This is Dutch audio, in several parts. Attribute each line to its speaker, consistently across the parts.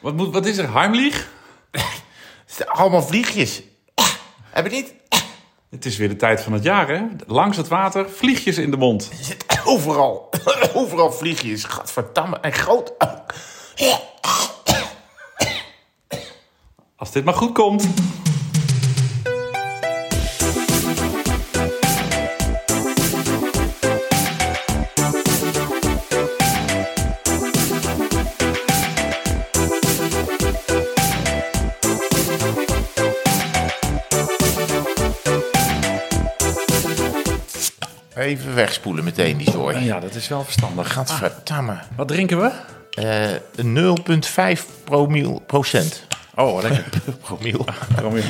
Speaker 1: Wat, moet, wat is er? Heimlich?
Speaker 2: Allemaal vliegjes. Heb je niet?
Speaker 1: Het is weer de tijd van het jaar, hè? Langs het water, vliegjes in de mond.
Speaker 2: Er zitten overal, overal vliegjes. Gadverdamme. En groot. ook.
Speaker 1: Als dit maar goed komt.
Speaker 2: Even wegspoelen meteen die zooi.
Speaker 1: Nou Ja, dat is wel verstandig.
Speaker 2: Gadverdamme.
Speaker 1: Wat drinken we?
Speaker 2: Eh 0,5 promiel procent.
Speaker 1: Oh, lekker.
Speaker 2: Promiel.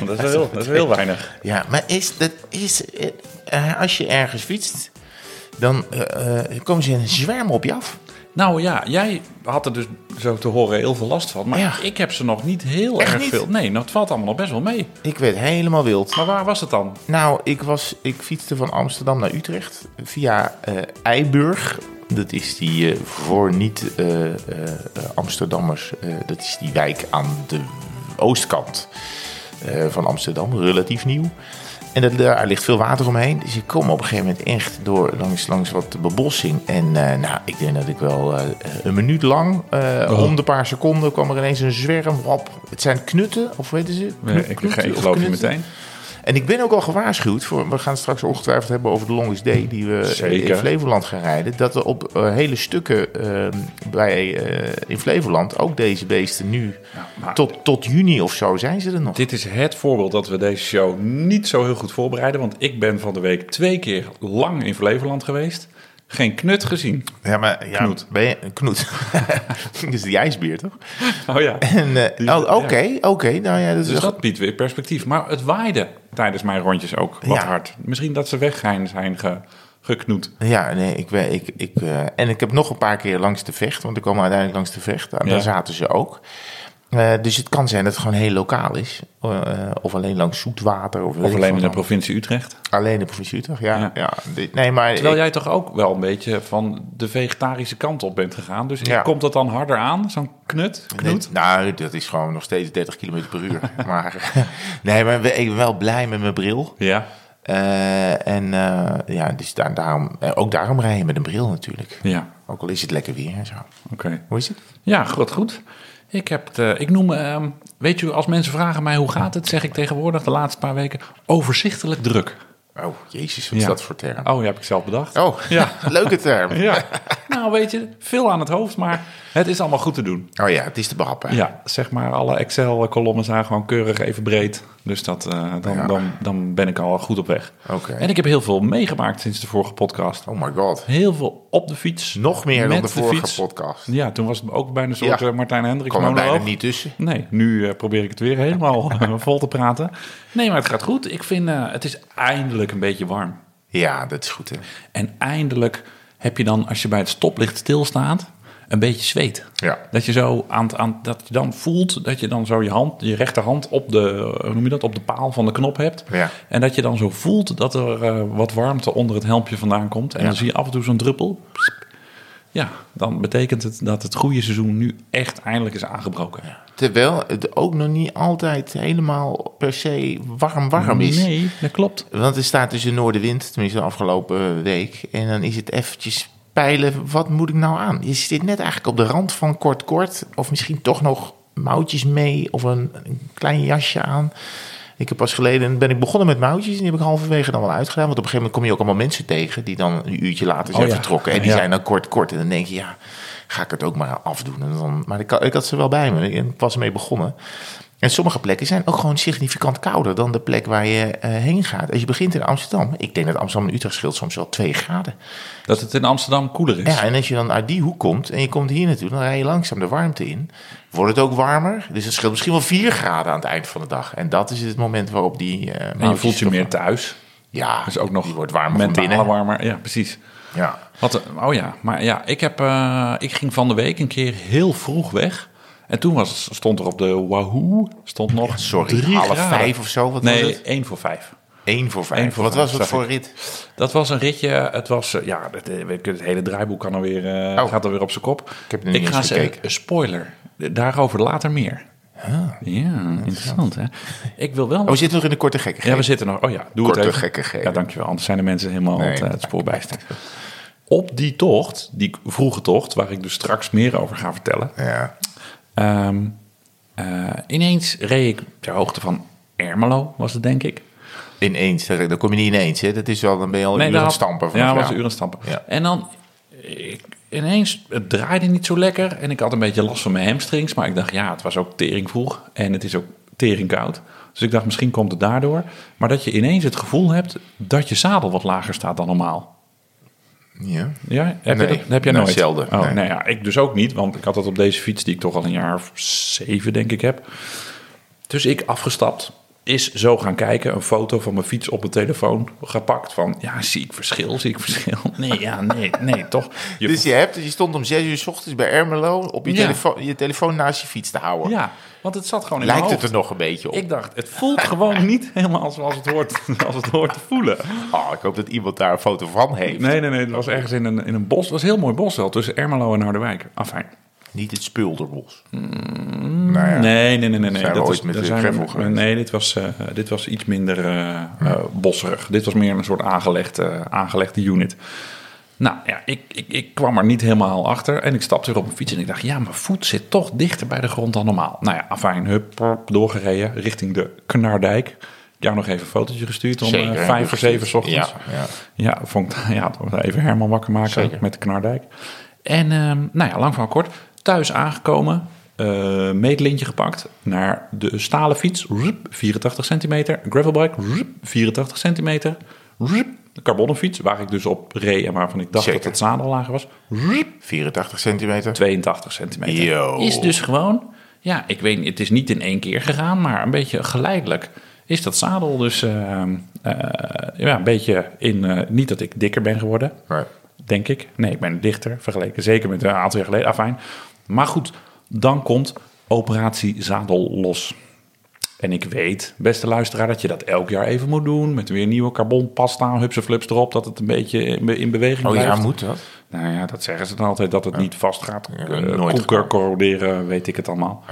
Speaker 1: dat, is wel heel, dat is wel heel weinig.
Speaker 2: Ja, maar is, dat is, eh, eh, als je ergens fietst, dan eh, eh, komen ze in een zwerm op je af.
Speaker 1: Nou ja, jij had er dus zo te horen heel veel last van. Maar
Speaker 2: Ja.
Speaker 1: ik heb ze nog niet heel
Speaker 2: Echt
Speaker 1: erg
Speaker 2: niet?
Speaker 1: veel. Nee, nou, het valt allemaal nog best wel mee.
Speaker 2: Ik werd helemaal wild.
Speaker 1: Maar waar was het dan?
Speaker 2: Nou, ik, was, ik fietste van Amsterdam naar Utrecht via eh Eiburg. Dat is die eh, voor eh, niet-Amsterdammers. eh, dat is die wijk aan de oostkant eh, van Amsterdam, relatief nieuw. En dat, daar ligt veel water omheen. Dus ik kom op een gegeven moment echt door langs, langs wat bebossing. En eh, nou, ik denk dat ik wel eh, een minuut lang, eh,
Speaker 1: Oh.
Speaker 2: om de paar seconden, kwam er ineens een zwerm op. Het zijn knutten, of weten ze? Knu-
Speaker 1: Eh, ik,
Speaker 2: knoeten
Speaker 1: ik
Speaker 2: of
Speaker 1: geloof je
Speaker 2: knutten.
Speaker 1: meteen.
Speaker 2: En ik ben ook al gewaarschuwd voor. We gaan het straks ongetwijfeld hebben over de Longest Day. die we eh,
Speaker 1: Zeker.
Speaker 2: in Flevoland gaan rijden. Dat er op eh, hele stukken eh, bij, eh, in Flevoland ook deze beesten nu.
Speaker 1: maar-
Speaker 2: tot, tot juni of zo zijn ze er nog.
Speaker 1: Dit is het voorbeeld dat we deze show niet zo heel goed voorbereiden. Want ik ben van de week twee keer lang in Flevoland geweest. Geen knut gezien.
Speaker 2: Ja, maar. Ja,
Speaker 1: Knoet.
Speaker 2: Ben je, een knoet. dat is die ijsbeer toch?
Speaker 1: Oh ja.
Speaker 2: En, eh,
Speaker 1: Die-
Speaker 2: oh, Oké, oké. nou ja, dat is
Speaker 1: Dus
Speaker 2: wel-
Speaker 1: dat biedt weer perspectief. Maar het waaide tijdens mijn rondjes ook wat
Speaker 2: Ja.
Speaker 1: hard. Misschien dat ze weg zijn, zijn ge- geknoet.
Speaker 2: Ja, nee, ik, ben- ik, ik, eh, en ik heb nog een paar keer langs de vecht, want ik kwam uiteindelijk langs de vecht. En
Speaker 1: Ja.
Speaker 2: daar zaten ze ook. Eh, dus het kan zijn dat het gewoon heel lokaal is. Eh, of alleen langs zoetwater. Of, weet
Speaker 1: Of
Speaker 2: ik
Speaker 1: alleen in
Speaker 2: veel
Speaker 1: de
Speaker 2: wat.
Speaker 1: provincie Utrecht.
Speaker 2: alleen de provincie Utrecht, ja.
Speaker 1: Ja.
Speaker 2: ja. Dit- nee, maar
Speaker 1: Terwijl
Speaker 2: ik-
Speaker 1: jij toch ook wel een beetje van de vegetarische kant op bent gegaan. Dus
Speaker 2: Ja.
Speaker 1: komt dat dan harder aan, zo'n knut? Knoet?
Speaker 2: dit- nou, dat is gewoon nog steeds 30 km per uur. maar nee, maar ik ben wel blij met mijn bril.
Speaker 1: Ja.
Speaker 2: Eh, en eh, ja, dus daar, daarom, eh, ook daarom rij je met een bril natuurlijk.
Speaker 1: Ja,
Speaker 2: Ook al is het lekker weer en zo.
Speaker 1: oké.
Speaker 2: Hoe is het?
Speaker 1: Ja, goed, goed. Ik, heb het, eh, ik noem, eh, weet je, als mensen vragen mij hoe gaat het, zeg ik tegenwoordig de laatste paar weken overzichtelijk druk.
Speaker 2: Oh, jezus, wat
Speaker 1: Ja.
Speaker 2: is dat voor term?
Speaker 1: Oh, die heb ik zelf bedacht.
Speaker 2: Oh,
Speaker 1: Ja.
Speaker 2: leuke term.
Speaker 1: Ja, nou weet je, veel aan het hoofd, maar het is allemaal goed te doen.
Speaker 2: Oh ja, het is te behappen.
Speaker 1: Ja, zeg maar, alle Excel-kolommen zijn gewoon keurig even breed. Dus dat, eh, dan,
Speaker 2: Ja.
Speaker 1: dan, dan ben ik al goed op weg.
Speaker 2: Oké.
Speaker 1: En ik heb heel veel meegemaakt sinds de vorige podcast.
Speaker 2: Oh my god.
Speaker 1: Heel veel op de fiets.
Speaker 2: Nog meer
Speaker 1: met
Speaker 2: dan de vorige
Speaker 1: fiets.
Speaker 2: podcast. Ik
Speaker 1: Ja, toen was het ook bijna een soort
Speaker 2: Ja.
Speaker 1: eh, Martijn Hendricks
Speaker 2: kwam er bijna
Speaker 1: monoloog.
Speaker 2: niet tussen.
Speaker 1: Nee, nu eh, probeer ik het weer helemaal eh, vol te praten. Nee, maar het gaat goed. Ik vind, eh, het is eindelijk een beetje warm.
Speaker 2: Ja, dat is goed hè.
Speaker 1: En eindelijk heb je dan, als je bij het stoplicht stilstaat, een beetje zweet.
Speaker 2: Ja.
Speaker 1: Dat je zo aan, het- aan dat je dan voelt dat je dan zo je hand, je rechterhand op de, hoe noem je dat, op de paal van de knop hebt.
Speaker 2: Ja.
Speaker 1: En dat je dan zo voelt dat er eh, wat warmte onder het helmpje vandaan komt. En dan zie je af en toe zo'n druppel. Ja, dan betekent het dat het goede seizoen nu echt eindelijk is aangebroken.
Speaker 2: Terwijl het ook nog niet altijd helemaal per se warm warm is.
Speaker 1: Nee, dat klopt.
Speaker 2: Want er staat dus een noordenwind, tenminste de afgelopen eh, week. En dan is het eventjes peilen, wat moet ik nou aan? Je zit net eigenlijk op de rand van kort kort. Of misschien toch nog mouwtjes mee of een, een klein jasje aan. Ik heb pas geleden, ben ik begonnen met mouwtjes. En die heb ik halverwege dan wel uitgedaan. Want op een gegeven moment kom je ook allemaal mensen tegen. Die dan een uurtje later zijn
Speaker 1: Oh ja.
Speaker 2: vertrokken. En die
Speaker 1: Ja.
Speaker 2: zijn dan kort kort. En dan denk je, ja, ga ik het ook maar afdoen. En dan, maar ik, had- ik had ze wel bij me. Ik was ermee begonnen. En sommige plekken zijn ook gewoon significant kouder dan de plek waar je eh, heen gaat. Als je begint in Amsterdam, ik denk dat Amsterdam en Utrecht scheelt soms wel 2 graden.
Speaker 1: Dat het in Amsterdam koeler is.
Speaker 2: Ja, en als je dan uit die hoek komt en je komt hier naartoe, dan rij je langzaam de warmte in. Wordt het ook warmer, dus het scheelt misschien wel 4 graden aan het eind van de dag. En dat is het moment waarop die... eh
Speaker 1: en je voelt je meer thuis.
Speaker 2: Ja,
Speaker 1: Dus ook nog
Speaker 2: die wordt warmer van
Speaker 1: mentale
Speaker 2: binnen.
Speaker 1: warmer. Ja, precies.
Speaker 2: Ja.
Speaker 1: Wat, een- oh ja, maar ja, ik, heb, eh, ik ging van de week een keer heel vroeg weg. En toen was, stond er op de Wahoo, stond nog
Speaker 2: Sorry,
Speaker 1: drie
Speaker 2: half
Speaker 1: graden.
Speaker 2: vijf of zo, wat
Speaker 1: nee,
Speaker 2: was het?
Speaker 1: één voor vijf.
Speaker 2: 1 voor
Speaker 1: Eén
Speaker 2: 5.
Speaker 1: voor
Speaker 2: Wat
Speaker 1: vijf,
Speaker 2: was het
Speaker 1: zag
Speaker 2: voor
Speaker 1: ik.
Speaker 2: rit?
Speaker 1: Dat was een ritje. Het was, eh, ja, het, eh, weet ik, het hele draaiboek kan er weer, eh,
Speaker 2: Oh.
Speaker 1: gaat er weer op zijn kop.
Speaker 2: heb er niet eens
Speaker 1: ga ze-
Speaker 2: gekeken. Ah,
Speaker 1: een spoiler. Daarover later meer. ja, interessant hè. Ik wil wel...
Speaker 2: Oh, we zitten nog in de korte gekkigheid.
Speaker 1: ja, we zitten nog... Oh ja, doe
Speaker 2: Korte
Speaker 1: het even.
Speaker 2: gekkigheid.
Speaker 1: Ja, dankjewel. Anders zijn de mensen helemaal
Speaker 2: Nee,
Speaker 1: het, eh, het spoor bijster. Op die tocht, die vroege tocht, waar ik dus straks meer over ga vertellen...
Speaker 2: Ja.
Speaker 1: Ehm, eh, ineens reed ik ter hoogte van Ermelo, was het denk ik.
Speaker 2: Ineens, daar daar kom je niet ineens. Hè. Dat is wel, dan ben je al een uur
Speaker 1: daar
Speaker 2: aan het
Speaker 1: had-
Speaker 2: stampen.
Speaker 1: Ja,
Speaker 2: vanaf,
Speaker 1: was een uur aan het stampen.
Speaker 2: Ja.
Speaker 1: En dan ik, ineens, het draaide niet zo lekker. En ik had een beetje last van mijn hamstrings. Maar ik dacht, ja, het was ook tering vroeg. En het is ook tering koud. Dus ik dacht, misschien komt het daardoor. Maar dat je ineens het gevoel hebt dat je zadel wat lager staat dan normaal.
Speaker 2: Ja.
Speaker 1: Ja, heb
Speaker 2: Nee.
Speaker 1: je dat heb jij
Speaker 2: Nee,
Speaker 1: nooit?
Speaker 2: zelden.
Speaker 1: Oh,
Speaker 2: Nee.
Speaker 1: Nou ja, ik dus ook niet, want ik had dat op deze fiets die ik toch al een jaar of zeven denk ik heb. Dus ik afgestapt, is zo gaan kijken, een foto van mijn fiets op mijn telefoon gepakt van, ja, zie ik verschil, zie ik verschil? Nee, ja, nee, nee, toch? Je-
Speaker 2: Dus je, hebt, je stond om zes uur 's ochtends bij Ermelo op je,
Speaker 1: Ja.
Speaker 2: telefoon, je telefoon naast je fiets te houden.
Speaker 1: ja, want het zat gewoon in
Speaker 2: Lijkt
Speaker 1: mijn
Speaker 2: het
Speaker 1: hoofd.
Speaker 2: er nog een beetje op?
Speaker 1: Ik dacht, het voelt gewoon niet helemaal zoals het hoort, als het hoort te voelen.
Speaker 2: Oh, ik hoop dat iemand daar een foto van heeft.
Speaker 1: Nee, nee, nee, het was ergens in een, in een bos. Het was een heel mooi bos wel, tussen Ermelo en Harderwijk. Afijn.
Speaker 2: Niet het Spulderbos. nou ja.
Speaker 1: Mm, Nee, nee, nee, nee. nee.
Speaker 2: Zijn we
Speaker 1: dat
Speaker 2: ooit
Speaker 1: is,
Speaker 2: met
Speaker 1: daar
Speaker 2: de
Speaker 1: zijn we-
Speaker 2: gravel geweest?
Speaker 1: Nee, dit was, eh, dit was iets minder eh eh, bosserig. Dit was meer een soort aangelegd, eh, aangelegde unit. Nou ja, ik, ik, ik kwam er niet helemaal achter. En ik stapte weer op mijn fiets en ik dacht... ja, mijn voet zit toch dichter bij de grond dan normaal. Nou ja, afijn, hup, prop, doorgereden richting de Knardijk. Ik heb jou nog even een fotootje gestuurd om eh,
Speaker 2: Zeker, heb
Speaker 1: vijf
Speaker 2: ik
Speaker 1: voor zeven 's
Speaker 2: gezien.
Speaker 1: ochtends.
Speaker 2: Ja, ja.
Speaker 1: Ja, vond ik, ja, toch wel even Herman wakker maken
Speaker 2: Zeker.
Speaker 1: met de Knardijk. En ehm, nou ja, lang van kort, thuis aangekomen, eh, meetlintje gepakt, naar de stalen fiets, roep, 84 centimeter, gravelbike, roep, 84 centimeter, roep, de carbonnen fiets, waar ik dus op reed en waarvan ik dacht
Speaker 2: Zeker.
Speaker 1: dat het zadel lager was, roep,
Speaker 2: 84 centimeter.
Speaker 1: 82 centimeter.
Speaker 2: Yo.
Speaker 1: Is dus gewoon, ja, ik weet niet, het is niet in één keer gegaan, maar een beetje geleidelijk is dat zadel dus ehm, eh, ja, een beetje in, eh, niet dat ik dikker ben geworden,
Speaker 2: Maar
Speaker 1: denk ik. Nee, ik ben dichter vergeleken, zeker met een aantal jaar geleden, afijn. Maar goed, dan komt operatie zadel los. En ik weet, beste luisteraar, dat je dat elk jaar even moet doen. Met weer nieuwe carbonpasta, hupsen flups erop. Dat het een beetje in be- in beweging
Speaker 2: Oh
Speaker 1: blijft.
Speaker 2: ja, moet dat?
Speaker 1: Nou ja, dat zeggen ze dan altijd, dat het niet vast gaat.
Speaker 2: Ja,
Speaker 1: eh,
Speaker 2: nooit
Speaker 1: koeker corroderen, weet ik het allemaal.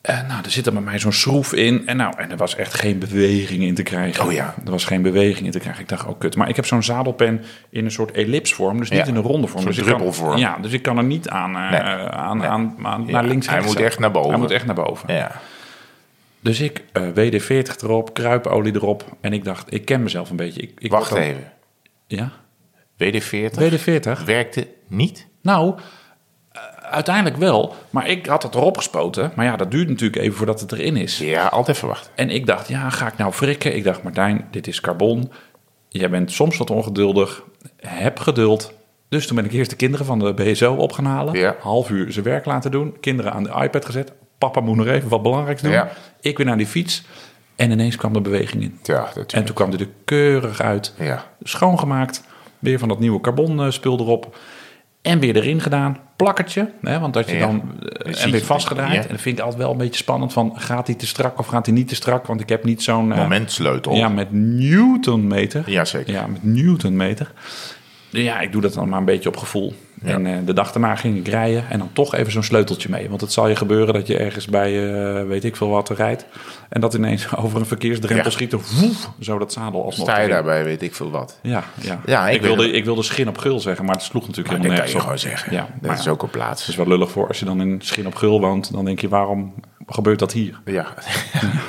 Speaker 1: Eh, nou, er zit dan bij mij zo'n schroef in. En, nou, en er was echt geen beweging in te krijgen.
Speaker 2: Oh ja.
Speaker 1: Er was geen beweging in te krijgen. Ik dacht, oh kut. Maar ik heb zo'n zadelpen in een soort ellipsvorm. Dus niet
Speaker 2: Ja,
Speaker 1: in een ronde vorm.
Speaker 2: zo'n
Speaker 1: dus ik kan-
Speaker 2: druppelvorm.
Speaker 1: ja, dus ik kan er niet aan, eh,
Speaker 2: Nee.
Speaker 1: aan,
Speaker 2: Nee.
Speaker 1: aan, aan-
Speaker 2: Ja,
Speaker 1: naar links
Speaker 2: hij
Speaker 1: rechts
Speaker 2: moet
Speaker 1: zetten.
Speaker 2: echt naar boven.
Speaker 1: Hij moet echt naar boven.
Speaker 2: Ja.
Speaker 1: Dus ik eh, WD-40 erop, kruipolie erop. En ik dacht, ik ken mezelf een beetje. Ik, ik
Speaker 2: Wacht
Speaker 1: word dan-
Speaker 2: even.
Speaker 1: Ja?
Speaker 2: WD-40
Speaker 1: WD-40?
Speaker 2: werkte niet.
Speaker 1: Nou, eh, uiteindelijk wel. Maar ik had het erop gespoten. Maar ja, dat duurt natuurlijk even voordat het erin is.
Speaker 2: Ja, altijd verwacht.
Speaker 1: En ik dacht, ja, ga ik nou frikken? Ik dacht, Martijn, dit is carbon. Jij bent soms wat ongeduldig. Heb geduld. Dus toen ben ik eerst de kinderen van de BSO op gaan halen.
Speaker 2: Ja.
Speaker 1: Half uur zijn werk laten doen. Kinderen aan de iPad gezet. Papa moet nog even wat belangrijks doen.
Speaker 2: Ja.
Speaker 1: Ik weer naar die fiets. En ineens kwam de beweging in.
Speaker 2: Ja,
Speaker 1: En
Speaker 2: natuurlijk.
Speaker 1: toen kwam hij er keurig uit.
Speaker 2: Ja.
Speaker 1: Schoongemaakt. Weer van dat nieuwe carbon eh, spul erop. En weer erin gedaan. Plakkertje. Hè, want dat je
Speaker 2: Ja.
Speaker 1: dan... eh,
Speaker 2: zie
Speaker 1: en
Speaker 2: je
Speaker 1: weer
Speaker 2: het.
Speaker 1: vastgedraaid.
Speaker 2: Ja.
Speaker 1: En dat vind ik altijd wel een beetje spannend. Van gaat hij te strak of gaat hij niet te strak? Want ik heb niet zo'n... eh,
Speaker 2: Momentsleutel.
Speaker 1: ja, met newtonmeter.
Speaker 2: Jazeker.
Speaker 1: Ja, met newtonmeter. Ja, ik doe dat dan maar een beetje op gevoel. En eh, de dag daarna ging ik rijden en dan toch even zo'n sleuteltje mee. Want het zal je gebeuren dat je ergens bij eh, weet ik veel wat rijdt. En dat ineens over een verkeersdrempel
Speaker 2: Ja.
Speaker 1: schiet. en woef, zo dat zadel alsnog.
Speaker 2: Sta je
Speaker 1: erin.
Speaker 2: daarbij, weet ik veel wat.
Speaker 1: Ja, ja.
Speaker 2: Ja, ik
Speaker 1: ik, wilde,
Speaker 2: weet
Speaker 1: ik wilde schin op gul zeggen, maar het sloeg natuurlijk
Speaker 2: dat
Speaker 1: helemaal
Speaker 2: kan je
Speaker 1: nergens op.
Speaker 2: gewoon zeggen.
Speaker 1: Ja,
Speaker 2: dat
Speaker 1: maar
Speaker 2: is
Speaker 1: ja,
Speaker 2: ook een
Speaker 1: Het is
Speaker 2: plaats.
Speaker 1: wel lullig voor als je dan in schin op gul woont. Dan denk je, waarom gebeurt dat hier?
Speaker 2: Ja,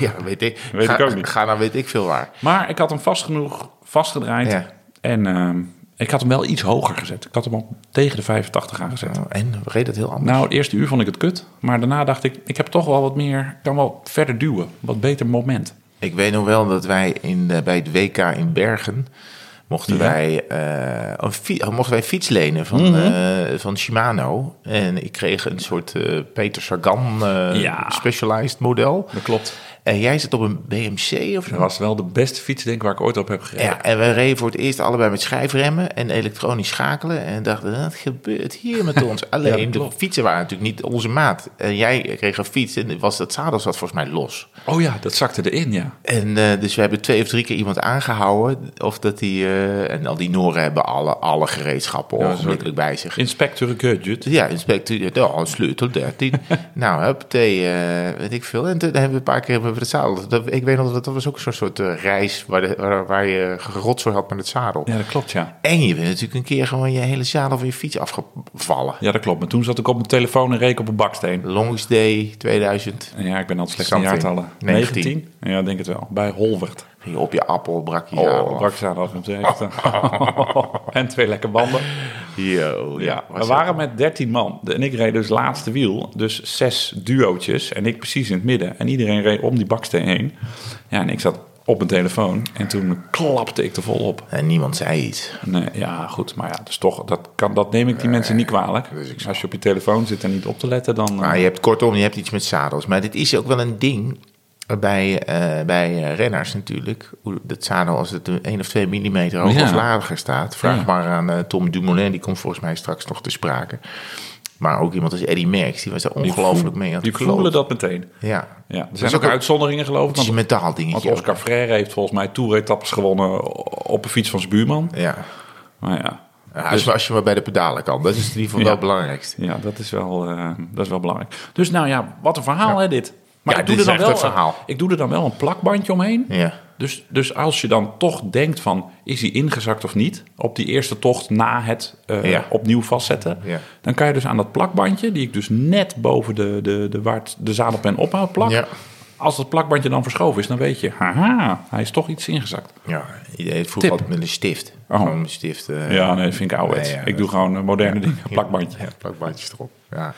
Speaker 2: ja weet ik.
Speaker 1: Weet
Speaker 2: ga,
Speaker 1: ik ook niet.
Speaker 2: Ga naar weet ik veel waar.
Speaker 1: Maar ik had hem vast genoeg vastgedraaid.
Speaker 2: Ja.
Speaker 1: En ehm, ik had hem wel iets hoger gezet. Ik had hem al tegen de 85 aangezet.
Speaker 2: Nou, En reed het heel anders.
Speaker 1: Nou, het eerste uur vond ik het kut. Maar daarna dacht ik, ik heb toch wel wat meer... Ik kan wel verder duwen. Wat beter moment.
Speaker 2: Ik weet nog wel dat wij in, eh, bij het WK in Bergen mochten,
Speaker 1: Ja.
Speaker 2: wij, eh, een fi- mochten wij fiets lenen van,
Speaker 1: Mhm.
Speaker 2: eh, van Shimano. En ik kreeg een soort eh, Peter Sagan eh,
Speaker 1: Ja.
Speaker 2: Specialized model.
Speaker 1: Dat klopt.
Speaker 2: En jij zit op een BMC of zo.
Speaker 1: Dat was wel de beste fiets, denk ik, waar ik ooit op heb gereden.
Speaker 2: Ja, en we reden voor het eerst allebei met schijfremmen en elektronisch schakelen. En dachten, wat gebeurt hier met ons? Alleen,
Speaker 1: Ja,
Speaker 2: de
Speaker 1: klopt.
Speaker 2: fietsen waren natuurlijk niet onze maat. En jij kreeg een fiets en was, dat zadel zat volgens mij los.
Speaker 1: Oh ja, dat zakte erin, ja.
Speaker 2: En eh, dus we hebben twee of drie keer iemand aangehouden. Of dat die, eh, en al die Noren hebben alle, alle gereedschappen
Speaker 1: Ja,
Speaker 2: onmiddellijk bij zich.
Speaker 1: Inspecteur Gudjut.
Speaker 2: Ja, inspecteur, ja, een sleutel 13. nou, huppatee, eh weet ik veel. En toen hebben we een paar keer hebben we het zadel. Dat, ik weet nog dat dat was ook zo'n soort eh, reis waar, de, waar, waar je gerotzooi had met het zadel.
Speaker 1: Ja, dat klopt, ja.
Speaker 2: En je bent natuurlijk een keer gewoon je hele zadel van je fiets afgevallen.
Speaker 1: Ja, dat klopt. Maar toen zat ik op mijn telefoon en reek op een baksteen.
Speaker 2: Longest day 2000.
Speaker 1: En ja, ik ben al slecht in
Speaker 2: Something.
Speaker 1: jaartallen.
Speaker 2: 19?
Speaker 1: Ja, denk het wel. Bij Holwert.
Speaker 2: Ging je op je appel brak je zadel.
Speaker 1: Oh, bakzaan af en toe. En twee lekke banden.
Speaker 2: Yo,
Speaker 1: Ja,
Speaker 2: ja.
Speaker 1: we waren met 13 man. En ik reed dus laatste wiel. Dus zes duootjes. En ik precies in het midden. En iedereen reed om die baksteen heen. Ja, en ik zat op mijn telefoon. En toen klapte ik er vol op.
Speaker 2: En niemand zei iets.
Speaker 1: Nee, ja, goed. Maar ja, dus toch, dat, kan, dat neem ik die mensen niet kwalijk.
Speaker 2: dat is dus ik zo.
Speaker 1: Als je op je telefoon zit en niet op te letten, dan... eh,
Speaker 2: Maar je hebt kortom, je hebt iets met zadels. Maar dit is ook wel een ding bij, eh, bij eh, renners natuurlijk. Hoe Dat zadel, als het 1 of 2 millimeter hoger
Speaker 1: Ja.
Speaker 2: of lager staat. Vraag
Speaker 1: Ja.
Speaker 2: maar aan eh, Tom Dumoulin, die komt volgens mij straks nog te sprake. Maar ook iemand als Eddy Merckx, die was daar
Speaker 1: die
Speaker 2: ongelooflijk
Speaker 1: voel-
Speaker 2: mee aan
Speaker 1: Die
Speaker 2: het kloten.
Speaker 1: voelen dat meteen.
Speaker 2: Ja,
Speaker 1: Ja, er
Speaker 2: Dat
Speaker 1: zijn
Speaker 2: is
Speaker 1: ook,
Speaker 2: ook een-
Speaker 1: uitzonderingen, geloof ik.
Speaker 2: het is een
Speaker 1: Want,
Speaker 2: mentaal dingetje.
Speaker 1: want Oscar Freire heeft volgens mij toeretappes gewonnen op een fiets van zijn buurman.
Speaker 2: Ja.
Speaker 1: Maar ja,
Speaker 2: Ja, als, je- als je maar bij de pedalen kan, dat is in ieder geval wel
Speaker 1: Dus- Ja.
Speaker 2: het belangrijkste.
Speaker 1: ja dat, is wel, eh, dat is wel belangrijk. Dus nou ja, wat een verhaal hè dit. Maar
Speaker 2: Ja,
Speaker 1: ik doe
Speaker 2: dit
Speaker 1: er
Speaker 2: is
Speaker 1: dan wel
Speaker 2: echt een verhaal.
Speaker 1: Ik doe er dan wel een plakbandje omheen.
Speaker 2: Ja.
Speaker 1: Dus, dus als je dan toch denkt van, is hij ingezakt of niet? Op die eerste tocht na het eh,
Speaker 2: Ja.
Speaker 1: opnieuw vastzetten.
Speaker 2: Ja.
Speaker 1: Dan kan je dus aan dat plakbandje, die ik dus net boven de, de, de, waar het- de zadelpen ophoud plak.
Speaker 2: Ja.
Speaker 1: Als dat plakbandje dan verschoven is, dan weet je, haha, hij is toch iets ingezakt.
Speaker 2: Ja, het vroeg
Speaker 1: Tip.
Speaker 2: altijd met een stift.
Speaker 1: Oh.
Speaker 2: Gewoon een stift. eh,
Speaker 1: Ja, nee, dat vind ik ouderwets.
Speaker 2: Nee, ja,
Speaker 1: ik doe gewoon eh, moderne dingen, plakbandje.
Speaker 2: Ja, plakbandjes erop. Ja.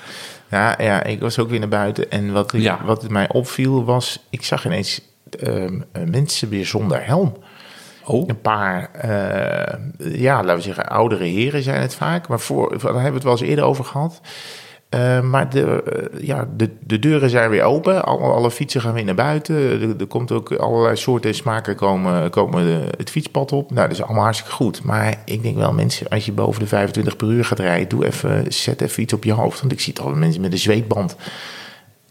Speaker 2: Ja, ja, ik was ook weer naar buiten. En wat, ik,
Speaker 1: Ja.
Speaker 2: wat mij opviel was, ik zag ineens ehm, eh, mensen weer zonder helm.
Speaker 1: Oh.
Speaker 2: Een paar, eh, ja, laten we zeggen, oudere heren zijn het vaak. Maar voor, daar hebben we het wel eens eerder over gehad. Eh, maar de, eh, ja, de, de deuren zijn weer open. Alle, alle fietsen gaan weer naar buiten. Er, er komt ook allerlei soorten en smaken komen, komen de- het fietspad op. Nou, dat is allemaal hartstikke goed. Maar ik denk wel, mensen, als je boven de 25 per uur gaat rijden... Doe even, zet even iets op je hoofd. Want ik zie toch mensen met een zweetband.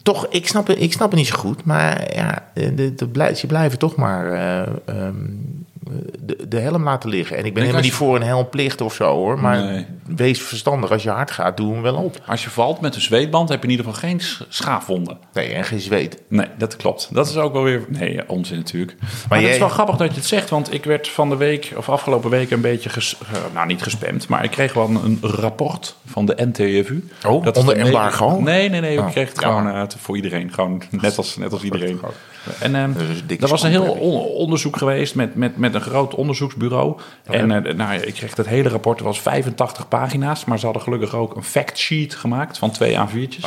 Speaker 2: Toch, ik snap, het- ik snap het niet zo goed. Maar ja, eh, de, de, blij- ze blijven toch maar eh, ehm, de, de helm laten liggen. En ik ben helemaal
Speaker 1: als
Speaker 2: niet
Speaker 1: je-
Speaker 2: voor een helmplicht of zo, hoor. Maar
Speaker 1: Nee.
Speaker 2: wees verstandig. Als je hard gaat, doe hem wel op.
Speaker 1: Als je valt met een zweetband, heb je in ieder geval geen sch- schaafwonden.
Speaker 2: Nee, en geen zweet.
Speaker 1: Nee, dat klopt. Dat is ook wel weer... Nee, ja, onzin natuurlijk. Maar, het
Speaker 2: jij-
Speaker 1: is wel grappig dat je het zegt, want ik werd van de week... of afgelopen week een beetje... ges- eh, nou, niet gespamd, maar ik kreeg wel een, een rapport van de NTFU.
Speaker 2: Oh,
Speaker 1: is
Speaker 2: onder
Speaker 1: de me-
Speaker 2: embargo?
Speaker 1: Nee, nee, nee.
Speaker 2: Oh,
Speaker 1: ik kreeg het
Speaker 2: ja.
Speaker 1: gewoon eh, het voor iedereen. Gewoon net als, net als iedereen. En ehm,
Speaker 2: Dat is een dikke
Speaker 1: er was een heel
Speaker 2: scoop,
Speaker 1: on- onderzoek geweest met, met, met een groot onderzoeksbureau.
Speaker 2: Oh,
Speaker 1: En eh, nou, ja, ik kreeg dat hele rapport, het was 85 pagina's. Maar ze hadden gelukkig ook een factsheet gemaakt van twee A4'tjes.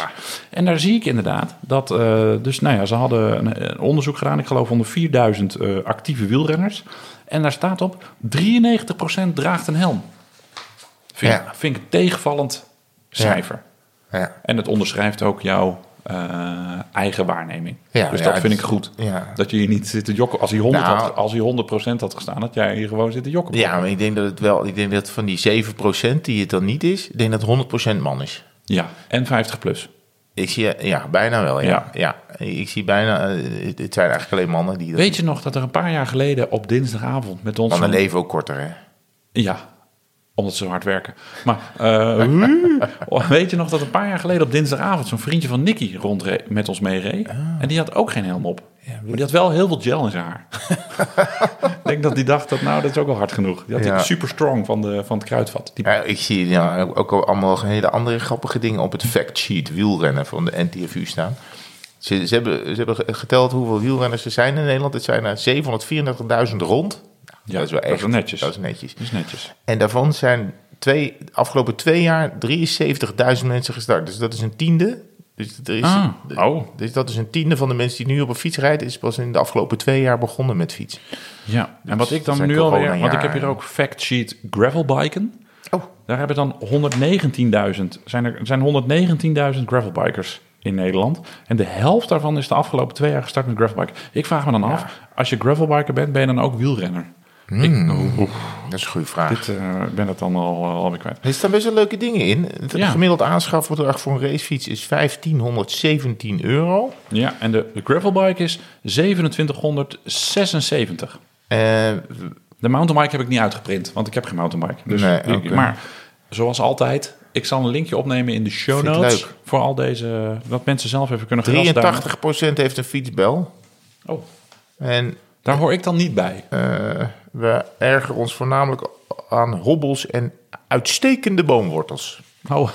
Speaker 1: En daar zie ik inderdaad dat... eh, dus nou ja, ze hadden een, een onderzoek gedaan, ik geloof onder 4000 eh, actieve wielrenners. En daar staat op, 93% draagt een helm. Vind, ik-
Speaker 2: Ja.
Speaker 1: vind ik een tegenvallend cijfer.
Speaker 2: Ja.
Speaker 1: En het onderschrijft ook jouw eh, eigen waarneming.
Speaker 2: Ja,
Speaker 1: dus
Speaker 2: ja,
Speaker 1: dat
Speaker 2: het
Speaker 1: vind
Speaker 2: is-
Speaker 1: ik goed.
Speaker 2: ja.
Speaker 1: Dat je hier niet zit te jokken. Als hij 100,
Speaker 2: Nou.
Speaker 1: had, als hij 100 had gestaan, had jij hier gewoon zitten jokken.
Speaker 2: Ja, maar ik denk dat het wel... Ik denk dat van die 7% die het dan niet is... Ik denk dat het 100% man is.
Speaker 1: Ja, en 50 plus.
Speaker 2: Ik zie... Ja, bijna wel, ja.
Speaker 1: Ja.
Speaker 2: Ja, ik zie bijna... eh, het het zijn eigenlijk alleen mannen die... Dat,
Speaker 1: Weet je nog dat er een paar jaar geleden op dinsdagavond met ons...
Speaker 2: mannen
Speaker 1: zo'n-
Speaker 2: leven ook korter, hè?
Speaker 1: Ja, omdat ze zo hard werken. Maar eh, weet je nog dat een paar jaar geleden op dinsdagavond... zo'n vriendje van Nicky rondre- met ons meereed?
Speaker 2: Ah.
Speaker 1: En die had ook geen helm op. maar die had wel heel veel gel in zijn haar. Ik denk dat die dacht dat, nou, dat is ook wel hard genoeg. Die had
Speaker 2: Ja.
Speaker 1: die super strong van, de, van het kruidvat. Die
Speaker 2: Ja, ik zie ja, ook al allemaal hele andere grappige dingen op het factsheet wielrennen van de NTFU staan. Ze, ze, hebben, ze hebben geteld hoeveel wielrenners er zijn in Nederland. Het zijn er 734.000 rond.
Speaker 1: Ja,
Speaker 2: dat is wel
Speaker 1: dat
Speaker 2: echt
Speaker 1: is wel netjes.
Speaker 2: Dat is netjes.
Speaker 1: is netjes.
Speaker 2: En daarvan zijn twee, de afgelopen twee jaar 73.000 mensen gestart. Dus dat is een tiende. Dus, er is,
Speaker 1: Ah, oh.
Speaker 2: dus dat is een tiende van de mensen die nu op een fiets rijden, is pas in de afgelopen twee jaar begonnen met fietsen.
Speaker 1: Ja, en wat ik dan
Speaker 2: Dus zijn
Speaker 1: nu alweer...
Speaker 2: corona-jaar.
Speaker 1: Want ik heb hier ook factsheet gravelbiken.
Speaker 2: Oh.
Speaker 1: Daar hebben dan 119.000... Zijn er zijn 119.000 gravelbikers in Nederland. En de helft daarvan is de afgelopen twee jaar gestart met gravelbiken. Ik vraag me dan af, als je gravelbiker bent, ben je dan ook wielrenner?
Speaker 2: Hmm.
Speaker 1: Ik oeh, oeh,
Speaker 2: Dat is een goede vraag.
Speaker 1: dit, eh, ik ben het dan al, alweer kwijt.
Speaker 2: Er staan best wel leuke dingen in. Het
Speaker 1: Ja.
Speaker 2: gemiddeld aanschafbedrag voor een racefiets is 1517 euro.
Speaker 1: Ja, en de, de gravelbike is 2776.
Speaker 2: Eh,
Speaker 1: De mountainbike heb ik niet uitgeprint, want ik heb geen mountainbike. Dus
Speaker 2: Nee,
Speaker 1: ik-
Speaker 2: oké.
Speaker 1: Maar zoals altijd, ik zal een linkje opnemen in de show
Speaker 2: Vind ik
Speaker 1: notes.
Speaker 2: leuk.
Speaker 1: Voor al deze, dat mensen zelf even kunnen
Speaker 2: 83%
Speaker 1: grasduinen.
Speaker 2: heeft een fietsbel.
Speaker 1: Oh,
Speaker 2: En
Speaker 1: daar hoor ik dan niet bij.
Speaker 2: eh, we ergeren ons voornamelijk aan hobbels en uitstekende boomwortels.
Speaker 1: Oh.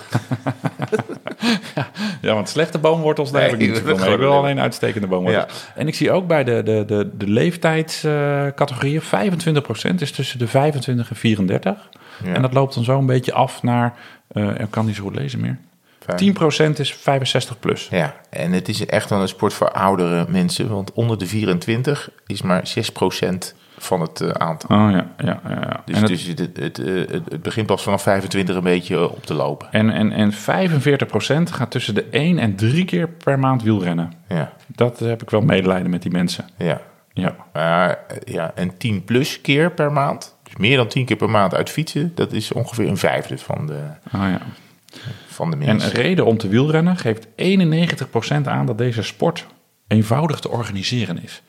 Speaker 1: ja, want slechte boomwortels, daar
Speaker 2: Nee,
Speaker 1: heb ik niet
Speaker 2: dat
Speaker 1: zoveel mee. Ik
Speaker 2: gewoon-
Speaker 1: wil alleen uitstekende boomwortels. En ik zie ook bij de, de, de, de leeftijdscategorieën... 25% is tussen de 25 en 34.
Speaker 2: Ja.
Speaker 1: En dat loopt dan zo een beetje af naar... eh ik kan niet zo goed lezen meer.
Speaker 2: Vijf.
Speaker 1: 10% is 65 plus.
Speaker 2: Ja, en het is echt wel een sport voor oudere mensen. Want onder de 24 is maar 6% van het eh, aantal.
Speaker 1: Oh ja, ja, ja, ja.
Speaker 2: Dus,
Speaker 1: en, het-
Speaker 2: dus het, het, eh, het- het begint pas vanaf 25 een beetje eh, op te lopen.
Speaker 1: en, en, en 45% gaat tussen de 1 en 3 keer per maand wielrennen.
Speaker 2: Ja,
Speaker 1: Dat heb ik wel medelijden met die mensen.
Speaker 2: ja.
Speaker 1: Ja.
Speaker 2: Maar eh, ja, en 10 plus keer per maand. Dus meer dan 10 keer per maand uit fietsen. Dat is ongeveer een vijfde van de,
Speaker 1: Oh ja.
Speaker 2: van de
Speaker 1: En een
Speaker 2: mensen.
Speaker 1: reden om te wielrennen geeft 91% aan dat deze sport eenvoudig te organiseren is.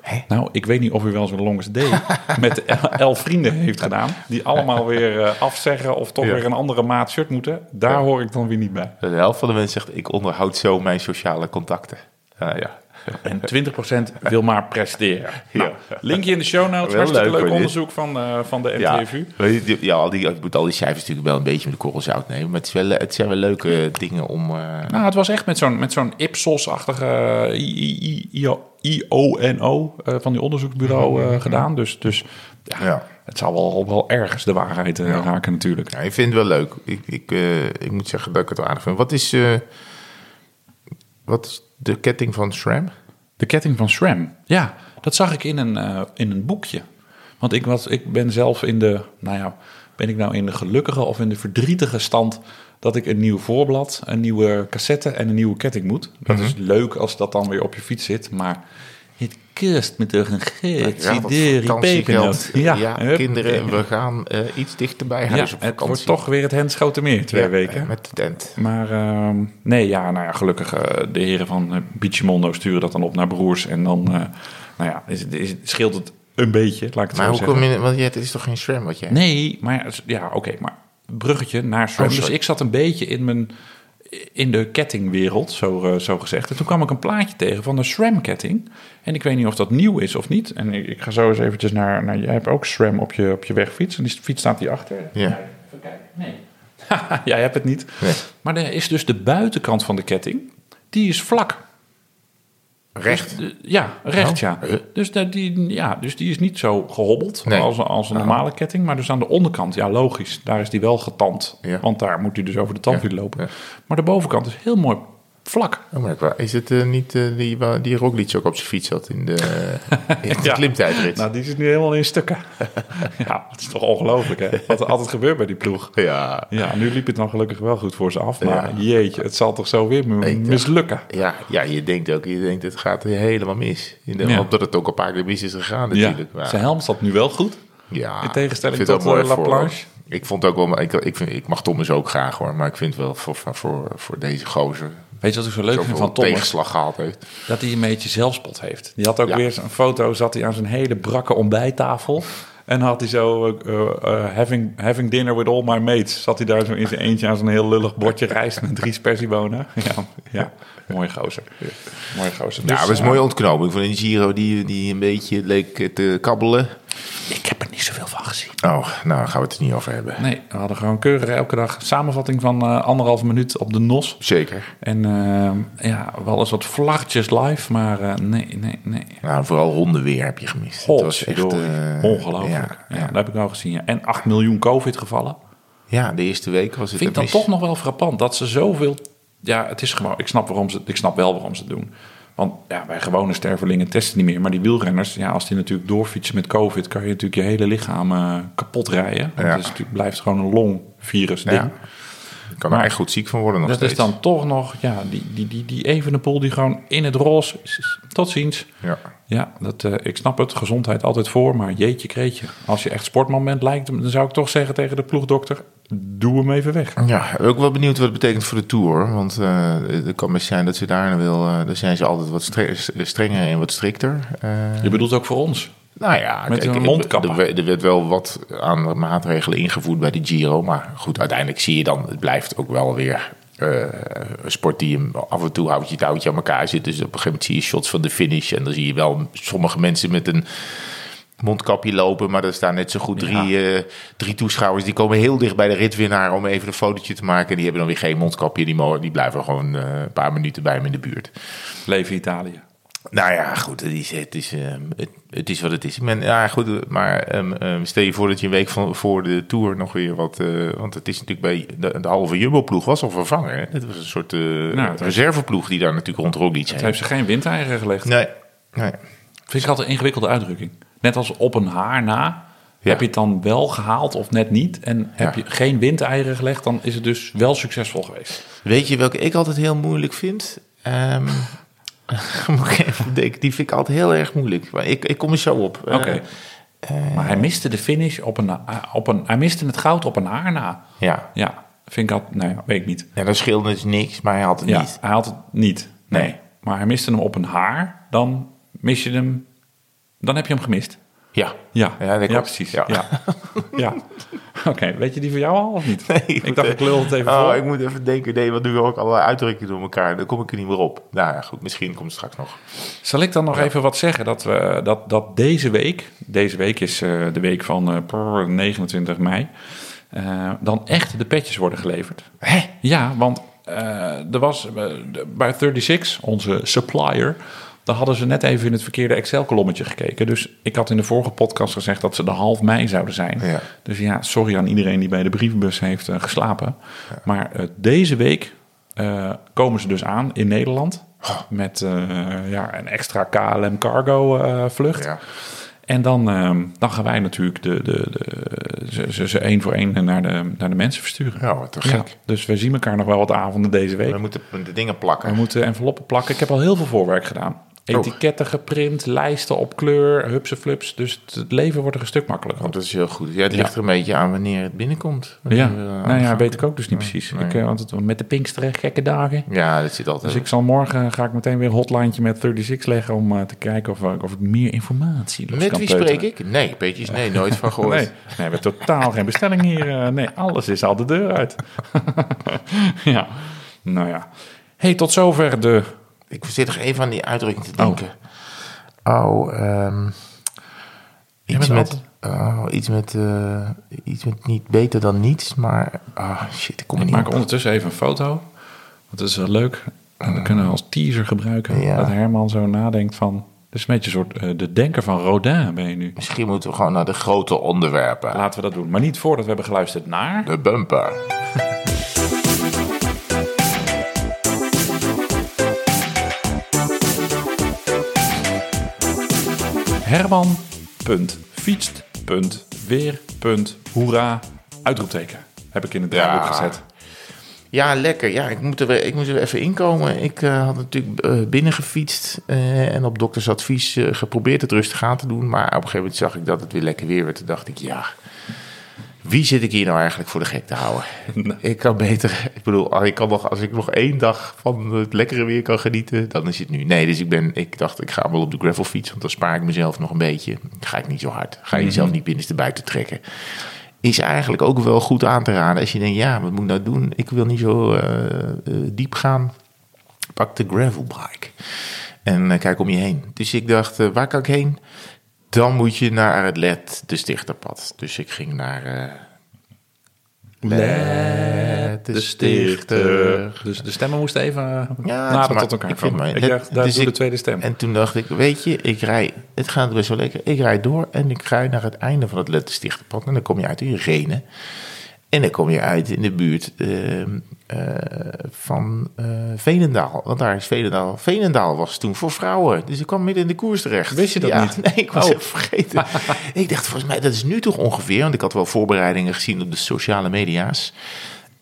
Speaker 2: Hè?
Speaker 1: Nou, ik weet niet of u wel zo'n longest day met el- elf vrienden heeft gedaan. Die allemaal weer eh, afzeggen of toch
Speaker 2: Ja.
Speaker 1: weer een andere maat shirt moeten. Daar hoor ik dan weer niet bij.
Speaker 2: De helft van de mensen zegt, ik onderhoud zo mijn sociale contacten. Ah, ja.
Speaker 1: En 20% wil maar presteren. Nou,
Speaker 2: Ja.
Speaker 1: linkje in de show notes.
Speaker 2: Wel
Speaker 1: Hartstikke
Speaker 2: leuk,
Speaker 1: leuk,
Speaker 2: hoor, dit.
Speaker 1: onderzoek van, eh, van de
Speaker 2: Ja,
Speaker 1: NTFU.
Speaker 2: weet je, die- ja al die, ik moet al die cijfers natuurlijk wel een beetje met de korrels uitnemen. Maar het, is wel, eh, het zijn wel leuke dingen om... eh,
Speaker 1: Nou, het was echt met zo'n, met zo'n Ipsos-achtige eh, I- I- I- IO IONO eh, van die onderzoeksbureau eh, gedaan. Dus, dus ja,
Speaker 2: Mhm. Ja.
Speaker 1: het zal wel, wel ergens de waarheid eh, raken natuurlijk.
Speaker 2: ja, ik vind het wel leuk. Ik, ik, eh, ik moet zeggen dat ik het wel aardig vind. Wat is, eh, wat is de ketting van SRAM?
Speaker 1: De ketting van SRAM. Ja, dat zag ik in een, eh, in een boekje. Want ik, was, ik ben zelf in de, nou ja, ben ik nou in de gelukkige of in de verdrietige stand dat ik een nieuw voorblad, een nieuwe cassette en een nieuwe ketting moet. Dat is leuk als dat dan weer op je fiets zit, maar het kust me toch een geet.
Speaker 2: Ja, dat vakantiegeld. Ja, kinderen, we gaan eh, iets dichter bij
Speaker 1: Ja,
Speaker 2: huis op
Speaker 1: het
Speaker 2: vakantie.
Speaker 1: wordt toch weer het Henschotermeer, twee
Speaker 2: Ja, eh,
Speaker 1: weken.
Speaker 2: Met de tent.
Speaker 1: Maar ehm, nee, ja, nou ja, gelukkig eh, de heren van eh, Bichimondo sturen dat dan op naar Broers. En dan, eh, nou ja, is, het- is, het- scheelt het een beetje, laat ik het
Speaker 2: Maar
Speaker 1: zo
Speaker 2: hoe
Speaker 1: zeggen.
Speaker 2: kom je... Want het is toch geen SRAM wat jij...
Speaker 1: Nee, maar ja, oké, maar bruggetje naar Swam.
Speaker 2: Oh,
Speaker 1: dus
Speaker 2: sorry.
Speaker 1: ik zat een beetje in mijn... In de kettingwereld, zo, eh, zo gezegd. En toen kwam ik een plaatje tegen van de SRAM-ketting. En ik weet niet of dat nieuw is of niet. En ik, ik ga zo eens eventjes naar, naar... Jij hebt ook SRAM op je, op je wegfiets. En die fiets staat hier achter.
Speaker 2: Ja.
Speaker 1: Even kijken. Nee. Jij hebt het niet.
Speaker 2: Nee.
Speaker 1: Maar er is dus de buitenkant van de ketting, die is vlak.
Speaker 2: Recht.
Speaker 1: De- Dus, eh, ja, recht ja.
Speaker 2: Oh, eh.
Speaker 1: Dus, dat die, ja. dus die is niet zo gehobbeld
Speaker 2: Nee. Nou.
Speaker 1: als, als een normale ketting. Maar dus aan de onderkant, ja logisch, daar is die wel getand.
Speaker 2: Ja.
Speaker 1: Want daar moet hij dus over de tandwiel
Speaker 2: Ja,
Speaker 1: lopen.
Speaker 2: ja.
Speaker 1: Maar de bovenkant is heel mooi vlak.
Speaker 2: Oh, maar ik wou- is het eh, niet eh, die, wa- die Roglic ook op zijn fiets had in de, in de
Speaker 1: Ja.
Speaker 2: klimtijdrit?
Speaker 1: Nou, die zit nu helemaal in stukken. ja, dat is toch ongelooflijk hè. Wat er altijd gebeurt bij die ploeg.
Speaker 2: ja.
Speaker 1: Ja, nu liep het dan gelukkig wel goed voor ze af. Maar jeetje, het zal toch zo weer
Speaker 2: Weet je.
Speaker 1: mislukken.
Speaker 2: Ja, ja, je denkt ook, je denkt het gaat helemaal mis. In de
Speaker 1: Ja.
Speaker 2: hoop dat het ook een paar keer mis is gegaan
Speaker 1: Ja,
Speaker 2: natuurlijk. Maar-
Speaker 1: zijn helm staat nu wel goed.
Speaker 2: ja,
Speaker 1: in tegenstelling
Speaker 2: ik vind
Speaker 1: tot,
Speaker 2: dat mooi
Speaker 1: eh, La
Speaker 2: voor-
Speaker 1: Planche.
Speaker 2: Ik vond ook wel, ik, ik, vind, ik mag Thomas ook graag hoor, maar ik vind wel voor, voor- voor, voor deze gozer
Speaker 1: Weet je wat ik zo leuk vind
Speaker 2: zoveel
Speaker 1: van Thomas?
Speaker 2: tegenslag gehad heeft.
Speaker 1: Dat hij een beetje zelfspot heeft. Die had ook
Speaker 2: Ja.
Speaker 1: weer een foto, zat hij aan zijn hele brakke ontbijttafel. En had hij zo, eh, eh, having, having dinner with all my mates. Zat hij daar zo in zijn eentje aan zo'n heel lullig bordje rijst met drie spersiebonen. Ja, ja. mooi gozer. Mooi gozer.
Speaker 2: Ja,
Speaker 1: Dus,
Speaker 2: dat is
Speaker 1: eh,
Speaker 2: mooie ontknoping van een Giro die, die een beetje leek eh, te kabbelen.
Speaker 1: Ik heb er niet zoveel van gezien.
Speaker 2: Oh, nou gaan we het er niet over hebben.
Speaker 1: Nee, we hadden gewoon keurig elke dag een samenvatting van eh anderhalf minuut op de NOS.
Speaker 2: Zeker.
Speaker 1: En eh, ja, wel eens wat vlaggetjes live, maar eh, nee, nee, nee.
Speaker 2: Nou, vooral hondenweer heb je gemist. Het was echt
Speaker 1: Godverdorie.
Speaker 2: eh,
Speaker 1: Ongelooflijk.
Speaker 2: Ja,
Speaker 1: Ja, Dat heb ik al gezien. Ja. En 8 miljoen COVID-gevallen.
Speaker 2: Ja, de eerste week was het
Speaker 1: Vind ik dan
Speaker 2: een
Speaker 1: toch nog wel frappant dat ze zoveel. Ja, het is gewoon. Ik snap, waarom ze, ik snap wel waarom ze het doen. Want ja, wij gewone stervelingen testen niet meer. Maar die wielrenners, ja, als die natuurlijk doorfietsen met COVID, kan je natuurlijk je hele lichaam eh, kapot rijden. Want
Speaker 2: Ja.
Speaker 1: het is natuurlijk, blijft gewoon een longvirus ding.
Speaker 2: Ja. kan er
Speaker 1: Maar-
Speaker 2: echt goed ziek van worden nog
Speaker 1: Dat
Speaker 2: steeds.
Speaker 1: is dan toch nog, ja, die, die, die, die Evenepoel die gewoon in het roze is. Tot ziens.
Speaker 2: Ja.
Speaker 1: Ja, dat, eh, ik snap het. Gezondheid altijd voor. Maar jeetje kreetje. Als je echt sportman bent, lijkt hem, dan zou ik toch zeggen tegen de ploegdokter... doe hem even weg.
Speaker 2: Ja, ook wel benieuwd wat het betekent voor de Tour. hoor. Want eh, het kan best zijn dat ze daar wil... eh daar zijn ze altijd wat stre- strenger en wat strikter. Eh,
Speaker 1: Je bedoelt ook voor ons.
Speaker 2: Nou ja,
Speaker 1: Met
Speaker 2: kijk,
Speaker 1: een
Speaker 2: ik-
Speaker 1: mondkapje.
Speaker 2: Er, werd- er werd wel wat aan maatregelen ingevoerd bij de Giro. Maar goed, uiteindelijk zie je dan, het blijft ook wel weer eh, een sport die hem af en toe houdt je touwtje aan elkaar zit. Dus op een gegeven moment zie je shots van de finish. En dan zie je wel sommige mensen met een mondkapje lopen. Maar er staan net zo goed drie, eh, drie toeschouwers. Die komen heel dicht bij de ritwinnaar om even een fotootje te maken. En die hebben dan weer geen mondkapje. Die, mo- die blijven gewoon eh, een paar minuten bij hem in de buurt.
Speaker 1: Leven Italië.
Speaker 2: Nou ja, goed, het is, het is, ehm, het, het is wat het is. Ik ben, ja, goed, maar ehm, ehm, stel je voor dat je een week van, voor de Tour nog weer wat... eh, want het is natuurlijk bij de, de halve Jumbo-ploeg was al vervangen. Hè? Dat was een soort eh,
Speaker 1: het is-
Speaker 2: reserveploeg die daar natuurlijk rond Roglic
Speaker 1: Het
Speaker 2: heen.
Speaker 1: heeft ze geen windeieren gelegd.
Speaker 2: Nee, nee.
Speaker 1: Vind ik altijd een ingewikkelde uitdrukking. Net als op een haar na.
Speaker 2: Ja.
Speaker 1: Heb je het dan wel gehaald of net niet? En heb
Speaker 2: Ja.
Speaker 1: je geen windeieren gelegd, dan is het dus wel succesvol geweest.
Speaker 2: Weet je welke ik altijd heel moeilijk vind? Ehm, moet ik even denken, die vind ik altijd heel erg moeilijk. Maar ik, ik kom er zo op. Eh,
Speaker 1: Oké. maar hij miste de finish op een, na- op een... Hij miste het goud op een haar na.
Speaker 2: ja.
Speaker 1: Ja, vind ik dat... Nou ja, weet ik niet.
Speaker 2: ja, dat scheelde dus niks, maar hij had het
Speaker 1: Ja,
Speaker 2: niet.
Speaker 1: hij had het niet. Nee.
Speaker 2: Nee.
Speaker 1: Maar hij miste hem op een haar. Dan mis je hem... Dan heb je hem gemist.
Speaker 2: Ja,
Speaker 1: Ja,
Speaker 2: ja, dat klopt.
Speaker 1: precies. Ja.
Speaker 2: Ja.
Speaker 1: ja. Oké, weet je die voor jou al of niet?
Speaker 2: Nee,
Speaker 1: ik
Speaker 2: moet
Speaker 1: dacht, ik lul het even
Speaker 2: oh,
Speaker 1: voor.
Speaker 2: Ik moet even denken, nee, want nu hoor ik allerlei uitdrukkingen door elkaar. Dan kom ik er niet meer op. Nou ja, goed, misschien komt het straks nog.
Speaker 1: Zal ik dan nog even wat zeggen? Dat, we, dat, dat deze week, deze week is eh, de week van eh, prrr, 29 mei, eh, dan echt de petjes worden geleverd.
Speaker 2: Hè?
Speaker 1: Ja, want eh, er was eh, de- bij 36, onze supplier, daar hadden ze net even in het verkeerde Excel-kolommetje gekeken. Dus ik had in de vorige podcast gezegd dat ze de half mei zouden zijn.
Speaker 2: Ja.
Speaker 1: Dus ja, sorry aan iedereen die bij de brievenbus heeft eh, geslapen. Maar eh, deze week eh, komen ze dus aan in Nederland.
Speaker 2: Oh.
Speaker 1: Met eh, ja, een extra KLM cargo eh, vlucht.
Speaker 2: Ja.
Speaker 1: En dan, ehm, dan gaan wij natuurlijk de, de, de, ze, ze, ze één voor één naar de, naar de mensen versturen.
Speaker 2: Ja, wat te
Speaker 1: Ja,
Speaker 2: gek.
Speaker 1: dus we zien elkaar nog wel wat avonden deze week.
Speaker 2: We moeten de dingen
Speaker 1: We
Speaker 2: plakken.
Speaker 1: moeten enveloppen plakken. Ik heb al heel veel voorwerk
Speaker 2: Oh.
Speaker 1: gedaan. Etiketten geprint, lijsten op kleur, hupsen flups. Dus het- het leven wordt er een stuk makkelijker.
Speaker 2: Want dat is heel goed. Ja, het ligt
Speaker 1: Ja.
Speaker 2: er een beetje aan wanneer het binnenkomt.
Speaker 1: Ja,
Speaker 2: Wanneer we, eh,
Speaker 1: nou ja,
Speaker 2: gaan-
Speaker 1: weet ik ook dus niet precies. Ik, eh, want het, met de Pinksteren, gekke dagen.
Speaker 2: ja, dat zit altijd.
Speaker 1: Dus ik zal morgen ga ik meteen weer een hotlijntje met 36 leggen om eh, te kijken of, eh, of ik meer informatie los
Speaker 2: Met
Speaker 1: kan
Speaker 2: wie
Speaker 1: peuteren. Oh,
Speaker 2: spreek ik? Nee, Peetjes, nee, nooit van gehoord.
Speaker 1: Nee, nee, we hebben totaal geen bestelling hier. eh, nee, alles is al de deur uit. ja, nou ja. hey, tot zover de
Speaker 2: Ik zit er even aan die uitdrukking te denken. Oh, ehm
Speaker 1: bent
Speaker 2: iets, met, oh, iets met... eh, iets met niet beter dan niets, maar... Ah, shit, ik kom er
Speaker 1: Ik
Speaker 2: niet
Speaker 1: maak
Speaker 2: op.
Speaker 1: ondertussen even een foto. Want dat is wel leuk. En dat kunnen we als teaser gebruiken.
Speaker 2: Ja.
Speaker 1: Dat Herman zo nadenkt van... Het is een beetje een soort eh, de denker van Rodin ben je nu.
Speaker 2: Misschien moeten we gewoon naar de grote onderwerpen.
Speaker 1: Laten we dat doen. Maar niet voordat we hebben geluisterd naar...
Speaker 2: De bumper.
Speaker 1: Herman. Punt. Fietst. Punt. Weer. Punt. Hoera. Uitroepteken. Heb ik in het
Speaker 2: Ja.
Speaker 1: draaiboek gezet.
Speaker 2: Ja, lekker. Ja, ik moet er weer, ik moest er weer even inkomen. Ik eh, had natuurlijk eh binnen gefietst eh, en op doktersadvies eh, geprobeerd het rustig aan te doen. Maar op een gegeven moment zag ik dat het weer lekker weer werd. Toen dacht ik, ja, wie zit ik hier nou eigenlijk voor de gek te houden? Ik kan beter, ik bedoel, ah, ik kan nog, als ik nog één dag van het lekkere weer kan genieten, dan is het nu. Nee, dus ik, ben, ik dacht, ik ga wel op de gravelfiets, want dan spaar ik mezelf nog een beetje. Ga ik niet zo hard. Ga je jezelf niet binnenste buiten trekken. Is eigenlijk ook wel goed aan te raden als je denkt, ja, wat moet ik nou doen? Ik wil niet zo eh, eh, diep gaan. Pak de gravelbike en eh, kijk om je heen. Dus ik dacht, eh, waar kan ik heen? Dan moet je naar het LED, de Stichterpad. Dus ik ging naar... eh, Let de stichter.
Speaker 1: Dus de stemmen moesten even eh,
Speaker 2: Ja, het
Speaker 1: nader
Speaker 2: maakt-
Speaker 1: tot elkaar
Speaker 2: ik vind
Speaker 1: komen.
Speaker 2: mij-
Speaker 1: Ik
Speaker 2: let-
Speaker 1: dacht, daar
Speaker 2: dus
Speaker 1: doe
Speaker 2: ik-
Speaker 1: de tweede stem.
Speaker 2: En toen dacht ik, weet je, ik rij, het gaat best wel lekker. Ik rij door en ik rij naar het einde van het Lettenstichterpad. En dan kom je uit in Renen. En dan kom je uit in de buurt ehm, eh, van eh, Veenendaal. Want daar is Veenendaal. Veenendaal was toen voor vrouwen. Dus ik kwam midden in de koers terecht.
Speaker 1: Wist je dat
Speaker 2: Ja,
Speaker 1: niet?
Speaker 2: Nee, ik was
Speaker 1: Oh.
Speaker 2: even vergeten. ik dacht, volgens mij, dat is nu toch ongeveer. Want ik had wel voorbereidingen gezien op de sociale media's.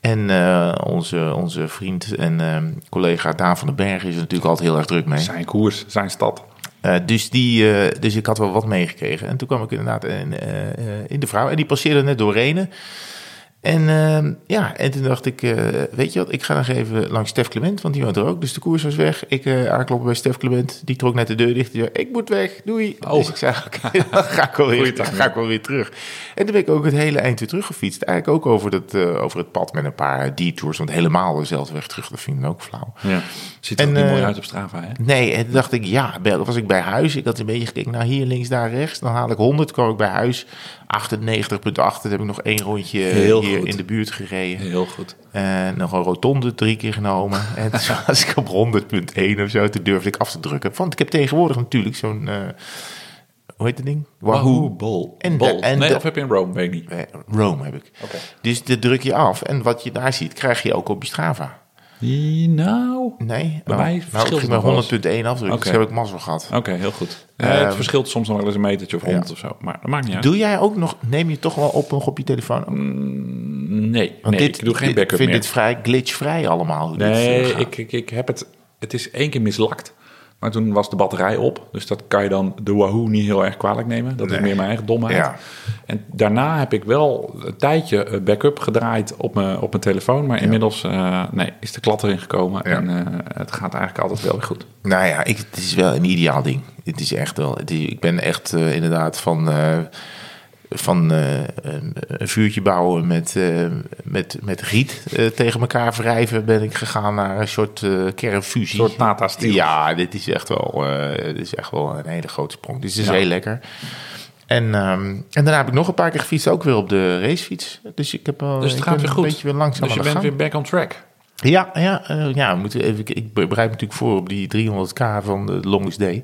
Speaker 2: En eh, onze, onze vriend en eh, collega Daan van den Berg is er natuurlijk altijd heel erg druk mee.
Speaker 1: Zijn koers, zijn stad.
Speaker 2: Eh, dus, die, eh, dus ik had wel wat meegekregen. En toen kwam ik inderdaad in, eh, eh, in de vrouw. En die passeerde net door Renen. En eh, ja, en toen dacht ik, eh, weet je wat, ik ga nog even langs Stef Clement, want die woont er ook. Dus de koers was weg. Ik eh, aankloppen bij Stef Clement, die trok net de deur dicht. Die zei, ik moet weg, doei.
Speaker 1: Oh.
Speaker 2: Dus ik zei, oké, dan ga ik wel weer,
Speaker 1: Goeiedag,
Speaker 2: dan ga ik wel weer terug. En toen ben ik ook het hele eind weer teruggefietst. Eigenlijk ook over, dat, eh, over het pad met een paar detours, want helemaal dezelfde weg terug, dat vind ik ook flauw.
Speaker 1: Ja. Ziet er
Speaker 2: En,
Speaker 1: ook niet mooi
Speaker 2: eh,
Speaker 1: uit op Strava, hè?
Speaker 2: Nee, en toen dacht ik, ja, bij- was ik bij huis. Ik had een beetje gekeken naar hier links, daar rechts. Dan haal ik 100, kwam ik bij huis. 98,8. Dan heb ik nog één rondje
Speaker 1: Heel
Speaker 2: hier
Speaker 1: goed.
Speaker 2: in de buurt gereden.
Speaker 1: Heel goed.
Speaker 2: En nog een rotonde drie keer genomen. En toen was ik op 100,1 of zo. Toen durfde ik af te drukken. Want ik heb tegenwoordig natuurlijk zo'n, eh, hoe heet dat ding?
Speaker 1: Wahoo, bol.
Speaker 2: En de-
Speaker 1: Bol.
Speaker 2: en
Speaker 1: nee,
Speaker 2: de-
Speaker 1: of heb je in Rome? Weet ik niet.
Speaker 2: Eh, Rome heb ik.
Speaker 1: Oké.
Speaker 2: Dus dat druk je af. En wat je daar ziet, krijg je ook op je Strava.
Speaker 1: Die- Nou...
Speaker 2: Nee,
Speaker 1: Bij mij
Speaker 2: nou,
Speaker 1: verschilt
Speaker 2: ik
Speaker 1: het
Speaker 2: ging maar
Speaker 1: nog wel eens.
Speaker 2: 100,1 afdrukken.
Speaker 1: Oké.
Speaker 2: Dus heb ik mazzel gehad.
Speaker 1: Oké, heel goed. Eh,
Speaker 2: Ehm,
Speaker 1: het verschilt soms nog wel eens een metertje of honderd of zo. Maar dat maakt niet uit.
Speaker 2: Doe jij ook nog, neem je toch wel op nog op je telefoon? ook?
Speaker 1: nee,
Speaker 2: Want
Speaker 1: nee
Speaker 2: dit,
Speaker 1: ik doe geen
Speaker 2: dit-
Speaker 1: backup
Speaker 2: vind
Speaker 1: meer.
Speaker 2: dit vrij glitchvrij allemaal. hoe dit, eh,
Speaker 1: nee,
Speaker 2: gaat.
Speaker 1: ik, ik, ik heb het... Het is één keer mislakt. Maar toen was de batterij op. Dus dat kan je dan de Wahoo niet heel erg kwalijk nemen. Dat is meer mijn eigen domheid.
Speaker 2: Ja.
Speaker 1: En daarna heb ik wel een tijdje eh, backup gedraaid op mijn, op mijn telefoon. Maar inmiddels eh, nee, is de klat erin gekomen. En eh, het gaat eigenlijk altijd wel weer goed.
Speaker 2: Nou ja, ik, het is wel een ideaal ding. Het is echt wel. het is- ik ben echt eh, inderdaad van. eh, van eh, een, een vuurtje bouwen met, eh, met, met riet eh, tegen elkaar wrijven... ben ik gegaan naar een soort eh, kernfusie.
Speaker 1: Een soort Tata Steel.
Speaker 2: Ja, dit is, echt wel, eh, dit is echt wel een hele grote sprong. Dit is dus
Speaker 1: Ja.
Speaker 2: heel lekker. En, ehm, en daarna heb ik nog een paar keer gefietst, ook weer op de racefiets. Dus ik heb wel
Speaker 1: Dus het
Speaker 2: ik
Speaker 1: gaat
Speaker 2: ben
Speaker 1: weer goed.
Speaker 2: een beetje weer langzaam
Speaker 1: dus je
Speaker 2: aan de
Speaker 1: bent
Speaker 2: gang.
Speaker 1: weer back on track.
Speaker 2: Ja, ja, eh, ja we moeten even, ik bereid me natuurlijk voor op die 300k van de Longest Day.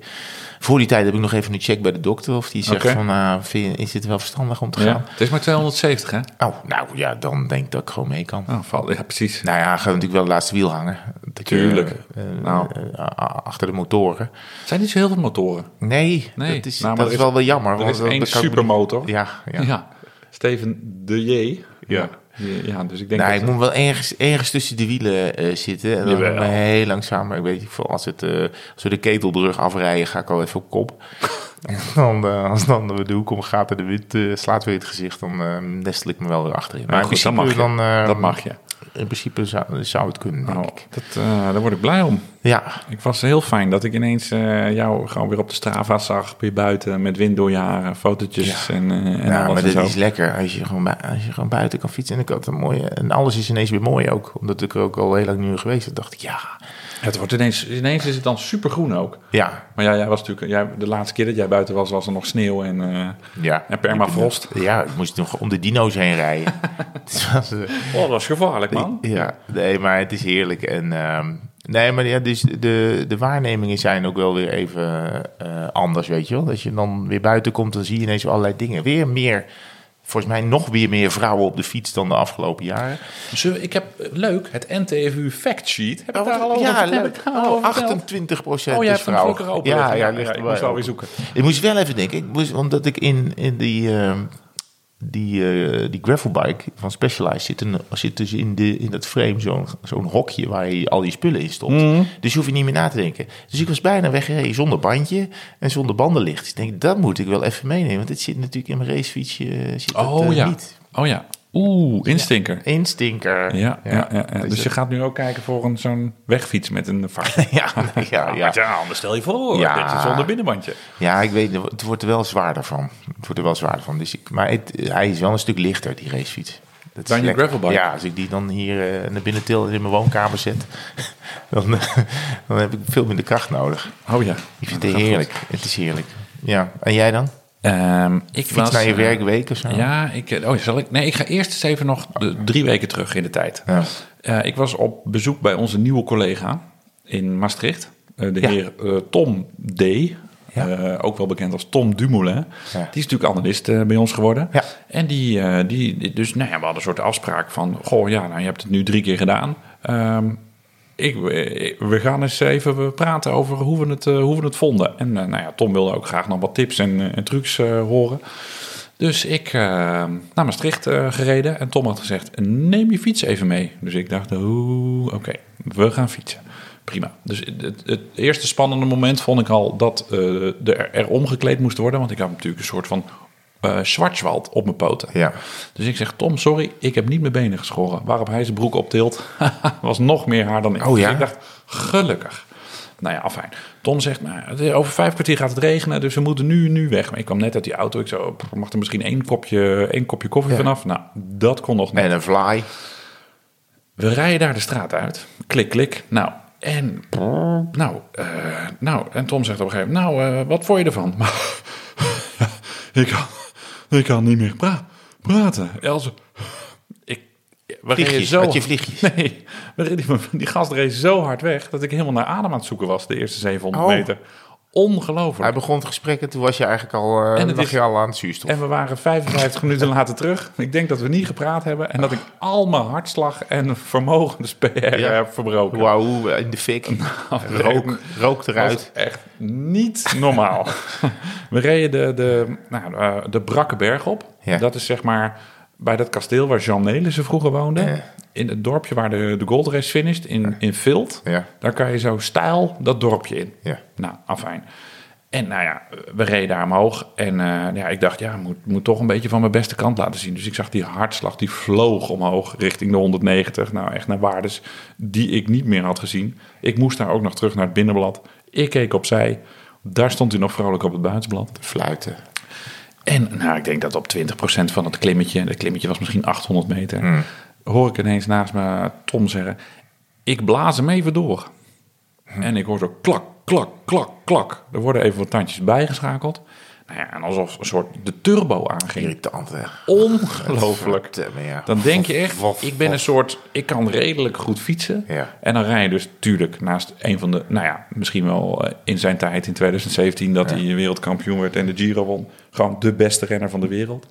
Speaker 2: Voor die tijd heb ik nog even een check bij de dokter. Of die zegt
Speaker 1: Oké.
Speaker 2: van, ah, vind je- is dit wel verstandig om te
Speaker 1: Ja.
Speaker 2: gaan?
Speaker 1: Het is maar 270, hè?
Speaker 2: Oh, nou ja, dan denk ik dat ik gewoon mee kan.
Speaker 1: Oh, val- ja, precies.
Speaker 2: Nou ja, gaat natuurlijk wel het laatste wiel hangen. Dat je,
Speaker 1: Tuurlijk.
Speaker 2: eh, eh,
Speaker 1: Nou.
Speaker 2: eh, a- a- achter de motoren.
Speaker 1: Het zijn niet zo heel veel motoren.
Speaker 2: Nee,
Speaker 1: Nee,
Speaker 2: dat is,
Speaker 1: nou, maar
Speaker 2: dat
Speaker 1: er
Speaker 2: is,
Speaker 1: is-
Speaker 2: wel wel jammer.
Speaker 1: Er
Speaker 2: want
Speaker 1: is
Speaker 2: dan-
Speaker 1: één
Speaker 2: dan kan ik me niet-
Speaker 1: supermotor.
Speaker 2: Ja, ja.
Speaker 1: Ja. Steven de J.
Speaker 2: Ja.
Speaker 1: Ja, ja, dus ik denk
Speaker 2: Nou,
Speaker 1: dat...
Speaker 2: ik moet wel ergens, ergens tussen de wielen eh, zitten. En dan
Speaker 1: Jawel.
Speaker 2: maar heel langzaam. Maar ik weet niet, voor als, het, eh, als we de ketelbrug afrijden, ga ik al even op kop. en dan, eh, als dan de hoek om gaat en de wind eh, slaat weer in het gezicht, dan eh, nestel ik me wel weer achterin.
Speaker 1: Maar goed, dat mag, je.
Speaker 2: dan, eh,
Speaker 1: dat mag je.
Speaker 2: In principe zou, zou het kunnen, denk
Speaker 1: Nou,
Speaker 2: ik.
Speaker 1: dat, eh, daar word ik blij om.
Speaker 2: Ja,
Speaker 1: Ik was heel fijn dat ik ineens eh, jou gewoon weer op de Strava zag. Weer buiten met wind door je haren, fotootjes en, eh, en
Speaker 2: nou,
Speaker 1: alles
Speaker 2: maar
Speaker 1: en
Speaker 2: dit
Speaker 1: zo.
Speaker 2: is lekker als je, gewoon, bui- als je gewoon buiten kan fietsen. En, ik had een mooie, en alles is ineens weer mooi ook. Omdat ik er ook al heel lang nu geweest ben, dacht ik, ja.
Speaker 1: Het wordt ineens, ineens is het dan supergroen ook.
Speaker 2: Ja,
Speaker 1: Maar ja, jij was natuurlijk, jij, de laatste keer dat jij buiten was, was er nog sneeuw en, eh,
Speaker 2: ja.
Speaker 1: en permafrost.
Speaker 2: Ja, ik moest nog om de dino's heen rijden. Het was, eh,
Speaker 1: Oh, dat is gevaarlijk, man.
Speaker 2: ja, nee, maar het is heerlijk. En, ehm, nee, maar ja, dus de, de waarnemingen zijn ook wel weer even eh, anders, weet je wel. Als je dan weer buiten komt, dan zie je ineens allerlei dingen. Weer meer, volgens mij nog weer meer vrouwen op de fiets dan de afgelopen jaren.
Speaker 1: Zullen we- ik heb, eh, leuk, het NTFU fact sheet. Heb ik daar al over
Speaker 2: ja,
Speaker 1: heb
Speaker 2: leuk.
Speaker 1: ik daar al over verteld?
Speaker 2: 28 procent
Speaker 1: Oh, jij
Speaker 2: is
Speaker 1: hebt hem
Speaker 2: vrouw.
Speaker 1: gelukkig open.
Speaker 2: ja,
Speaker 1: liggen.
Speaker 2: ja, ligt
Speaker 1: ik
Speaker 2: er
Speaker 1: moest wel
Speaker 2: wel
Speaker 1: weer zoeken.
Speaker 2: Ik moest wel even denken, ik moest, omdat ik in, in die, ehm, die, eh, die gravelbike van Specialized zit, een, zit dus in, de, in dat frame zo'n zo'n hokje waar je al die spullen in stopt.
Speaker 1: Mhm.
Speaker 2: Dus je hoeft je niet meer na te denken. Dus ik was bijna weggereden zonder bandje en zonder bandenlicht. Dus ik denk, dat moet ik wel even meenemen, want dit zit natuurlijk in mijn racefietsje eh, zit dat,
Speaker 1: Oh
Speaker 2: eh,
Speaker 1: ja.
Speaker 2: niet.
Speaker 1: Oh ja. Oeh, instinker.
Speaker 2: Instinker.
Speaker 1: Ja, ja, ja, ja.
Speaker 2: Dus
Speaker 1: Dus je gaat nu ook kijken voor een, zo'n wegfiets met een vaart.
Speaker 2: ja, ja, ja.
Speaker 1: anders stel je voor
Speaker 2: Ja.
Speaker 1: dat je zonder binnenbandje.
Speaker 2: Ja, ik weet, het wordt er wel zwaarder van. Het wordt er wel zwaarder van. Dus ik, maar het- hij is wel een stuk lichter, die racefiets. Dat is
Speaker 1: Dan je
Speaker 2: lekker.
Speaker 1: gravelbike?
Speaker 2: Ja, als ik die dan hier eh, naar binnen til en in mijn woonkamer zet, dan, eh, dan heb ik veel minder kracht nodig.
Speaker 1: Oh ja.
Speaker 2: Ik vind het heerlijk. Het is heerlijk. Ja, en jij dan?
Speaker 1: Ehm, ik
Speaker 2: Fiets
Speaker 1: was,
Speaker 2: naar je
Speaker 1: eh,
Speaker 2: werkweek of zo?
Speaker 1: Ja, ik, eh, oh, zal ik? Nee, ik ga eerst eens even nog de, drie weken terug in de tijd.
Speaker 2: Ja.
Speaker 1: Eh, ik was op bezoek bij onze nieuwe collega in Maastricht. eh, de
Speaker 2: Ja.
Speaker 1: heer eh, Tom D. eh, ook wel bekend als Tom Dumoulin.
Speaker 2: Ja.
Speaker 1: Die is natuurlijk analist eh, bij ons geworden.
Speaker 2: Ja.
Speaker 1: En die, eh, die, die- dus nou ja, we hadden een soort afspraak van... Goh, ja, nou, je hebt het nu drie keer gedaan. Ehm, ik, eh, we gaan eens even praten over hoe we het, eh, hoe we het vonden. En eh, nou ja, Tom wilde ook graag nog wat tips en, eh, en trucs eh, horen. Dus ik eh, naar Maastricht eh, gereden en Tom had gezegd, neem je fiets even mee. Dus ik dacht, oeh, oké, we gaan fietsen. Prima. Dus het, het- het eerste spannende moment vond ik al dat eh, er, er omgekleed moest worden. Want ik had natuurlijk een soort van eh Schwarzwald op mijn poten.
Speaker 2: Ja.
Speaker 1: Dus ik zeg, Tom, sorry, ik heb niet mijn benen geschoren. Waarop hij zijn broek optilt, was nog meer haar dan ik.
Speaker 2: Oh ja?
Speaker 1: Dus ik dacht, gelukkig. Nou ja, afijn. Tom zegt, nou, het is- over vijf kwartier gaat het regenen, dus we moeten nu, nu weg. Maar ik kwam net uit die auto, ik zo, "Pff, mag er misschien één kopje, één kopje koffie
Speaker 2: Ja.
Speaker 1: vanaf? Nou, dat kon nog niet.
Speaker 2: En een fly.
Speaker 1: We rijden daar de straat uit. Klik, klik. Nou, en. Nou, eh, nou, en Tom zegt op een gegeven moment: Nou, eh, wat vond je ervan? Maar. ik, kan, ik kan niet meer pra- praten. Else. Ik. We reden
Speaker 2: Vliegjes,
Speaker 1: zo.
Speaker 2: had je vliegjes?
Speaker 1: Nee, we reden- die gast reed zo hard weg dat ik helemaal naar adem aan het zoeken was de eerste 700
Speaker 2: Oh.
Speaker 1: meter. Ongelooflijk.
Speaker 2: Hij begon het gesprek en toen was je eigenlijk al, eh,
Speaker 1: En het
Speaker 2: lag
Speaker 1: is-
Speaker 2: je al aan het zuurstof.
Speaker 1: En we waren 55 minuten later terug. Ik denk dat we niet gepraat hebben en dat ik al mijn hartslag en vermogens PR
Speaker 2: Ja.
Speaker 1: heb verbroken.
Speaker 2: Wauw, in de fik.
Speaker 1: Nou,
Speaker 2: rook, rook eruit.
Speaker 1: was echt niet normaal. We reden de, de, nou, eh, de Brakke Berg op.
Speaker 2: Ja.
Speaker 1: Dat is zeg maar bij dat kasteel waar Jean Nelissen vroeger woonde.
Speaker 2: Ja.
Speaker 1: In het dorpje waar de, de goldrace finished, in, in Vilt.
Speaker 2: Ja.
Speaker 1: Daar kan je zo stijl dat dorpje in.
Speaker 2: Ja.
Speaker 1: Nou, afijn. En nou ja, we reden daar omhoog. En eh, ja, ik dacht, ja, moet, moet toch een beetje van mijn beste kant laten zien. Dus ik zag die hartslag, die vloog omhoog richting de 190. Nou, echt naar waardes die ik niet meer had gezien. Ik moest daar ook nog terug naar het binnenblad. Ik keek opzij. Daar stond hij nog vrolijk op het buitenblad.
Speaker 2: Fluiten.
Speaker 1: En nou, ik denk dat op 20% van het klimmetje, dat klimmetje was misschien 800 meter, hoor ik ineens naast me Tom zeggen: Ik blaas hem even door. En ik hoor zo klak, klak, klak, klak. Er worden even wat tandjes bijgeschakeld. Nou ja, en alsof een soort de turbo aanging.
Speaker 2: Irritant, hè.
Speaker 1: Ongelooflijk.
Speaker 2: Godverdomme, ja.
Speaker 1: Dan denk je echt,
Speaker 2: Wat- wat-
Speaker 1: ik ben een soort, ik kan redelijk goed fietsen.
Speaker 2: Ja.
Speaker 1: En dan rij je dus tuurlijk naast een van de, nou ja, misschien wel eh, in zijn tijd in 2017 dat hij wereldkampioen werd en de Giro won. Gewoon de beste renner van de wereld.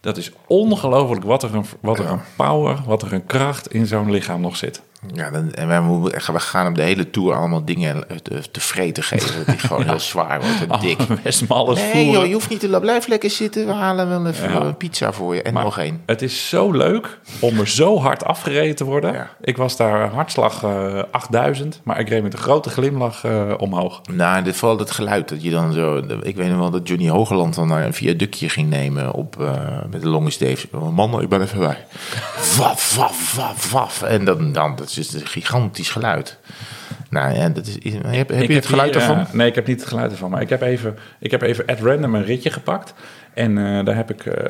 Speaker 1: Dat is ongelooflijk wat er, een, wat er een power, wat er een kracht in zo'n lichaam nog zit.
Speaker 2: Ja, dan, en wij moeten- echt, we gaan hem de hele tour allemaal dingen eh, te, te vreten geven. Die gewoon heel zwaar wordt
Speaker 1: Oh,
Speaker 2: en dik.
Speaker 1: Best maar alles
Speaker 2: Nee
Speaker 1: voeren.
Speaker 2: joh, je hoeft niet te la- Blijf lekker zitten. We halen wel even eh, pizza voor je. En
Speaker 1: Maar
Speaker 2: nog één.
Speaker 1: Het is zo leuk om er zo hard afgereden te worden.
Speaker 2: Ja.
Speaker 1: Ik was daar hartslag eh 8000, maar ik reed met een grote glimlach eh, omhoog.
Speaker 2: Nou, in dit geval dat geluid dat je dan zo... Ik weet nog wel dat Johnny Hogeland dan naar een viaductje ging nemen op, eh, met de longe Dave's. Oh, man, ik ben even bij. waf, waf, waf, waf. En dan, dan, dat is dus een gigantisch geluid. Nou ja, dat is, is- heb, heb je
Speaker 1: Ik
Speaker 2: het geluid
Speaker 1: hier,
Speaker 2: ervan?
Speaker 1: eh, nee, ik heb niet het geluid ervan. Maar ik heb even, ik heb even at random een ritje gepakt. En eh, daar heb ik eh,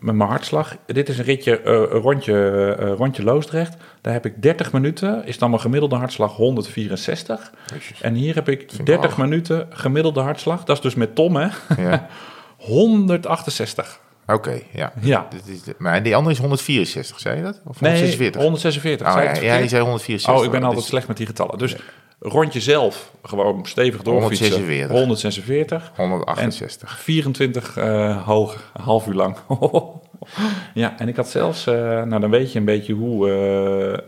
Speaker 1: met mijn hartslag. Dit is een ritje, eh, een rondje, eh, rondje Loosdrecht. Daar heb ik 30 minuten. Is dan mijn gemiddelde hartslag 164.
Speaker 2: Jezus.
Speaker 1: En hier heb ik
Speaker 2: ik
Speaker 1: 30
Speaker 2: laag.
Speaker 1: minuten gemiddelde hartslag. Dat is dus met Tom, hè?
Speaker 2: Ja.
Speaker 1: 168.
Speaker 2: Oké, ja.
Speaker 1: Ja.
Speaker 2: Dit is, maar die andere is 164, zei je dat? Of
Speaker 1: Nee,
Speaker 2: 146?
Speaker 1: 146.
Speaker 2: Oh,
Speaker 1: Zei ik
Speaker 2: ja,
Speaker 1: het
Speaker 2: ja, je
Speaker 1: verkeerd?
Speaker 2: zei 164.
Speaker 1: Oh, ik ben
Speaker 2: Dat
Speaker 1: altijd
Speaker 2: is-
Speaker 1: slecht met die getallen. Dus rondje zelf gewoon stevig doorfietsen.
Speaker 2: 146.
Speaker 1: 146.
Speaker 2: 168.
Speaker 1: En 24 eh, hoog, een half uur lang. ja, en ik had zelfs, eh, nou dan weet je een beetje hoe,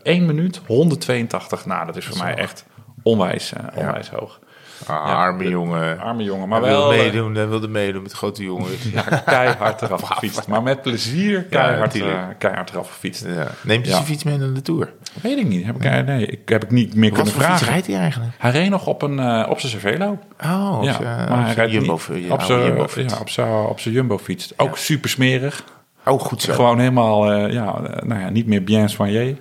Speaker 1: eh 1 minuut 182. Nou, dat is voor mij echt onwijs, eh, onwijs hoog.
Speaker 2: Ah, arme jongen.
Speaker 1: Arme jongen,
Speaker 2: Hij
Speaker 1: maar
Speaker 2: wilde
Speaker 1: wel eh,
Speaker 2: meedoen, hij wilde meedoen met grote jongens.
Speaker 1: ja, keihard eraf gefietst. Maar met plezier keihard, eh,
Speaker 2: natuurlijk.
Speaker 1: keihard eraf gefietst.
Speaker 2: Ja. Neemt hij
Speaker 1: Ja.
Speaker 2: zijn fiets mee naar de Tour?
Speaker 1: Weet ik niet, heb ik, eh, nee, ik, heb ik niet meer
Speaker 2: Wat
Speaker 1: kunnen
Speaker 2: voor fiets
Speaker 1: vragen.
Speaker 2: rijdt hij eigenlijk?
Speaker 1: Hij reed nog op, een, eh, op zijn Cervelo.
Speaker 2: Oh, op
Speaker 1: ja,
Speaker 2: zijn-
Speaker 1: maar hij
Speaker 2: op zijn
Speaker 1: rijdt
Speaker 2: jumbo,
Speaker 1: niet-
Speaker 2: ja,
Speaker 1: op zijn
Speaker 2: jumbo
Speaker 1: ja, op zijn- op zijn jumbo fiets. Ook super smerig.
Speaker 2: Oh, goed zo.
Speaker 1: Gewoon helemaal, eh, ja, eh, nou ja, niet meer bien soigné.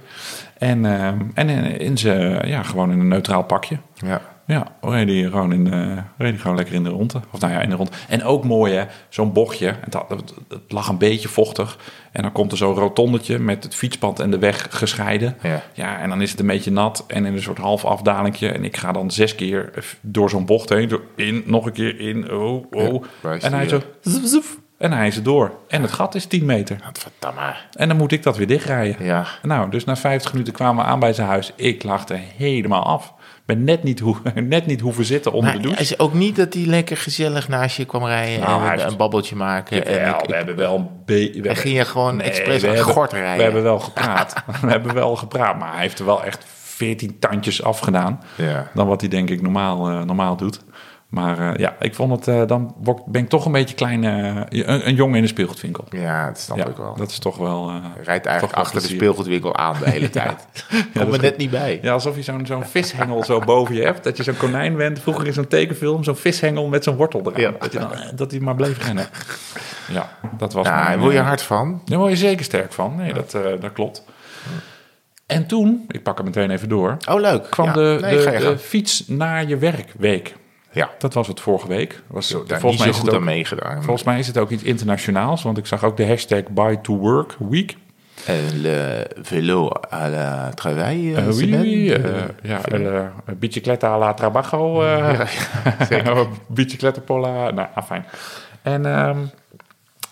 Speaker 1: En, ehm, en in, in zijn, ja, gewoon in een neutraal pakje.
Speaker 2: Ja.
Speaker 1: Ja, reed hij gewoon, in, eh reed hij gewoon lekker in de ronde. Of nou ja, in de ronde. En ook mooi hè, zo'n bochtje. Het, had- het- het lag een beetje vochtig. En dan komt er zo'n rotondetje met het fietspad en de weg gescheiden.
Speaker 2: Ja.
Speaker 1: en dan is het een beetje nat en in een soort half afdalingje. En ik ga dan zes keer door zo'n bocht heen. Zo in, nog een keer in, oh, oh.
Speaker 2: waar is
Speaker 1: en
Speaker 2: die eh?
Speaker 1: hij zo,
Speaker 2: weer?
Speaker 1: zoef, zoef. en hij is er door. En het gat is 10 meter.
Speaker 2: Godverdamme.
Speaker 1: En dan moet ik dat weer dichtrijden.
Speaker 2: Ja.
Speaker 1: Nou, dus na 50 minuten kwamen we aan bij zijn huis. Ik lachte helemaal af. Ben net niet, hoe, net niet hoeven zitten onder
Speaker 2: Maar
Speaker 1: de douche.
Speaker 2: is ook niet dat hij lekker gezellig naast je kwam rijden
Speaker 1: Nou, hij
Speaker 2: en een,
Speaker 1: heeft-
Speaker 2: een babbeltje maken. en
Speaker 1: Jawel,
Speaker 2: ik-
Speaker 1: we hebben wel een beetje...
Speaker 2: en ging je gewoon expres een gort rijden.
Speaker 1: We hebben wel gepraat. we hebben wel gepraat, maar hij heeft er wel echt 14 tandjes afgedaan.
Speaker 2: Ja.
Speaker 1: Dan wat hij denk ik normaal, eh, normaal doet. Maar eh, ja, ik vond het, eh, dan word- ben ik toch een beetje klein, eh, een, een jongen in de speelgoedwinkel.
Speaker 2: Ja, dat snap
Speaker 1: Ja,
Speaker 2: ik wel.
Speaker 1: dat is toch wel... eh,
Speaker 2: Rijdt
Speaker 1: Toch
Speaker 2: eigenlijk
Speaker 1: wel
Speaker 2: achter de
Speaker 1: plezier.
Speaker 2: speelgoedwinkel aan de hele tijd.
Speaker 1: dat
Speaker 2: Komt
Speaker 1: is
Speaker 2: er
Speaker 1: goed.
Speaker 2: net niet bij.
Speaker 1: ja, alsof je zo'n zo'n vishengel zo boven je hebt. Dat je zo'n konijn bent. Vroeger in zo'n tekenfilm zo'n vishengel met zo'n wortel eraan.
Speaker 2: Ja.
Speaker 1: Dat, je dan, eh, dat die maar bleef rennen. Ja, dat was
Speaker 2: Nou,
Speaker 1: mijn,
Speaker 2: daar word je
Speaker 1: eh,
Speaker 2: hard van.
Speaker 1: Daar word je zeker sterk van. Nee, dat, eh, dat klopt. En toen, ik pak het meteen even door,
Speaker 2: Oh, leuk.
Speaker 1: kwam
Speaker 2: Ja.
Speaker 1: de,
Speaker 2: Nee,
Speaker 1: de,
Speaker 2: ga je
Speaker 1: de
Speaker 2: gang.
Speaker 1: fiets naar je werkweek.
Speaker 2: Ja,
Speaker 1: Dat was het vorige week. Was,
Speaker 2: zo, daar
Speaker 1: volgens,
Speaker 2: niet
Speaker 1: mij
Speaker 2: zo
Speaker 1: is
Speaker 2: goed
Speaker 1: het
Speaker 2: aan
Speaker 1: ook,
Speaker 2: meegedaan.
Speaker 1: volgens mij is het ook iets internationaals, want ik zag ook de hashtag Buy to Work Week.
Speaker 2: En Eh, le vélo à la travail. eh,
Speaker 1: Eh, oui,
Speaker 2: semaine.
Speaker 1: oui, eh, ja, eh, bicicletta alla trabajo. eh bicicletta pola. Nou, afijn. En ehm,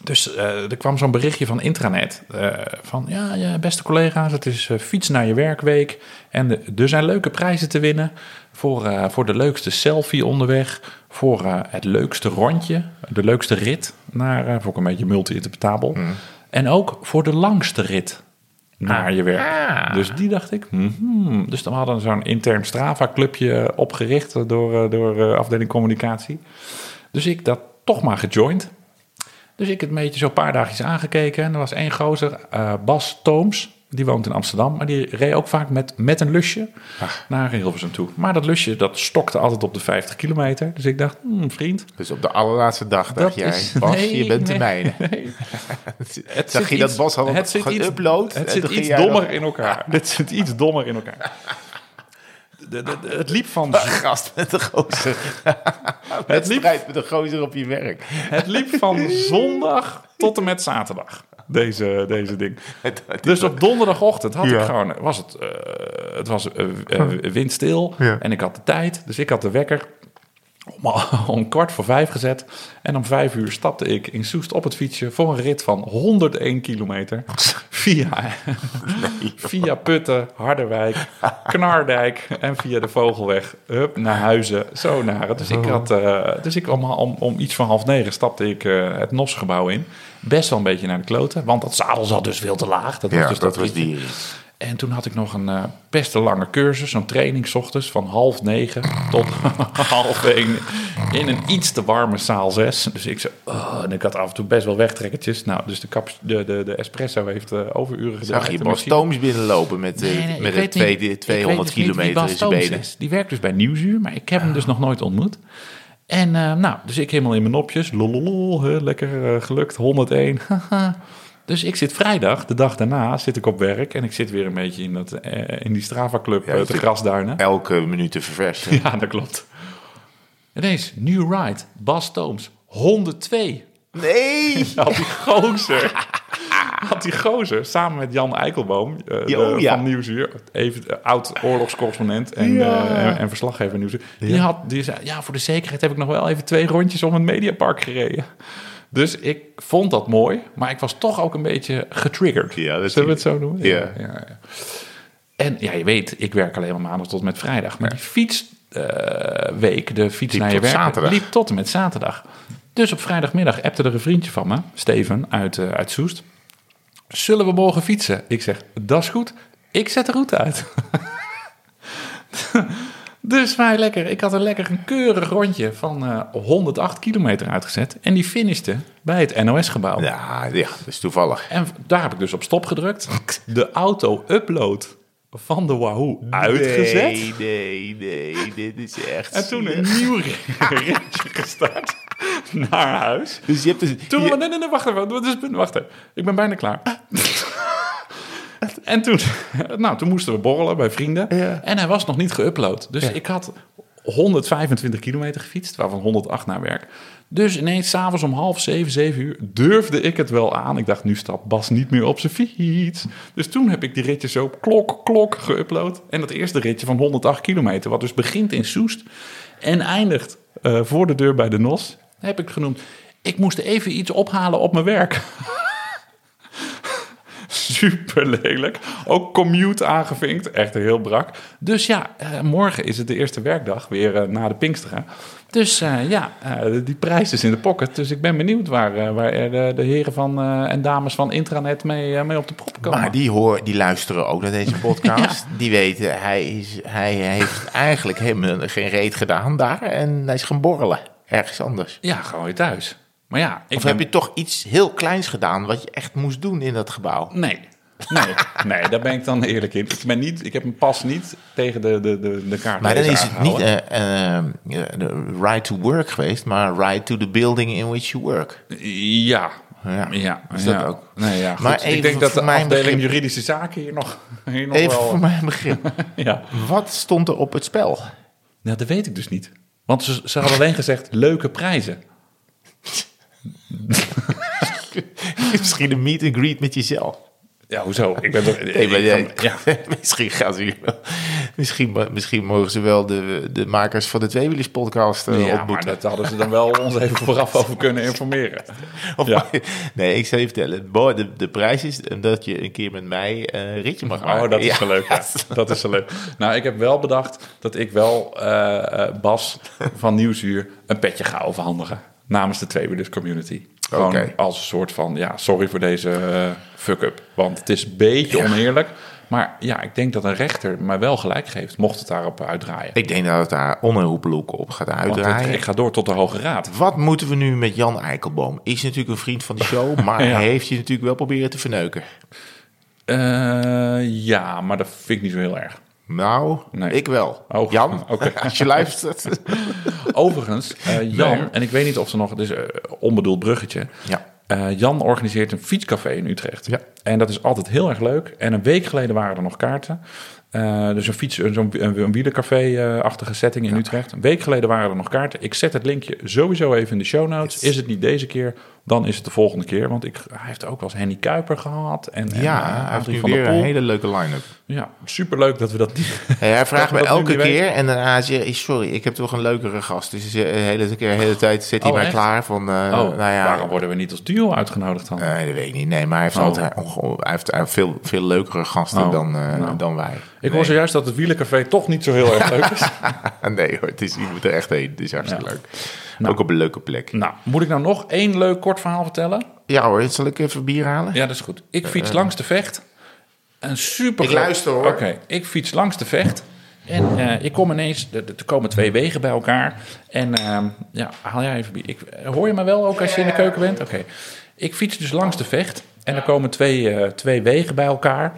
Speaker 1: dus eh, er kwam zo'n berichtje van intranet. eh, van ja, ja, beste collega's, het is eh, fiets naar je werkweek. En de- er zijn leuke prijzen te winnen. Voor, eh, voor de leukste selfie onderweg. Voor eh, het leukste rondje. De leukste rit. Naar, eh vond ik een beetje multi-interpretabel. En ook voor de langste rit naar je werk. Dus die dacht ik. mhm. Dus dan hadden we zo'n intern Strava-clubje opgericht door, eh, door eh, afdeling communicatie. Dus ik dat toch maar gejoind. Dus ik het een beetje zo'n paar dagjes aangekeken. En er was één gozer, eh, Bas Tooms. Die woont in Amsterdam, maar die reed ook vaak met, met een lusje
Speaker 2: Ah,
Speaker 1: naar Hilversum toe. Maar dat lusje, dat stokte altijd op de 50 kilometer. Dus ik dacht, hmm, vriend,
Speaker 2: Dus op de allerlaatste dag dacht jij,
Speaker 1: is-
Speaker 2: Bas,
Speaker 1: nee,
Speaker 2: je bent de
Speaker 1: nee,
Speaker 2: mijne.
Speaker 1: nee. Het
Speaker 2: Zag
Speaker 1: zit
Speaker 2: je dat
Speaker 1: iets-
Speaker 2: Bas had
Speaker 1: het
Speaker 2: het
Speaker 1: zit iets-
Speaker 2: geüpload?
Speaker 1: Het
Speaker 2: en
Speaker 1: zit
Speaker 2: toen ging
Speaker 1: iets
Speaker 2: jij dan-
Speaker 1: dommer in elkaar. Het zit iets dommer in elkaar. De- de- de- het liep van, z-
Speaker 2: Gast met de gozer.
Speaker 1: het
Speaker 2: Het
Speaker 1: liep,
Speaker 2: strijd met de gozer op je werk.
Speaker 1: het liep van zondag tot en met zaterdag. Deze, deze ding. Dus op donderdagochtend had ik
Speaker 2: Ja.
Speaker 1: gewoon, was het, eh, het was eh, eh, windstil
Speaker 2: Ja.
Speaker 1: en ik had de tijd. Dus ik had de wekker om, om kwart voor vijf gezet. En om vijf uur stapte ik in Soest op het fietsje voor een rit van 101 kilometer. Via, via Putten, Harderwijk, Knardijk en via de Vogelweg. Hup, naar Huizen, zo naar het. Dus
Speaker 2: Oh.
Speaker 1: ik, had, eh, dus ik om, om, om iets van half negen stapte ik eh, het NOS-gebouw in. Best wel een beetje naar de kloten, want dat zadel zat dus veel te laag. Dat was
Speaker 2: Ja,
Speaker 1: dus
Speaker 2: dat was
Speaker 1: ritje.
Speaker 2: die.
Speaker 1: En toen had ik nog een eh, best een lange cursus, zo'n training 's ochtends van half negen tot half één in een iets te warme zaal 6. Dus ik zo, oh, en ik had af en toe best wel wegtrekkertjes. Nou, dus de, caps- de, de, de espresso heeft eh, overuren gedaan.
Speaker 2: Zag je Bas Tooms binnenlopen met, eh, met het tweede,
Speaker 1: dus
Speaker 2: 200 kilometer in zijn benen? Ah.
Speaker 1: Die werkt dus bij Nieuwsuur, maar ik heb hem dus nog nooit ontmoet. En eh, nou, dus ik helemaal in mijn nopjes. Lololol, hè, lekker eh, gelukt, 101. haha. dus ik zit vrijdag, de dag daarna, zit ik op werk. En ik zit weer een beetje in, dat, eh, in die Strava Club
Speaker 2: Ja,
Speaker 1: eh,
Speaker 2: je
Speaker 1: te
Speaker 2: zit-
Speaker 1: grasduinen.
Speaker 2: Elke minuut te verversen.
Speaker 1: Ja, dat klopt. Ineens, New Ride, Bas Tooms, 102.
Speaker 2: Nee!
Speaker 1: Had die gozer. Had die gozer samen met Jan Eikelboom eh, de-
Speaker 2: Oh, ja.
Speaker 1: van Nieuwsuur, even eh, oud oorlogscorrespondent en,
Speaker 2: Ja.
Speaker 1: eh, en, en verslaggever Nieuwsuur. Die had die zei, ja, voor de zekerheid heb ik nog wel even twee rondjes om het Mediapark gereden. Dus ik vond dat mooi, maar ik was toch ook een beetje getriggerd.
Speaker 2: Ja, dat is-
Speaker 1: Zullen we het zo noemen?
Speaker 2: Ja.
Speaker 1: ja, ja. En ja, je weet, ik werk alleen maar maandag tot en met vrijdag. Maar die fietsweek, de fiets
Speaker 2: Liep
Speaker 1: naar je
Speaker 2: tot
Speaker 1: werk,
Speaker 2: zaterdag.
Speaker 1: liep tot en met zaterdag. Dus op vrijdagmiddag appte er een vriendje van me, Steven, uit, eh, uit Soest. Zullen we morgen fietsen? Ik zeg, dat is goed. Ik zet de route uit. dus wij lekker, ik had een lekker een keurig rondje van eh, 108 kilometer uitgezet. En die finishte bij het NOS-gebouw.
Speaker 2: Ja, ja, dat is toevallig.
Speaker 1: En daar heb ik dus op stop gedrukt. De auto-upload van de Wahoo uitgezet.
Speaker 2: Nee, nee, nee, dit is echt...
Speaker 1: En toen
Speaker 2: zielig.
Speaker 1: een nieuw ritje gestart naar huis.
Speaker 2: Dus je hebt dus...
Speaker 1: Toen,
Speaker 2: je-
Speaker 1: nee, nee, nee, wacht even, wat is het punt? Wacht even, ik ben bijna klaar. en toen, nou, toen moesten we borrelen bij vrienden.
Speaker 2: Ja.
Speaker 1: En hij was nog niet geüpload. Dus ik had 125 kilometer gefietst, waarvan 108 naar werk. Dus ineens, s'avonds om half zeven, zeven uur, durfde ik het wel aan. Ik dacht, nu stapt Bas niet meer op zijn fiets. Dus toen heb ik die ritje zo klok, klok geüpload. En dat eerste ritje van 108 kilometer, wat dus begint in Soest en eindigt eh, voor de deur bij de NOS, heb ik genoemd. Ik moest even iets ophalen op mijn werk. Super lelijk. Ook commute aangevinkt. Echt heel brak. Dus ja, eh, morgen is het de eerste werkdag weer eh, na de Pinksteren. Dus eh, ja, eh, die prijs is in de pocket. Dus ik ben benieuwd waar, eh, waar eh, de, de heren van, eh, en dames van Intranet mee, eh, mee op de prop komen.
Speaker 2: Maar die, hoor, die luisteren ook naar deze podcast. Die weten, hij, is, hij heeft eigenlijk helemaal geen reet gedaan daar. En hij is gaan borrelen. Ergens anders.
Speaker 1: Ja, gewoon weer thuis. Maar ja, ik
Speaker 2: Of
Speaker 1: ben-
Speaker 2: heb je toch iets heel kleins gedaan wat je echt moest doen in dat gebouw?
Speaker 1: Nee. Nee, nee, daar ben ik dan eerlijk in. Ik, ben niet, ik heb mijn pas niet tegen de, de, de, de kaart.
Speaker 2: Maar dan is het niet eh, eh, eh, right to work geweest, maar right to the building in which you work.
Speaker 1: Ja.
Speaker 2: Ja,
Speaker 1: Ja, ja,
Speaker 2: is dat
Speaker 1: ja.
Speaker 2: ook.
Speaker 1: Nee, ja, goed.
Speaker 2: Maar even
Speaker 1: ik denk dat de
Speaker 2: voor mijn
Speaker 1: afdeling
Speaker 2: begrip-
Speaker 1: juridische zaken hier nog, hier nog
Speaker 2: Even
Speaker 1: wel...
Speaker 2: voor mijn begrip.
Speaker 1: Ja.
Speaker 2: Wat stond er op het spel?
Speaker 1: Nou, dat weet ik dus niet. Want ze, ze hadden alleen gezegd leuke prijzen.
Speaker 2: Misschien een meet and greet met jezelf.
Speaker 1: Ja, hoezo? Ik ben toch...
Speaker 2: Nee, maar jij-
Speaker 1: ja.
Speaker 2: misschien, gaan ze hier wel, misschien, misschien mogen ze wel de, de makers van de tweewielerspodcast eh,
Speaker 1: Ja, maar
Speaker 2: ontmoeten.
Speaker 1: dat hadden ze dan wel ons even vooraf over kunnen informeren.
Speaker 2: Of-
Speaker 1: ja.
Speaker 2: Nee, ik zal je vertellen. Bo- De, de prijs is dat je een keer met mij eh, een ritje mag maken.
Speaker 1: Oh, dat is
Speaker 2: Ja.
Speaker 1: wel leuk. ja. Dat is wel leuk. Nou, ik heb wel bedacht dat ik wel eh, eh, Bas van Nieuwsuur een petje ga overhandigen. Namens de Tweewielers community. Gewoon
Speaker 2: Oké.
Speaker 1: als een soort van, ja, sorry voor deze eh, fuck-up. Want het is een beetje oneerlijk. Maar ja, ik denk dat een rechter mij wel gelijk geeft, mocht het daarop uitdraaien.
Speaker 2: Ik denk dat het daar onherroepelijk op gaat
Speaker 1: Want
Speaker 2: uitdraaien.
Speaker 1: het, ik ga door tot de Hoge Raad.
Speaker 2: Wat moeten we nu met Jan Eikelboom? Is natuurlijk een vriend van de show, maar
Speaker 1: Ja.
Speaker 2: hij heeft je natuurlijk wel proberen te verneuken.
Speaker 1: Eh, ja, maar dat vind ik niet zo heel erg.
Speaker 2: Nou,
Speaker 1: Nee.
Speaker 2: ik wel.
Speaker 1: Oh,
Speaker 2: Jan,
Speaker 1: oké.
Speaker 2: als je luistert.
Speaker 1: Overigens, eh, Jan,
Speaker 2: Nee.
Speaker 1: en ik weet niet of ze nog, dus eh onbedoeld bruggetje.
Speaker 2: Ja.
Speaker 1: Eh, Jan organiseert een fietscafé in Utrecht.
Speaker 2: Ja.
Speaker 1: En dat is altijd heel erg leuk. En een week geleden waren er nog kaarten. Eh, dus een fiets, een- zo'n een, een wielercafé-achtige setting in Utrecht. Een week geleden waren er nog kaarten. Ik zet het linkje sowieso even in de show notes.
Speaker 2: Yes.
Speaker 1: Is het niet deze keer, dan is het de volgende keer. Want ik, hij heeft ook wel eens Henny Kuiper gehad. En, en, eh,
Speaker 2: ja, hij heeft
Speaker 1: Adrie
Speaker 2: nu
Speaker 1: van der
Speaker 2: weer een
Speaker 1: Poel.
Speaker 2: hele leuke line-up.
Speaker 1: Ja, superleuk dat we dat niet...
Speaker 2: Hey, hij vraagt
Speaker 1: Dat
Speaker 2: me
Speaker 1: we dat nu
Speaker 2: elke
Speaker 1: niet
Speaker 2: keer en daarna zeg ik, sorry, ik heb toch een leukere gast. Dus de hele, keer, de hele tijd zit hij
Speaker 1: Oh,
Speaker 2: maar
Speaker 1: echt?
Speaker 2: klaar van, eh,
Speaker 1: Oh,
Speaker 2: nou ja...
Speaker 1: waarom worden we niet als duo uitgenodigd dan?
Speaker 2: eh, dat weet ik niet. Nee, maar hij heeft
Speaker 1: Oh.
Speaker 2: altijd onge- hij heeft, hij heeft veel, veel leukere gasten
Speaker 1: Oh,
Speaker 2: dan, eh,
Speaker 1: nou.
Speaker 2: dan wij.
Speaker 1: Ik
Speaker 2: nee.
Speaker 1: hoor zojuist dat het wielencafé toch niet zo heel erg leuk is.
Speaker 2: Nee hoor, het is, je moet er echt heen. Het is hartstikke
Speaker 1: Ja.
Speaker 2: leuk. Ook op een leuke plek.
Speaker 1: nou, moet ik nou nog één leuk kort verhaal vertellen?
Speaker 2: Ja hoor, zal ik even bier halen?
Speaker 1: Ja, dat is goed. Ik fiets langs de vecht. Een super.
Speaker 2: Ik luister, hoor.
Speaker 1: Oké, ik fiets langs de vecht. En eh, ik kom ineens, er er komen twee wegen bij elkaar. En ehm, ja, haal jij even. bier. Ik, hoor je me wel ook als je in de
Speaker 2: Eh,
Speaker 1: keuken bent? Oké. Ik fiets dus langs de vecht. En er komen twee, eh, twee wegen bij elkaar.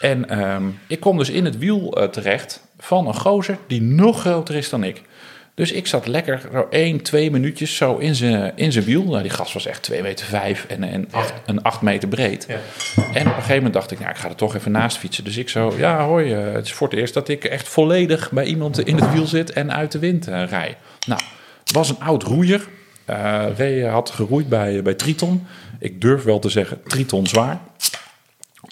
Speaker 1: En ehm, ik kom dus in het wiel eh, terecht van een gozer die nog groter is dan ik. Dus ik zat lekker zo één, twee minuutjes zo in zijn in zijn wiel. Nou, die gast was echt 2 meter vijf en, en acht, een acht meter breed. En op een gegeven moment dacht ik, nou, ik ga er toch even naast fietsen. Dus ik zo, ja hoi, eh, het is voor het eerst dat ik echt volledig bij iemand in het wiel zit en uit de wind eh, rij. Nou, was een oud roeier. Eh Ray had geroeid bij, bij Triton. Ik durf wel te zeggen, Triton zwaar.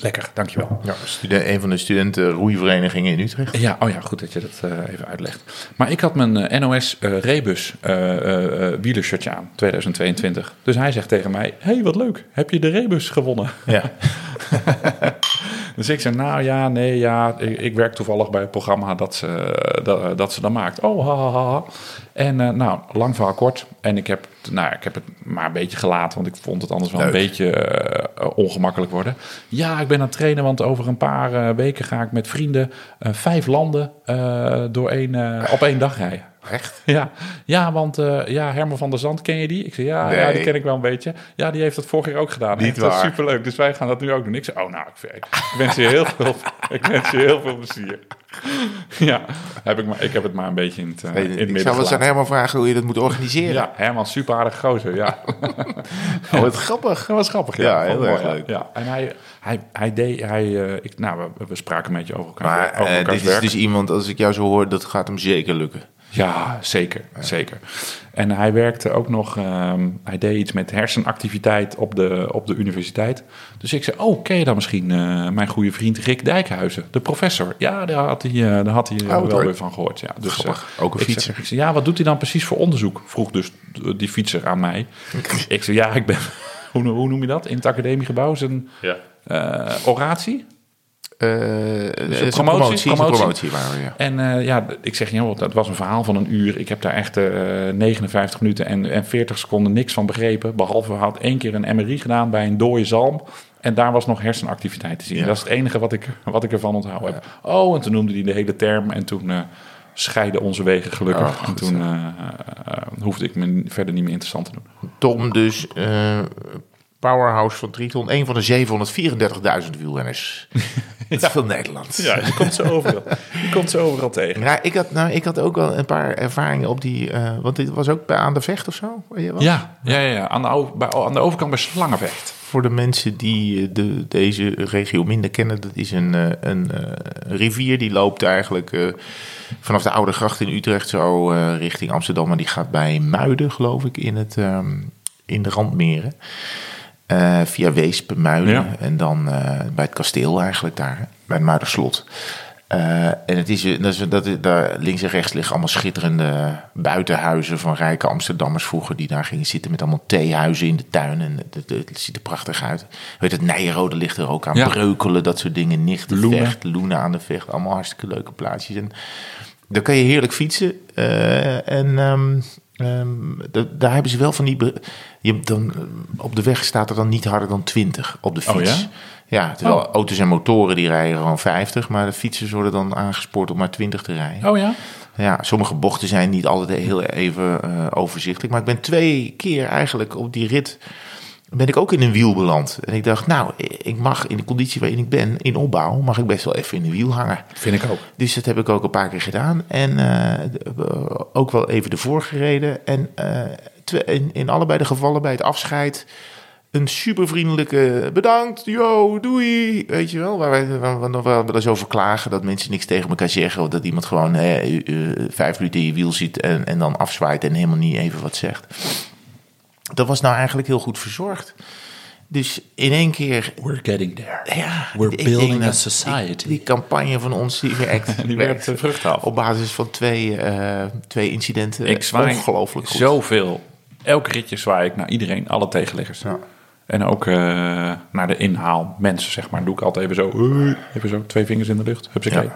Speaker 1: Lekker, dankjewel.
Speaker 2: Ja, student, een van de studenten roeiverenigingen in Utrecht.
Speaker 1: Ja, oh ja, goed dat je dat eh, even uitlegt. Maar ik had mijn eh, NOS eh, Rebus eh, eh, eh, wielershirtje aan, 2022. Dus hij zegt tegen mij, hey, wat leuk, heb je de Rebus gewonnen?
Speaker 2: Ja.
Speaker 1: Dus ik zeg, nou ja, nee, ja, ik, ik werk toevallig bij het programma dat ze eh, dat, dat, ze dat maakt. Oh, ha, ha, ha, ha. En eh, nou, lang verhaal kort. En ik heb, nou, ik heb het maar een beetje gelaten, want ik vond het anders wel
Speaker 2: Leuk.
Speaker 1: een beetje eh, ongemakkelijk worden. Ja, ik ben aan het trainen, want over een paar eh, weken ga ik met vrienden eh, vijf landen eh, door één, eh, op één dag rijden.
Speaker 2: Echt?
Speaker 1: Ja, ja want eh, ja, Herman van der Zand, ken je die? Ik zei, ja, ja,
Speaker 2: Nee.
Speaker 1: die ken ik wel een beetje. Ja, die heeft dat vorig jaar ook gedaan.
Speaker 2: Niet
Speaker 1: Echt, dat is
Speaker 2: waar.
Speaker 1: superleuk. Dus wij gaan dat nu ook doen. Ik zei, oh nou, ik, ik wens je heel veel, ik wens je heel veel plezier. Ja, heb ik, maar, ik heb het maar een beetje in het, eh, in het
Speaker 2: ik
Speaker 1: midden
Speaker 2: zou wel eens aan
Speaker 1: gelaten.
Speaker 2: helemaal vragen hoe je dat moet organiseren.
Speaker 1: Ja, Herman, super aardig gozer, ja.
Speaker 2: Oh, wat grappig.
Speaker 1: Dat was grappig, ja.
Speaker 2: Ja, heel
Speaker 1: Vond ik
Speaker 2: erg
Speaker 1: mooi, ja.
Speaker 2: leuk.
Speaker 1: Ja, en hij, hij, hij deed, hij, eh, ik, nou, we, we spraken een beetje over elkaar.
Speaker 2: Maar
Speaker 1: over
Speaker 2: eh,
Speaker 1: elkaars
Speaker 2: dit is
Speaker 1: werk.
Speaker 2: dus iemand, als ik jou zo hoor, dat gaat hem zeker lukken.
Speaker 1: Ja, zeker, zeker. En hij werkte ook nog, ehm, hij deed iets met hersenactiviteit op de, op de universiteit. Dus ik zei, oh, ken je dan misschien eh, mijn goede vriend Rick Dijkhuizen, de professor? Ja, daar had hij, eh, daar had hij eh,
Speaker 2: wat
Speaker 1: wel
Speaker 2: Oh, leuk.
Speaker 1: weer van gehoord. Ja. Dus,
Speaker 2: Grappig,
Speaker 1: eh,
Speaker 2: ook een
Speaker 1: ik
Speaker 2: fietser.
Speaker 1: Zei, ik zei, ja, wat doet hij dan precies voor onderzoek? Vroeg dus eh, die fietser aan mij. ik zei, ja, ik ben, hoe, hoe noem je dat? In het academiegebouw is een... eh, oratie.
Speaker 2: Eh,
Speaker 1: Dus
Speaker 2: het is een
Speaker 1: promotie,
Speaker 2: promotie, is een
Speaker 1: promotie.
Speaker 2: promotie waar we, ja.
Speaker 1: En eh, ja, d- ik zeg, joh, dat was een verhaal van een uur. Ik heb daar echt eh, 59 minuten en, en 40 seconden niks van begrepen. Behalve we hadden één keer een MRI gedaan bij een dode zalm. En daar was nog hersenactiviteit te zien.
Speaker 2: Ja.
Speaker 1: Dat is het enige wat ik, wat ik ervan onthouden heb. Oh, en toen noemde hij de hele term. En toen eh, scheiden onze wegen gelukkig.
Speaker 2: Oh,
Speaker 1: en
Speaker 2: goed,
Speaker 1: toen eh, eh, hoefde ik me verder niet meer interessant te doen.
Speaker 2: Tom dus, eh, powerhouse van Triton, een van de 734.000 wielrenners ja. van Nederland.
Speaker 1: Ja, je komt ze overal, je komt ze overal tegen.
Speaker 2: Ja, ik had, nou, ik had ook wel een paar ervaringen op die... eh, want dit was ook bij Aan de Vecht of zo? waar je was?
Speaker 1: Ja, ja, ja, ja. Aan, de, o- bij, aan de overkant bij Slangenvecht.
Speaker 2: Voor de mensen die eh, de, deze regio minder kennen, dat is een, eh, een eh, rivier die loopt eigenlijk eh, vanaf de Oude Gracht in Utrecht zo eh, richting Amsterdam. En die gaat bij Muiden, geloof ik, in, het, ehm, in de Randmeren. Eh, via Weesp, Muiden
Speaker 1: Ja.
Speaker 2: en dan eh, bij het kasteel eigenlijk daar, hè, bij het Muiderslot. Eh, en het is, eh, dat is, dat is- daar links en rechts liggen allemaal schitterende buitenhuizen van rijke Amsterdammers vroeger. Die daar gingen zitten met allemaal theehuizen in de tuin. En het, het- het ziet er prachtig uit. Weet het, Nijrode ligt er ook aan.
Speaker 1: Ja.
Speaker 2: Breukelen, dat soort dingen. Nicht
Speaker 1: Loenen.
Speaker 2: Vecht, Loenen aan de Vecht. Allemaal hartstikke leuke plaatsjes. En daar kan je heerlijk fietsen. eh, en ehm, ehm, da- daar hebben ze wel van die... be- Je, dan, eh, op de weg staat er dan niet harder dan 20 op de
Speaker 1: Oh,
Speaker 2: fiets.
Speaker 1: ja? Oh.
Speaker 2: Ja, terwijl auto's en motoren die rijden gewoon 50, maar de fietsers worden dan aangespoord om maar 20 te rijden.
Speaker 1: Oh ja?
Speaker 2: Ja, sommige bochten zijn niet altijd heel even eh, overzichtelijk. Maar ik ben twee keer eigenlijk op die rit. Ben ik ook in een wiel beland. En ik dacht, nou, ik mag in de conditie waarin ik ben, in opbouw, mag ik best wel even in de wiel hangen.
Speaker 1: Vind ik ook.
Speaker 2: Dus dat heb ik ook een paar keer gedaan. En eh, d- eh, ook wel even ervoor gereden. En eh, twe- in, in allebei de gevallen bij het afscheid. Een supervriendelijke bedankt, yo, doei. Weet je wel, waar wij waar we nog wel eens over klagen dat mensen niks tegen elkaar zeggen. Of dat iemand gewoon hè, eh, eh, vijf minuten in je wiel zit en, en dan afzwaait en helemaal niet even wat zegt. Dat was nou eigenlijk heel goed verzorgd. Dus in één keer
Speaker 1: We're getting there.
Speaker 2: ja,
Speaker 3: We're
Speaker 2: ik
Speaker 3: building
Speaker 2: denk
Speaker 3: a
Speaker 2: dat
Speaker 3: society.
Speaker 2: Die, die campagne van ons die werkt.
Speaker 1: Die werkt de vruchten af.
Speaker 2: Op basis van twee, eh, twee incidenten.
Speaker 1: Ik zwaai
Speaker 2: Ongelooflijk goed.
Speaker 1: zoveel. Elk ritje zwaai ik naar iedereen, alle tegenliggers. En ook eh, naar de inhaal. Mensen, zeg maar, doe ik altijd even zo. "Hey," Even zo, twee vingers in de lucht. Hupsakee.
Speaker 2: Ja.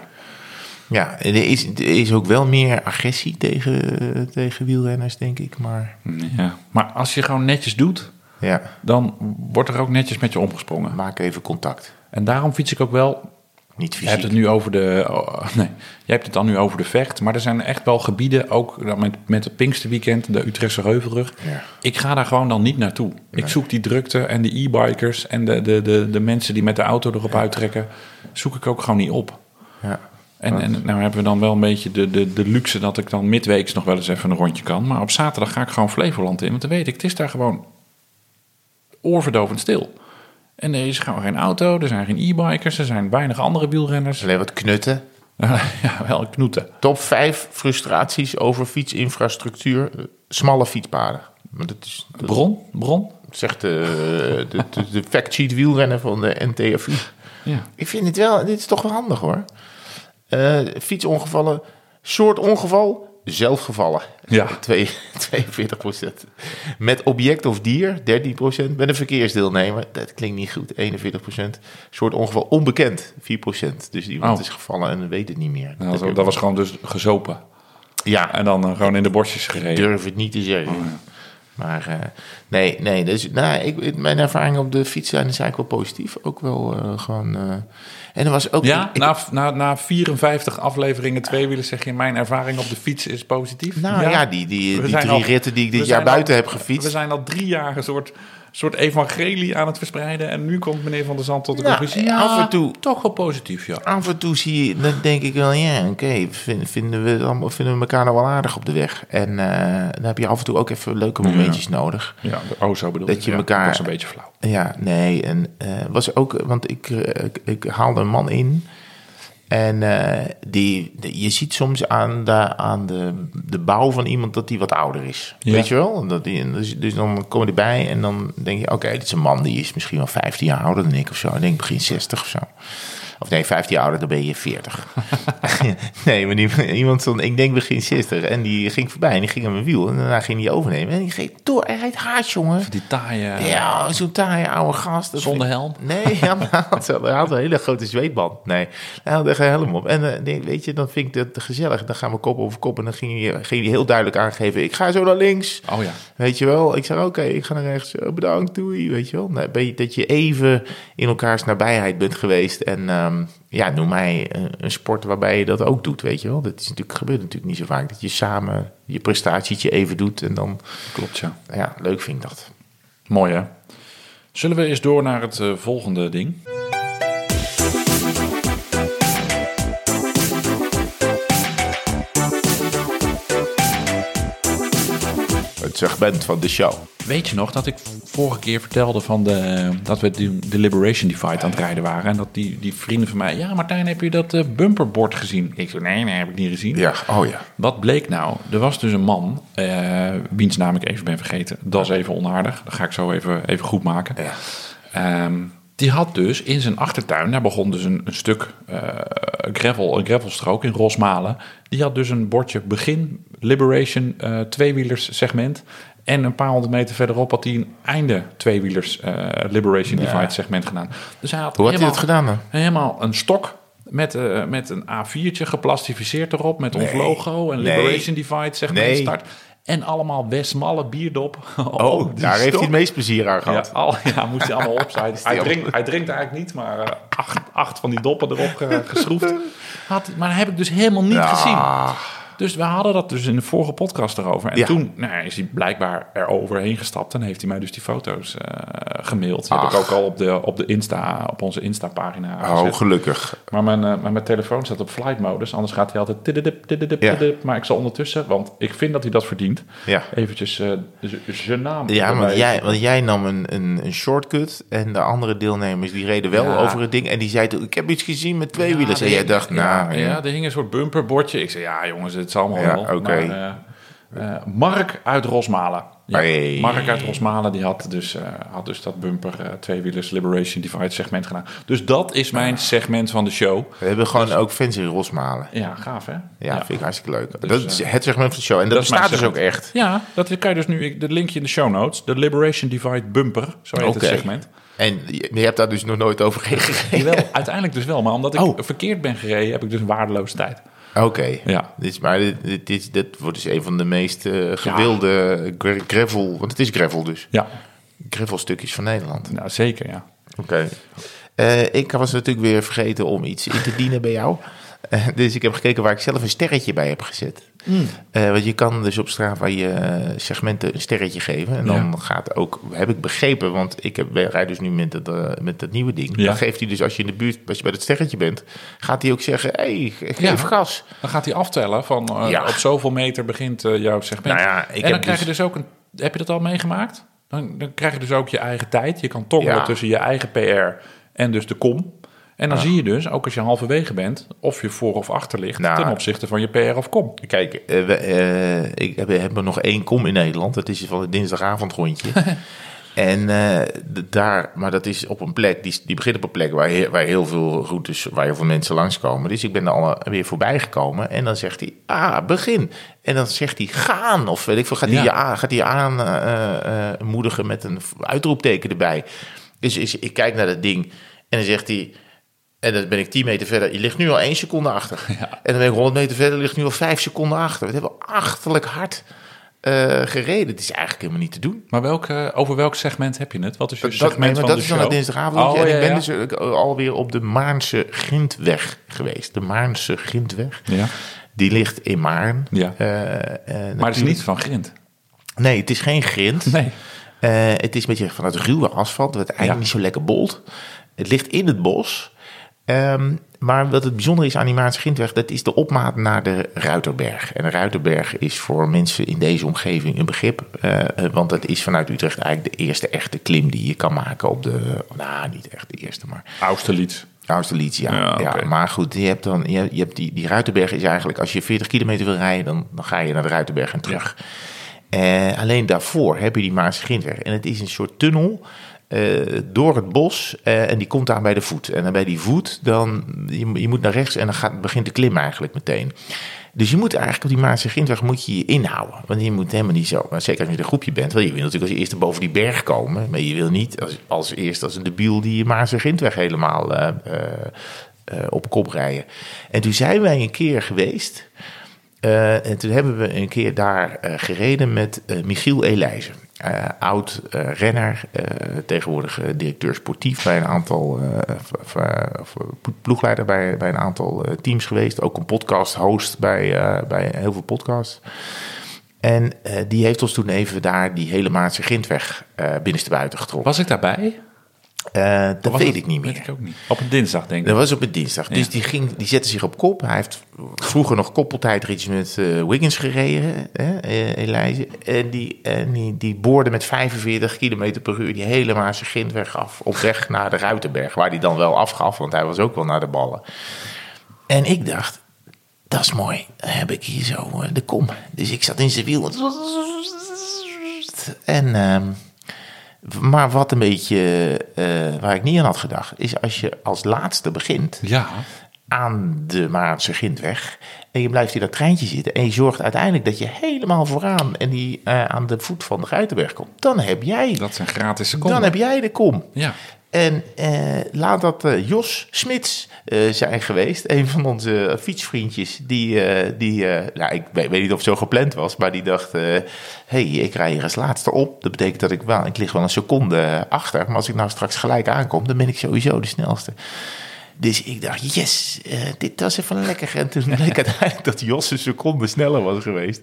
Speaker 2: Ja, en er is, er is ook wel meer agressie tegen, eh, tegen wielrenners, denk ik. Maar
Speaker 1: Ja. Maar als je gewoon netjes doet,
Speaker 2: ja,
Speaker 1: dan wordt er ook netjes met je omgesprongen.
Speaker 2: maak even contact.
Speaker 1: En daarom fiets ik ook wel
Speaker 2: Niet
Speaker 1: Je hebt
Speaker 2: fysiek.
Speaker 1: het nu over de. oh, nee, jij hebt het dan nu over de vecht. Maar er zijn echt wel gebieden, ook dan met, met het Pinksterweekend, de Utrechtse Heuvelrug.
Speaker 2: Ja.
Speaker 1: Ik ga daar gewoon dan niet naartoe. Ik zoek die drukte en de e-bikers en de, de, de, de mensen die met de auto erop uittrekken. Zoek ik ook gewoon niet op.
Speaker 2: Ja.
Speaker 1: En, en nou hebben we dan wel een beetje de, de, de luxe dat ik dan midweeks nog wel eens even een rondje kan. Maar op zaterdag ga ik gewoon Flevoland in. Want dan weet ik, het is daar gewoon oorverdovend stil. En er is gewoon geen auto, er zijn geen e-bikers, er zijn weinig andere wielrenners.
Speaker 2: Alleen wat knutten.
Speaker 1: ja, wel knoeten.
Speaker 2: Top 5 frustraties over fietsinfrastructuur. eh, Smalle fietspaden. Maar dat is, dat
Speaker 1: Bron? Bron?
Speaker 2: zegt de, de, de, de factsheet wielrenner van de NTFU.
Speaker 1: Ja.
Speaker 2: Ik vind het wel, dit is toch wel handig hoor. Eh, fietsongevallen, soort ongeval, zelfgevallen.
Speaker 1: Ja.
Speaker 2: Twee- 42 Met object of dier, 13 Met een verkeersdeelnemer, dat klinkt niet goed, 41 Soort ongeval, onbekend, 4 Dus iemand
Speaker 1: Oh.
Speaker 2: is gevallen en weet het niet meer.
Speaker 1: Dat, was- dat was gewoon dus gezopen.
Speaker 2: Ja,
Speaker 1: En dan eh, gewoon in de borstjes gereden.
Speaker 2: durf het niet te zeggen.
Speaker 1: Oh,
Speaker 2: Maar eh, nee, nee dus, nou, ik, ik- mijn ervaring op de fiets zijn is eigenlijk wel positief. Ook wel eh, gewoon... eh, en er was ook...
Speaker 1: Ja,
Speaker 2: ik-
Speaker 1: na, na, na 54 afleveringen tweewielen zeg je... mijn ervaring op de fiets is positief.
Speaker 2: Nou ja, die, die,
Speaker 1: We
Speaker 2: die
Speaker 1: zijn
Speaker 2: drie
Speaker 1: al-
Speaker 2: ritten die ik dit
Speaker 1: we
Speaker 2: jaar
Speaker 1: zijn al-
Speaker 2: buiten heb
Speaker 1: We
Speaker 2: gefietst.
Speaker 1: zijn al drie jaar een soort, soort evangelie aan het verspreiden... en nu komt meneer Van der Zand tot de
Speaker 2: Nou,
Speaker 1: conclusie...
Speaker 2: eh, af en toe-
Speaker 1: toch wel positief, ja.
Speaker 2: Af en toe zie je, dan denk ik wel, ja, oké, vin- vinden, we het allemaal- vinden we elkaar nou wel aardig op de weg. En eh, dan heb je af en toe ook even leuke momentjes nodig.
Speaker 1: Ja, oh, zo bedoel
Speaker 2: Dat
Speaker 1: ik.
Speaker 2: je
Speaker 1: Ja,
Speaker 2: elkaar-
Speaker 1: Dat is een beetje flauw.
Speaker 2: Ja, nee, en eh, was ook, want ik, eh, ik, ik haalde een man in. En eh, die, de- je ziet soms aan, de, aan de, de bouw van iemand dat die wat ouder is.
Speaker 1: Ja.
Speaker 2: Weet je wel? Dat die, en dus, dus dan komen die bij en dan denk je... oké, dit is een man die is misschien wel 15 jaar ouder dan ik of zo. Ik denk begin 60 of zo. Of nee, 15 jaar ouder, dan ben je 40. nee, maar die, iemand stond, ik denk begin 60. En die ging voorbij en die ging aan mijn wiel. En daarna ging die overnemen. En die ging door. En hij rijdt hard, jongen.
Speaker 1: Die taaie...
Speaker 2: Ja, zo'n taaie oude gast. Dat
Speaker 1: Eh, Zonder helm?
Speaker 2: Nee, ja, maar hij had, wel- hij had een hele grote zweetband. Nee, hij had echt een helm op. En eh, nee, weet je, dan vind ik dat te gezellig. Dan gaan we kop over kop en dan ging hij, ging hij heel duidelijk aangeven... ik ga zo naar links,
Speaker 1: Oh ja.
Speaker 2: weet je wel. Ik zei, oké, ik ga naar rechts. Oh, bedankt, doei, weet je wel. Nou, ben je- dat je even in elkaars nabijheid bent geweest. En ehm, ja, noem mij eh, een, een sport waarbij je dat ook doet, weet je wel. Dat is natuurlijk, gebeurt natuurlijk niet zo vaak. Dat je samen je prestatietje even doet en dan...
Speaker 1: Klopt, ja.
Speaker 2: Ja, leuk vind ik dat.
Speaker 1: Mooi, hè? Zullen we eens door naar het eh, volgende ding?
Speaker 2: Het segment van de show.
Speaker 1: Weet je nog dat ik vorige keer vertelde van de, dat we de, de Liberation Divide aan het rijden waren? En dat die, die vrienden van mij... Ja, Martijn, heb je dat eh, bumperbord gezien? Ik zei, nee, nee, heb ik niet gezien.
Speaker 2: Ja, oh ja.
Speaker 1: Wat bleek nou? Er was dus een man, eh, wiens naam ik even ben vergeten. Dat is even onaardig. Dat ga ik zo even, even goed maken.
Speaker 2: Ja.
Speaker 1: Ehm, die had dus in zijn achtertuin, daar begon dus een, een stuk eh, gravel, een gravelstrook in Rosmalen. Die had dus een bordje begin Liberation eh tweewielers segment. En een paar honderd meter verderop had hij een einde tweewielers eh, Liberation Divide segment gedaan. Dus hij had
Speaker 2: Hoe had hij
Speaker 1: helemaal-
Speaker 2: dat gedaan dan?
Speaker 1: Helemaal een stok met, eh, met een A4'tje geplastificeerd erop met ons
Speaker 2: Nee.
Speaker 1: logo en
Speaker 2: Nee.
Speaker 1: Liberation Divide, zeg maar,
Speaker 2: Nee.
Speaker 1: start. En allemaal Westmalle bierdop.
Speaker 2: Oh,
Speaker 1: op die
Speaker 2: daar heeft hij
Speaker 1: stok.
Speaker 2: het meest plezier aan
Speaker 1: Ja,
Speaker 2: gehad.
Speaker 1: al, ja, moest hij allemaal opzij. Dus hij,
Speaker 2: Ja.
Speaker 1: drinkt, hij drinkt eigenlijk niet, maar eh, acht, acht van die doppen erop ge- geschroefd. Had, maar dat heb ik dus helemaal niet gezien. Dus we hadden dat dus in de vorige podcast erover. En
Speaker 2: Ja.
Speaker 1: toen nou, is hij blijkbaar eroverheen gestapt. En heeft hij mij dus die foto's eh, gemaild. Die heb ik
Speaker 2: Ach.
Speaker 1: ook al op, de, op, de Insta, op onze Insta-pagina gezet.
Speaker 2: Oh, gelukkig.
Speaker 1: Maar mijn, eh, maar mijn telefoon staat op flight modus. Anders gaat hij altijd tididip, tididip,
Speaker 2: Ja.
Speaker 1: tididip. Maar ik zal ondertussen, want ik vind dat hij dat verdient.
Speaker 2: Ja.
Speaker 1: Eventjes eh, z- zijn naam.
Speaker 2: Ja,
Speaker 1: erbij.
Speaker 2: want jij, want jij nam een, een, een shortcut en de andere deelnemers die reden wel
Speaker 1: Ja.
Speaker 2: over het ding. En die zeiden, ik heb iets gezien met twee
Speaker 1: Ja,
Speaker 2: wielen. En
Speaker 1: er
Speaker 2: jij
Speaker 1: hing-
Speaker 2: dacht, nou,
Speaker 1: Ah, ja,
Speaker 2: ja.
Speaker 1: ja, er hing een soort bumperbordje. Ik zei, ja jongens, het is allemaal
Speaker 2: Ja,
Speaker 1: wel.
Speaker 2: oké.
Speaker 1: Maar, eh, eh, Mark uit Rosmalen. Ja,
Speaker 2: Hey.
Speaker 1: Mark uit Rosmalen die had dus, eh, had dus dat bumper eh, tweewielers Liberation Divide segment gedaan. Dus dat is mijn segment van de show.
Speaker 2: We hebben gewoon ook fans in Rosmalen.
Speaker 1: Dus- Ja, gaaf hè?
Speaker 2: Ja, vind ik hartstikke leuk.
Speaker 1: Dus,
Speaker 2: dat is het segment van de show. En dat,
Speaker 1: dat is mijn
Speaker 2: bestaat dus ook
Speaker 1: segment.
Speaker 2: echt.
Speaker 1: Ja, dat kan je dus nu. Ik, dat linkje in de show notes. De Liberation Divide Bumper, zo heet
Speaker 2: Oké.
Speaker 1: het segment.
Speaker 2: En je, je hebt daar dus nog nooit over gegeven.
Speaker 1: Jawel, uiteindelijk dus wel. Maar omdat ik
Speaker 2: Oh.
Speaker 1: verkeerd ben gereden, heb ik dus een waardeloze tijd.
Speaker 2: Oké.
Speaker 1: Ja.
Speaker 2: Dit is, maar dit, dit, dit- dit wordt dus een van de meest eh, gewilde gra- gravel... Want het is gravel dus.
Speaker 1: Ja,
Speaker 2: Gravelstukjes van Nederland.
Speaker 1: nou, zeker ja.
Speaker 2: Oké. Eh, ik was natuurlijk weer vergeten om iets in te dienen bij jou. Eh, dus ik heb gekeken waar ik zelf een sterretje bij heb gezet.
Speaker 1: Hmm.
Speaker 2: Eh, want je kan dus op Strava je eh, segmenten een sterretje geven. En dan
Speaker 1: Ja.
Speaker 2: gaat ook, heb ik begrepen, want ik heb, rijd dus nu met dat, eh, met dat nieuwe ding.
Speaker 1: Ja.
Speaker 2: Dan geeft hij dus, als je in de buurt, als je bij dat sterretje bent, gaat hij ook zeggen, hey, geef
Speaker 1: Ja.
Speaker 2: gas.
Speaker 1: Dan gaat hij aftellen van eh,
Speaker 2: Ja.
Speaker 1: op zoveel meter begint eh, jouw segment.
Speaker 2: Nou ja, ik
Speaker 1: en
Speaker 2: heb
Speaker 1: dan krijg je
Speaker 2: dus-
Speaker 1: dus ook een. Heb je dat al meegemaakt? Dan, dan krijg je dus ook je eigen tijd. Je kan toggelen
Speaker 2: Ja.
Speaker 1: tussen je eigen PR en dus de kom. En dan zie je dus, ook als je halverwege bent, of je voor of achter ligt
Speaker 2: Nou.
Speaker 1: ten opzichte van je PR of kom.
Speaker 2: Kijk, eh, we, eh, ik heb, heb er nog één kom in Nederland. Dat is van het dinsdagavondrondje. en eh, d- daar, maar dat is op een plek, die, die begint op een plek waar, he- waar heel veel routes, waar heel veel mensen langskomen. Dus ik ben er al weer voorbij gekomen. En dan zegt hij, ah, begin. En dan zegt hij, gaan. Of weet ik veel, gaat hij
Speaker 1: Ja.
Speaker 2: je aan- eh, gaat hij je aanmoedigen met een uitroepteken erbij. Dus is, ik kijk naar dat ding en dan zegt hij... En dan ben ik 10 meter verder. Je ligt nu al 1 seconde achter. En dan ben ik 100 meter verder. ligt nu al 5 seconden achter. We hebben achterlijk hard eh, gereden. Het is eigenlijk helemaal niet te doen.
Speaker 1: Maar welk, eh, over welk segment heb je het? Wat is je
Speaker 2: Dat, nee,
Speaker 1: segment
Speaker 2: maar
Speaker 1: van
Speaker 2: dat
Speaker 1: de
Speaker 2: is
Speaker 1: show?
Speaker 2: dan het dinsdagavond.
Speaker 1: Oh,
Speaker 2: en
Speaker 1: ja,
Speaker 2: ik ben
Speaker 1: ja.
Speaker 2: dus ook alweer op de Maarnse Grindweg geweest. De Maarnse Grindweg.
Speaker 1: Ja.
Speaker 2: Die ligt in Maarn.
Speaker 1: Ja.
Speaker 2: Eh,
Speaker 1: Maar
Speaker 2: eh,
Speaker 1: het is
Speaker 2: natuurlijk-
Speaker 1: niet van Grind.
Speaker 2: Nee, het is geen grind.
Speaker 1: Nee.
Speaker 2: Eh, het is een beetje van het ruwe asfalt, wat eigenlijk
Speaker 1: Ja.
Speaker 2: niet zo lekker bolt. Het ligt in het bos. Ehm, maar wat het bijzondere is aan die Maartse Grindweg, dat is de opmaat naar de Ruiterberg. En de Ruiterberg is voor mensen in deze omgeving een begrip. eh, eh, want dat is vanuit Utrecht eigenlijk de eerste echte klim die je kan maken op de... Nou, niet echt de eerste, maar...
Speaker 1: Austerlitz.
Speaker 2: Austerlitia.
Speaker 1: Ja,
Speaker 2: Ja,
Speaker 1: oké.
Speaker 2: maar goed, je hebt dan, je, je hebt die, die Ruitenberg is eigenlijk, als je 40 kilometer wil rijden, dan, dan ga je naar de Ruitenberg en terug. Eh, alleen daarvoor heb je die Maarse Grindweg. En het is een soort tunnel eh, door het bos eh, en die komt aan bij de voet. En dan bij die voet, dan, je, mo- je moet naar rechts en dan gaat, begint de klim eigenlijk meteen. Dus je moet eigenlijk op die Maarse Grindweg moet je je inhouden. Want je moet helemaal niet zo, maar zeker als je met een groepje bent. Want je wil natuurlijk als eerste boven die berg komen. Maar je wil niet als, als eerste als een debiel die je Maarse Grindweg helemaal eh, eh, eh, op kop rijden. En toen zijn wij een keer geweest... Eh, en toen hebben we een keer daar eh, gereden met eh, Michiel Elijzen. Eh, oud eh, renner, eh, tegenwoordig eh, directeur sportief bij een aantal eh, of- of, eh, of ploegleider bij, bij een aantal eh, teams geweest. Ook een podcast host bij, eh, bij heel veel podcasts. En eh, die heeft ons toen even daar die hele Maartse Grindweg eh binnenstebuiten getrokken.
Speaker 1: Was ik daarbij?
Speaker 2: Eh, dat
Speaker 1: Was
Speaker 2: weet
Speaker 1: het-
Speaker 2: ik niet meer.
Speaker 1: Weet ik ook niet. Op een dinsdag, denk ik.
Speaker 2: Dat was op een dinsdag. Dus die, ging, die zette zich op kop. Hij heeft vroeger nog koppeltijdritjes met eh, Wiggins gereden, hè, eh, Elijah. En die, en die, die boorde met 45 km per uur die hele Maarse Grindweg af. Op weg naar de Ruitenberg, waar hij dan wel afgaf, want hij was ook wel naar de ballen. En ik dacht, dat is mooi. Dan heb ik hier zo eh, de kom. Dus ik zat in zijn wiel. En, ehm, maar wat een beetje eh, waar ik niet aan had gedacht, is als je als laatste begint
Speaker 1: Ja.
Speaker 2: aan de Maartse Grindweg. En je blijft in dat treintje zitten. En je zorgt uiteindelijk dat je helemaal vooraan en die, eh, aan de voet van de Ruitenberg komt. Dan heb jij,
Speaker 1: Dat zijn gratis seconden.
Speaker 2: dan heb jij de kom.
Speaker 1: Ja.
Speaker 2: En eh, laat dat eh, Jos Smits eh, zijn geweest. Een van onze fietsvriendjes. Die, eh, die eh, nou, ik weet, weet niet of het zo gepland was. Maar die dacht, hé, hey, ik rij hier als laatste op. Dat betekent dat ik wel, ik lig wel een seconde achter. Maar als ik nou straks gelijk aankom, dan ben ik sowieso de snelste. Dus ik dacht, yes, eh, dit was even lekker. En toen bleek uiteindelijk dat Jos een seconde sneller was geweest.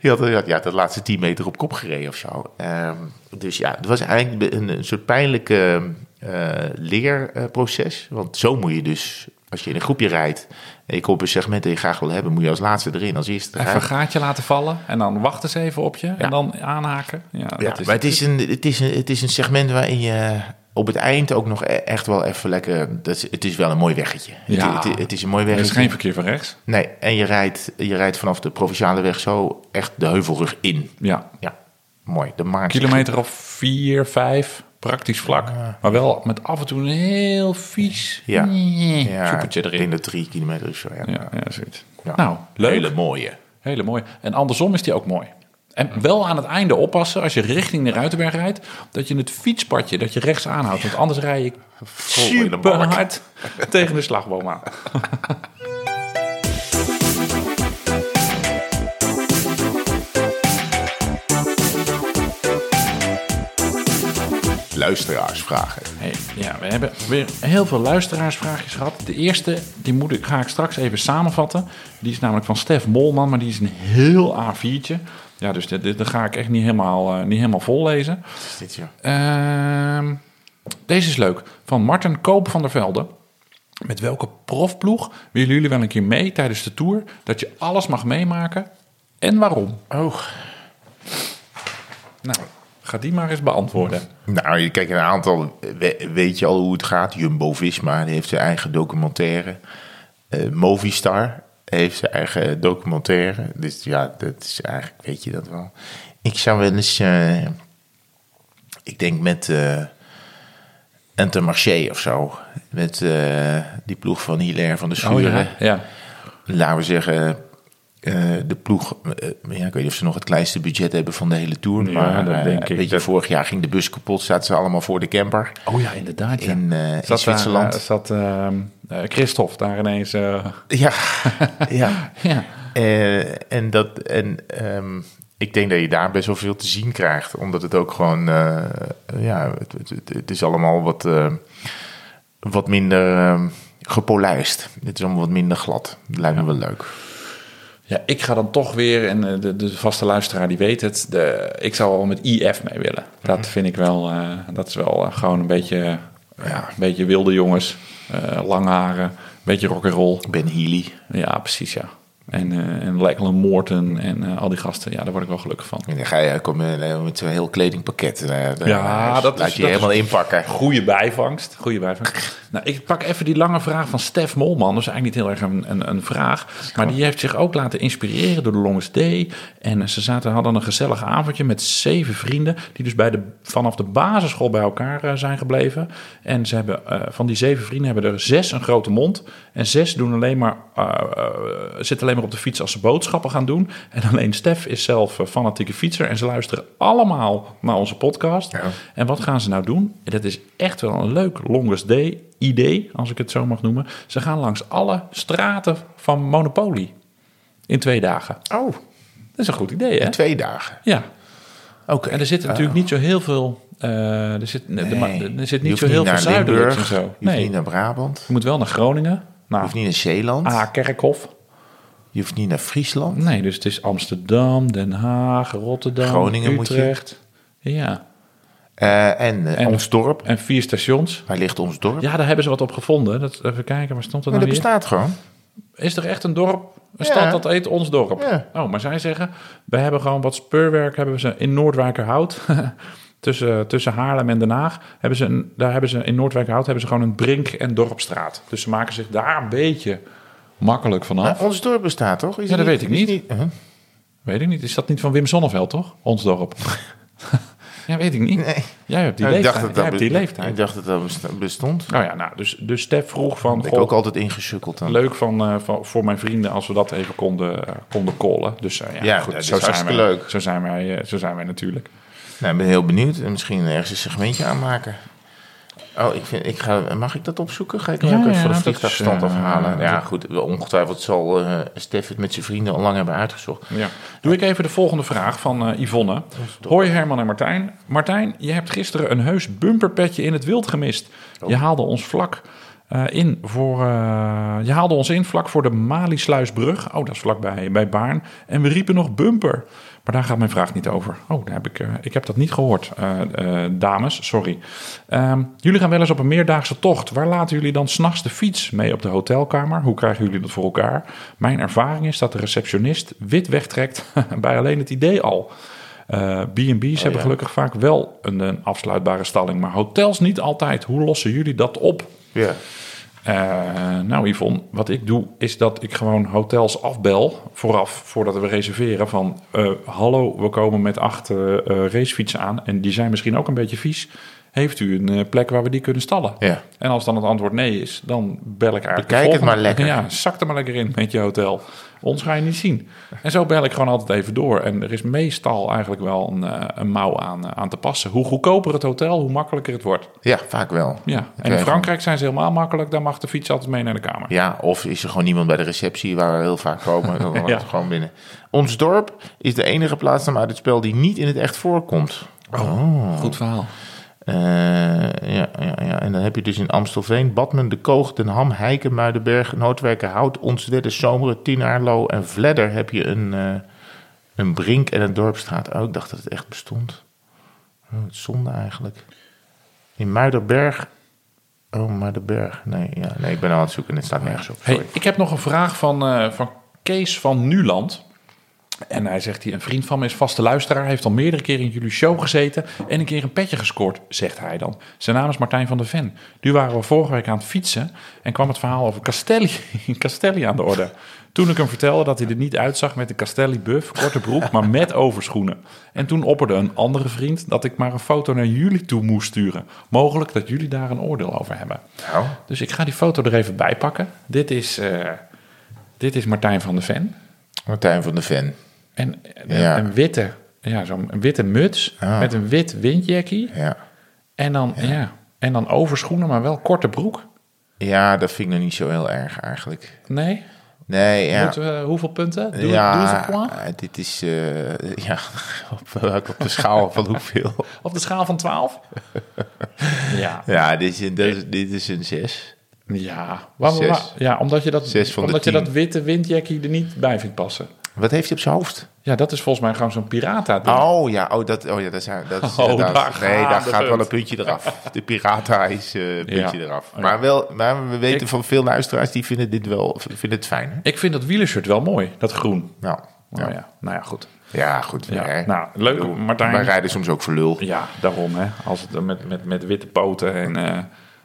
Speaker 2: Die had, die had, ja, dat laatste 10 meter op kop gereden of zo. Ehm, dus ja, het was eigenlijk een, een soort pijnlijke eh, leerproces. Want zo moet je dus, als je in een groepje rijdt... en je komt op een segment dat je graag wil hebben... moet je als laatste erin, als eerste
Speaker 1: Even een
Speaker 2: eruit.
Speaker 1: gaatje laten vallen en dan wachten ze even op je en dan aanhaken. Ja,
Speaker 2: Ja,
Speaker 1: dat is
Speaker 2: maar het is, een, het, is een, het is een segment waarin je op het eind ook nog e- echt wel even lekker... Dat is, het is wel een mooi weggetje.
Speaker 1: Ja.
Speaker 2: Het, het, het is een mooi
Speaker 1: Er
Speaker 2: weggetje.
Speaker 1: is geen verkeer van rechts.
Speaker 2: Nee, en je rijdt, je rijdt vanaf de Provinciale Weg zo echt de heuvelrug in.
Speaker 1: Ja.
Speaker 2: Ja, mooi. De Maartse
Speaker 1: Kilometer of vier, vijf, praktisch vlak. Maar wel met af en toe een heel vies
Speaker 2: Ja. Ja,
Speaker 1: soepeltje
Speaker 2: ik
Speaker 1: erin.
Speaker 2: denk dat drie kilometer is zo. Ja.
Speaker 1: Ja, ja, zoiets.
Speaker 2: Ja.
Speaker 1: Nou, leuk.
Speaker 2: Hele
Speaker 1: Hele.
Speaker 2: mooie.
Speaker 1: mooi. En andersom is die ook mooi. En wel aan het einde oppassen als je richting de Ruitenberg rijdt, dat je het fietspadje dat je rechts aanhoudt. Want anders rij je
Speaker 2: in de
Speaker 1: super
Speaker 2: balk.
Speaker 1: hard tegen de slagboom aan.
Speaker 2: Luisteraarsvragen.
Speaker 1: Hey, ja, we hebben weer heel veel luisteraarsvraagjes gehad. De eerste, die moet ik, ga ik straks even samenvatten. Die is namelijk van Stef Molman, maar die is een heel A4'tje. Ja, dus dit, dit, dat ga ik echt niet helemaal, eh, niet helemaal vollezen.
Speaker 2: Wat is dit, joh?
Speaker 1: Ehm, deze is leuk. Van Martin Koop van der Velde. Met welke profploeg willen jullie wel een keer mee tijdens de tour? Dat je alles mag meemaken en waarom?
Speaker 2: Oh.
Speaker 1: Nou, ga die maar eens beantwoorden.
Speaker 2: Nou, je kijkt een aantal. we- Weet je al hoe het gaat? Jumbo Visma die heeft zijn eigen documentaire. Eh, Movistar heeft zijn eigen documentaire. Dus ja, dat is eigenlijk, weet je dat wel. Ik zou wel eens. eh, ik denk met. eh Intermarché of zo. Met eh, die ploeg van Hilaire van de Schuren
Speaker 1: Oh ja.
Speaker 2: laten we zeggen, eh, de ploeg. eh, ja, ik weet niet of ze nog het kleinste budget hebben van de hele tour.
Speaker 1: Ja,
Speaker 2: maar
Speaker 1: dat
Speaker 2: eh,
Speaker 1: denk ik.
Speaker 2: Weet je, vorig jaar ging de bus kapot, zaten ze allemaal voor de camper.
Speaker 1: Oh ja, inderdaad. Ja.
Speaker 2: In, eh, in
Speaker 1: Zat daar,
Speaker 2: Zwitserland.
Speaker 1: eh, zat ehm, eh, Christophe daar ineens. eh,
Speaker 2: Ja, ja.
Speaker 1: ja.
Speaker 2: Eh, en dat, en ehm, ik denk dat je daar best wel veel te zien krijgt, omdat het ook gewoon, eh, ja, het, het- het, het is allemaal wat, eh, wat minder ehm, gepolijst. Het is allemaal wat minder glad. Dat lijkt me wel leuk.
Speaker 1: ja, ik ga dan toch weer, en eh, de, de vaste luisteraar die weet het, de, ik zou wel met IF mee willen. Dat vind ik wel, eh, dat is wel eh, gewoon een beetje, eh, ja, een beetje wilde jongens, eh lang haren, een beetje rock'n'roll.
Speaker 2: Ben Healy.
Speaker 1: Ja, precies ja. En, eh en Lachlan Morton en eh, al die gasten. Ja, daar word ik wel gelukkig van.
Speaker 2: En dan ga je, kom je eh, met zo'n heel kledingpakket. eh, daar-
Speaker 1: Ja,
Speaker 2: daar
Speaker 1: dat is-
Speaker 2: laat je
Speaker 1: dat
Speaker 2: helemaal inpakken.
Speaker 1: Goede bijvangst. Goede bijvangst. Nou, ik pak even die lange vraag van Stef Molman. Dat is eigenlijk niet heel erg een, een, een vraag. Maar die heeft zich ook laten inspireren door de Longest Day. En ze zaten, hadden een gezellig avondje met zeven vrienden. Die dus bij de, vanaf de basisschool bij elkaar eh, zijn gebleven. En ze hebben, eh, van die zeven vrienden hebben er zes een grote mond. En zes doen alleen maar, eh, eh, zitten alleen maar op de fiets als ze boodschappen gaan doen. En alleen Stef is zelf eh, fanatieke fietser. En ze luisteren allemaal naar onze podcast.
Speaker 2: Ja.
Speaker 1: En wat gaan ze nou doen? En Dat is echt wel een leuk longest day idee, als ik het zo mag noemen. Ze gaan langs alle straten van Monopoly in twee dagen.
Speaker 2: Oh,
Speaker 1: Dat is een goed idee, hè?
Speaker 2: twee dagen.
Speaker 1: Ja.
Speaker 2: Oké. Ah.
Speaker 1: En er zit natuurlijk niet zo heel veel... eh, er, zit, de ma-
Speaker 2: Nee.
Speaker 1: er zit
Speaker 2: Je
Speaker 1: niet
Speaker 2: hoeft
Speaker 1: zo heel veel
Speaker 2: naar
Speaker 1: zuidelijks en
Speaker 2: Limburg,
Speaker 1: zo.
Speaker 2: Je hoeft
Speaker 1: Nee, Ah.
Speaker 2: niet naar Brabant.
Speaker 1: je moet wel naar Groningen,
Speaker 2: Je
Speaker 1: naar
Speaker 2: hoeft niet naar Zeeland.
Speaker 1: A. Kerkhof.
Speaker 2: Je hoeft niet naar Friesland.
Speaker 1: Nee, dus het is Amsterdam, Den Haag, Rotterdam,
Speaker 2: Groningen moet je.
Speaker 1: Utrecht. Ja,
Speaker 2: Eh, en, eh,
Speaker 1: En-
Speaker 2: ons dorp.
Speaker 1: en vier stations.
Speaker 2: Waar ligt ons dorp?
Speaker 1: Ja, daar hebben ze wat op gevonden. Dat, even kijken, waar stond dat
Speaker 2: maar
Speaker 1: nou
Speaker 2: dat
Speaker 1: weer?
Speaker 2: bestaat gewoon.
Speaker 1: Is er echt een dorp, een
Speaker 2: Ja.
Speaker 1: stad dat heet ons dorp?
Speaker 2: Ja.
Speaker 1: Oh, maar zij zeggen, wij hebben gewoon wat speurwerk hebben we ze in Noordwijkerhout. tussen, tussen Haarlem en Den Haag. Hebben ze een, daar hebben ze, in Noordwijkerhout hebben ze gewoon een brink- en dorpstraat. Dus ze maken zich daar een beetje makkelijk vanaf.
Speaker 2: Maar Nou, ons dorp bestaat toch? Is
Speaker 1: Ja,
Speaker 2: het
Speaker 1: dat weet ik
Speaker 2: is
Speaker 1: niet.
Speaker 2: huh?
Speaker 1: Weet ik niet, is dat niet van Wim Sonneveld, toch? Ons dorp. ja, weet ik niet.
Speaker 2: Nee.
Speaker 1: Jij hebt die
Speaker 2: Nou,
Speaker 1: leeftijd.
Speaker 2: ik dacht dat
Speaker 1: Jij
Speaker 2: dat
Speaker 1: hebt die
Speaker 2: be-
Speaker 1: leeftijd.
Speaker 2: Ik dacht dat dat besta- bestond.
Speaker 1: Nou ja, nou, dus, dus Stef vroeg van...
Speaker 2: Ben ik
Speaker 1: goh,
Speaker 2: ook altijd ingesukkeld dan.
Speaker 1: Leuk van, eh, van, voor mijn vrienden als we dat even konden, eh, konden callen. Dus eh, ja,
Speaker 2: Ja,
Speaker 1: goed,
Speaker 2: dat is
Speaker 1: zo, zijn wij,
Speaker 2: hartstikke leuk.
Speaker 1: Zo, zijn wij, eh, zo zijn wij natuurlijk.
Speaker 2: Nou, ik ben heel benieuwd. En Misschien ergens een segmentje aanmaken. Oh, ik vind, ik ga, mag ik dat opzoeken? Ga ik hem
Speaker 1: Ja,
Speaker 2: ook even
Speaker 1: ja,
Speaker 2: van de
Speaker 1: dat
Speaker 2: vliegtuigstand
Speaker 1: is, eh,
Speaker 2: afhalen? Ja,
Speaker 1: dat-
Speaker 2: goed. Ongetwijfeld zal eh Stef het met zijn vrienden al lang hebben uitgezocht.
Speaker 1: Ja. Doe ik even de volgende vraag van eh, Yvonne. Hoi Herman en Martijn. Martijn, je hebt gisteren een heus bumperpetje in het wild gemist. Je haalde ons vlak eh, in voor, eh, je haalde ons in vlak voor de Malisluisbrug. Oh, dat is vlakbij bij Baarn. En we riepen nog bumper. Maar daar gaat mijn vraag niet over. Oh, daar heb ik, eh, ik heb dat niet gehoord, eh, eh, dames. Sorry. Ehm, jullie gaan wel eens op een meerdaagse tocht. Waar laten jullie dan s'nachts de fiets mee op de hotelkamer? Hoe krijgen jullie dat voor elkaar? Mijn ervaring is dat de receptionist wit wegtrekt bij alleen het idee al. Eh, B&B's hebben
Speaker 2: ja.
Speaker 1: gelukkig vaak wel een, een afsluitbare stalling, maar hotels niet altijd. Hoe lossen jullie dat op?
Speaker 2: Ja.
Speaker 1: Eh, nou, Yvonne, wat ik doe is dat ik gewoon hotels afbel vooraf, voordat we reserveren. Van eh, hallo, we komen met acht eh, eh, racefietsen aan en die zijn misschien ook een beetje vies. Heeft u een eh, plek waar we die kunnen stallen?
Speaker 2: Ja.
Speaker 1: En als dan het antwoord nee is, dan bel ik eigenlijk. de
Speaker 2: Bekijk het
Speaker 1: volgende.
Speaker 2: maar lekker.
Speaker 1: Ja, zak er maar lekker in met je hotel. Ons ga je niet zien. En zo bel ik gewoon altijd even door. En er is meestal eigenlijk wel een, eh, een mouw aan, eh, aan te passen. Hoe goedkoper het hotel, hoe makkelijker het wordt.
Speaker 2: ja, vaak wel.
Speaker 1: Ja, en in
Speaker 2: krijgen-
Speaker 1: Frankrijk zijn ze helemaal makkelijk. Daar mag de fiets altijd mee naar de kamer.
Speaker 2: Ja, of is er gewoon niemand bij de receptie waar we heel vaak komen. Dan wordt
Speaker 1: Ja.
Speaker 2: het gewoon binnen. Ons dorp is de enige plaatsnaam uit het spel die niet in het echt voorkomt. Oh.
Speaker 1: Goed verhaal.
Speaker 2: Eh, ja, ja, ja, en dan heb je dus in Amstelveen, Badmen, De Koog, Den Ham, Heiken, Muidenberg, Noordwijken, Hout, Onstwedde, Zomeren, Tienaarlo en Vledder heb je een, eh, een brink en een dorpstraat. Oh, ik dacht dat het echt bestond. Oh, wat zonde eigenlijk. In Muidenberg. Oh, Muidenberg. Nee, ja, nee, ik ben al aan het zoeken en het staat nergens op. Sorry.
Speaker 1: Hey, ik heb nog een vraag van, eh, van Kees van Nuland. En hij zegt hier, een vriend van me is vaste luisteraar, heeft al meerdere keren in jullie show gezeten en een keer een petje gescoord, zegt hij dan. Zijn naam is Martijn van der Ven. Nu waren we vorige week aan het fietsen en kwam het verhaal over Castelli, Castelli aan de orde. Toen ik hem vertelde dat hij er niet uitzag met een Castelli buff, korte broek, maar met overschoenen. En toen opperde een andere vriend dat ik maar een foto naar jullie toe moest sturen. Mogelijk dat jullie daar een oordeel over hebben.
Speaker 2: Nou,
Speaker 1: Dus ik ga die foto er even bij pakken. Dit is, eh, dit is Martijn van de Ven.
Speaker 2: Martijn van de Ven.
Speaker 1: En en-
Speaker 2: Ja.
Speaker 1: een witte, ja, zo'n een witte muts
Speaker 2: Ah.
Speaker 1: met een wit windjackie.
Speaker 2: Ja.
Speaker 1: En dan, ja. en dan overschoenen, maar wel korte broek.
Speaker 2: ja, dat vind ik nog niet zo heel erg eigenlijk.
Speaker 1: Nee?
Speaker 2: Nee, ja.
Speaker 1: Moeten we- eh, hoeveel punten? Doe, doe eens een
Speaker 2: ja,
Speaker 1: point.
Speaker 2: eh, dit is eh, ja, op, welk- op de schaal van hoeveel?
Speaker 1: Op de schaal van 12? ja.
Speaker 2: Ja, dit is, een- dit is, dit is een 6.
Speaker 1: Ja. Waar- waar-
Speaker 2: Zes.
Speaker 1: ja, omdat je dat,
Speaker 2: Zes van de
Speaker 1: omdat je
Speaker 2: tien.
Speaker 1: dat witte windjackie er niet bij vindt passen.
Speaker 2: Wat heeft hij op zijn hoofd?
Speaker 1: Ja, dat is volgens mij gewoon zo'n pirata.
Speaker 2: Oh ja, oh, dat, oh, ja, dat, is, dat is
Speaker 1: Oh,
Speaker 2: inderdaad-
Speaker 1: daar
Speaker 2: Nee,
Speaker 1: gaat
Speaker 2: daar
Speaker 1: het.
Speaker 2: gaat wel een puntje eraf. De pirata is eh, een puntje
Speaker 1: Ja.
Speaker 2: eraf.
Speaker 1: Ja.
Speaker 2: Maar, wel, maar we weten
Speaker 1: Ik-
Speaker 2: van veel luisteraars, die vinden dit wel vinden het fijn. Hè?
Speaker 1: Ik vind dat wielershirt wel mooi, dat groen.
Speaker 2: Nou,
Speaker 1: Nou
Speaker 2: ja.
Speaker 1: ja, nou ja goed.
Speaker 2: ja, goed.
Speaker 1: Ja.
Speaker 2: hè.
Speaker 1: Nou, leuk,
Speaker 2: Ik bedoel,
Speaker 1: Martijn.
Speaker 2: Wij rijden soms ook voor lul.
Speaker 1: Ja, daarom hè. Als het eh, met, met, met witte poten en... eh,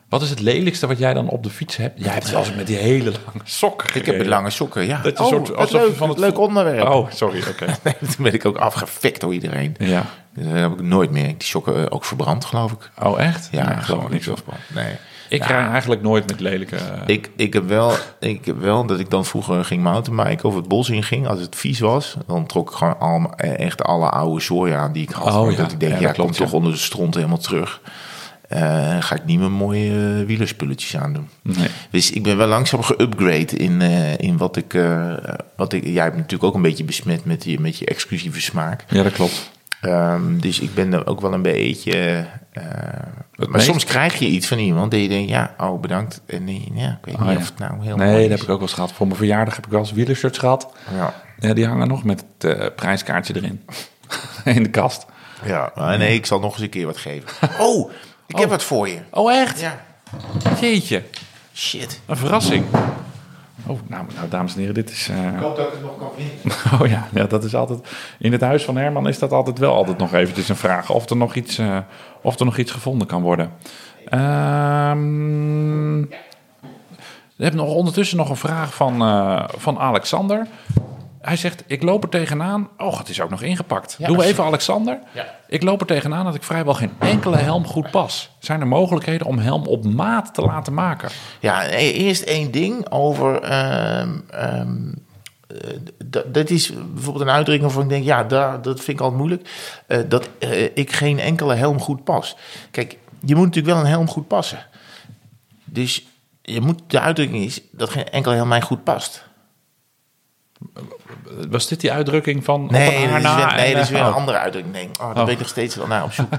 Speaker 1: wat is het lelijkste wat jij dan op de fiets hebt? Jij hebt zelfs met die hele lange sokken
Speaker 2: Ik heb
Speaker 1: gereden.
Speaker 2: lange sokken, ja. Oh,
Speaker 1: Dat je een soort-
Speaker 2: wat
Speaker 1: alsof je
Speaker 2: leuk,
Speaker 1: van
Speaker 2: wat
Speaker 1: het-
Speaker 2: leuk onderwerp.
Speaker 1: Oh, sorry, oké.
Speaker 2: Nee, toen ben ik ook afgefikt door iedereen.
Speaker 1: Ja.
Speaker 2: Dat Eh, heb ik nooit meer. Ik Die sokken eh, ook verbrand, geloof ik.
Speaker 1: Oh, echt?
Speaker 2: Ja,
Speaker 1: Nee,
Speaker 2: gewoon niks
Speaker 1: van.
Speaker 2: afbrand. Nee.
Speaker 1: Ik
Speaker 2: Ja,
Speaker 1: rij eigenlijk nooit met lelijke... eh,
Speaker 2: ik, ik, heb wel, ik heb wel dat ik dan vroeger ging mountainbiken of het bos in ging. Als het vies was, dan trok ik gewoon al, eh, echt alle oude zooi aan die ik had.
Speaker 1: Oh,
Speaker 2: Want
Speaker 1: ja.
Speaker 2: Dat ik denk,
Speaker 1: Ja,
Speaker 2: ja,
Speaker 1: dat
Speaker 2: ik kom
Speaker 1: klopt,
Speaker 2: toch
Speaker 1: ja.
Speaker 2: onder de stront helemaal terug. Eh, ga ik niet meer mooie eh, wielerspulletjes aandoen.
Speaker 1: Nee.
Speaker 2: Dus ik ben wel langzaam geüpgrade in, eh, in wat, ik, eh, wat ik... Jij hebt natuurlijk ook een beetje besmet met, die, met je exclusieve smaak.
Speaker 1: Ja, dat klopt.
Speaker 2: Ehm, dus ik ben er ook wel een beetje. eh, maar
Speaker 1: meest-
Speaker 2: soms krijg je iets van iemand dat je denkt, ja, oh bedankt. En eh, ja, ik weet
Speaker 1: Oh,
Speaker 2: niet
Speaker 1: ja.
Speaker 2: of het nou heel
Speaker 1: Nee,
Speaker 2: mooi
Speaker 1: dat
Speaker 2: is.
Speaker 1: heb ik ook wel eens gehad. Voor mijn verjaardag heb ik wel eens wielershirts gehad.
Speaker 2: Ja.
Speaker 1: Ja, die hangen nog met het eh, prijskaartje erin. In de kast.
Speaker 2: Ja, maar nee, ik zal nog eens een keer wat geven. Oh, ik heb wat voor je.
Speaker 1: Oh, echt?
Speaker 2: Ja,
Speaker 1: Jeetje,
Speaker 2: shit.
Speaker 1: een verrassing. Oh, nou, nou dames en heren, dit is... eh,
Speaker 2: Ik hoop dat ik het nog kan vinden.
Speaker 1: Oh ja, ja, dat is altijd... In het huis van Herman is dat altijd wel altijd nog eventjes een vraag. Of er nog iets, eh, of er nog iets gevonden kan worden. Ehm, we hebben nog ondertussen nog een vraag van, eh, van Alexander. Hij zegt, ik loop er tegenaan... Oh, het is ook nog ingepakt. Doe even Alexander.
Speaker 2: Ja.
Speaker 1: Ik loop er tegenaan dat ik vrijwel geen enkele helm goed pas. Zijn er mogelijkheden om helm op maat te laten maken?
Speaker 2: Ja, e- eerst één ding over. ehm, ehm, eh, d- dat is bijvoorbeeld een uitdrukking waarvan ik denk, ja, daar, dat vind ik altijd moeilijk. eh, dat eh, ik geen enkele helm goed pas. Kijk, je moet natuurlijk wel een helm goed passen. Dus je moet, de uitdrukking is dat geen enkele helm mij goed past.
Speaker 1: Was dit die uitdrukking van... op
Speaker 2: Nee,
Speaker 1: een
Speaker 2: dat
Speaker 1: haar
Speaker 2: is weer,
Speaker 1: na
Speaker 2: nee,
Speaker 1: en,
Speaker 2: dat is weer
Speaker 1: eh,
Speaker 2: een
Speaker 1: oh,
Speaker 2: andere uitdrukking. Nee, oh, daar
Speaker 1: Oh.
Speaker 2: ben ik nog steeds wel naar op zoek.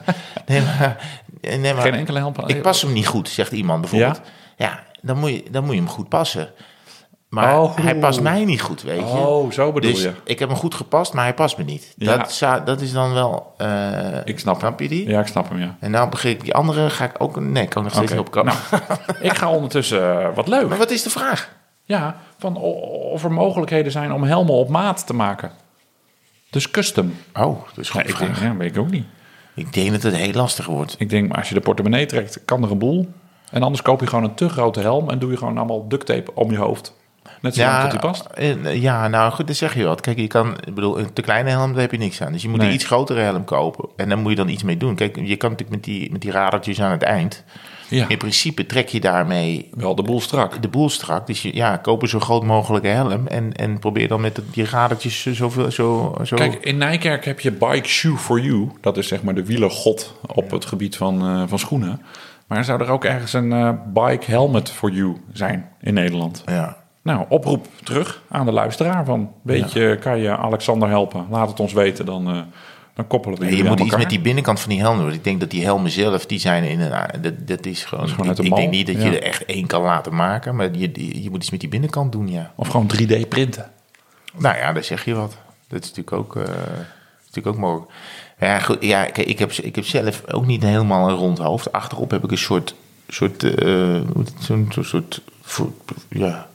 Speaker 2: nee, maar, nee, maar,
Speaker 1: Geen enkele helm.
Speaker 2: Ik pas hem niet goed, zegt iemand bijvoorbeeld. Ja, dan, moet je, dan moet je hem goed passen. Maar
Speaker 1: Oh.
Speaker 2: hij past mij niet goed, weet je.
Speaker 1: Oh, zo bedoel
Speaker 2: dus
Speaker 1: je.
Speaker 2: ik heb hem goed gepast, maar hij past me niet.
Speaker 1: Ja.
Speaker 2: Dat, zou, dat is dan wel... eh,
Speaker 1: Ik snap hem.
Speaker 2: Snap je die?
Speaker 1: Ja, ik snap hem, ja.
Speaker 2: En nou begreep ik die andere, ga ik ook... Nee, kan ik nog steeds
Speaker 1: Oké.
Speaker 2: niet opkomen.
Speaker 1: Nou, ik ga ondertussen eh, wat leuk.
Speaker 2: Maar wat is de vraag?
Speaker 1: Ja, van o- of er mogelijkheden zijn om helmen op maat te maken. Dus custom.
Speaker 2: Oh, dat is
Speaker 1: Ja,
Speaker 2: goed.
Speaker 1: ik
Speaker 2: vraag.
Speaker 1: denk, ja, weet ik ook niet.
Speaker 2: ik denk dat het heel lastig wordt.
Speaker 1: Ik denk, maar als je de portemonnee trekt, kan er een boel. En anders koop je gewoon een te grote helm en doe je gewoon allemaal duct tape om je hoofd. Net zolang tot die past.
Speaker 2: eh, ja, nou goed, dan zeg je wat. Kijk, je kan, ik bedoel, een te kleine helm, daar heb je niks aan. Dus je moet
Speaker 1: Nee.
Speaker 2: een iets grotere helm kopen. En dan moet je dan iets mee doen. Kijk, je kan natuurlijk met die, met die radertjes aan het eind.
Speaker 1: Ja,
Speaker 2: In principe trek je daarmee
Speaker 1: wel de boel strak.
Speaker 2: de boel strak. Dus je, ja, koop een zo groot mogelijke helm. En, en probeer dan met die radertjes zoveel, zo, zo...
Speaker 1: Kijk, in Nijkerk heb je Bike Shoe for You. Dat is zeg maar de wielergod op het gebied van, eh, van schoenen. Maar zou er ook ergens een eh, Bike Helmet for You zijn in Nederland?
Speaker 2: ja.
Speaker 1: Nou, oproep terug aan de luisteraar van... weet je, kan je Alexander helpen? Laat het ons weten, dan, eh, dan koppelen we
Speaker 2: En je
Speaker 1: jullie
Speaker 2: moet
Speaker 1: aan
Speaker 2: iets
Speaker 1: elkaar.
Speaker 2: met die binnenkant van die helm doen. Ik denk dat die helmen zelf, die zijn in een... ah, Dat, dat is gewoon...
Speaker 1: gewoon uit
Speaker 2: ik
Speaker 1: de
Speaker 2: ik denk
Speaker 1: mal,
Speaker 2: niet dat
Speaker 1: ja.
Speaker 2: je er echt één kan laten maken. Maar je, je, je moet iets met die binnenkant doen, ja.
Speaker 1: Of gewoon 3D printen.
Speaker 2: Nou ja, daar zeg je wat. Dat is natuurlijk ook, eh, is natuurlijk ook mogelijk. Ja, goed, ja kijk, ik, heb, ik heb zelf ook niet helemaal een rond hoofd. Achterop heb ik een soort. soort eh, hoe heet het? zo'n zo'n soort. vo- ja.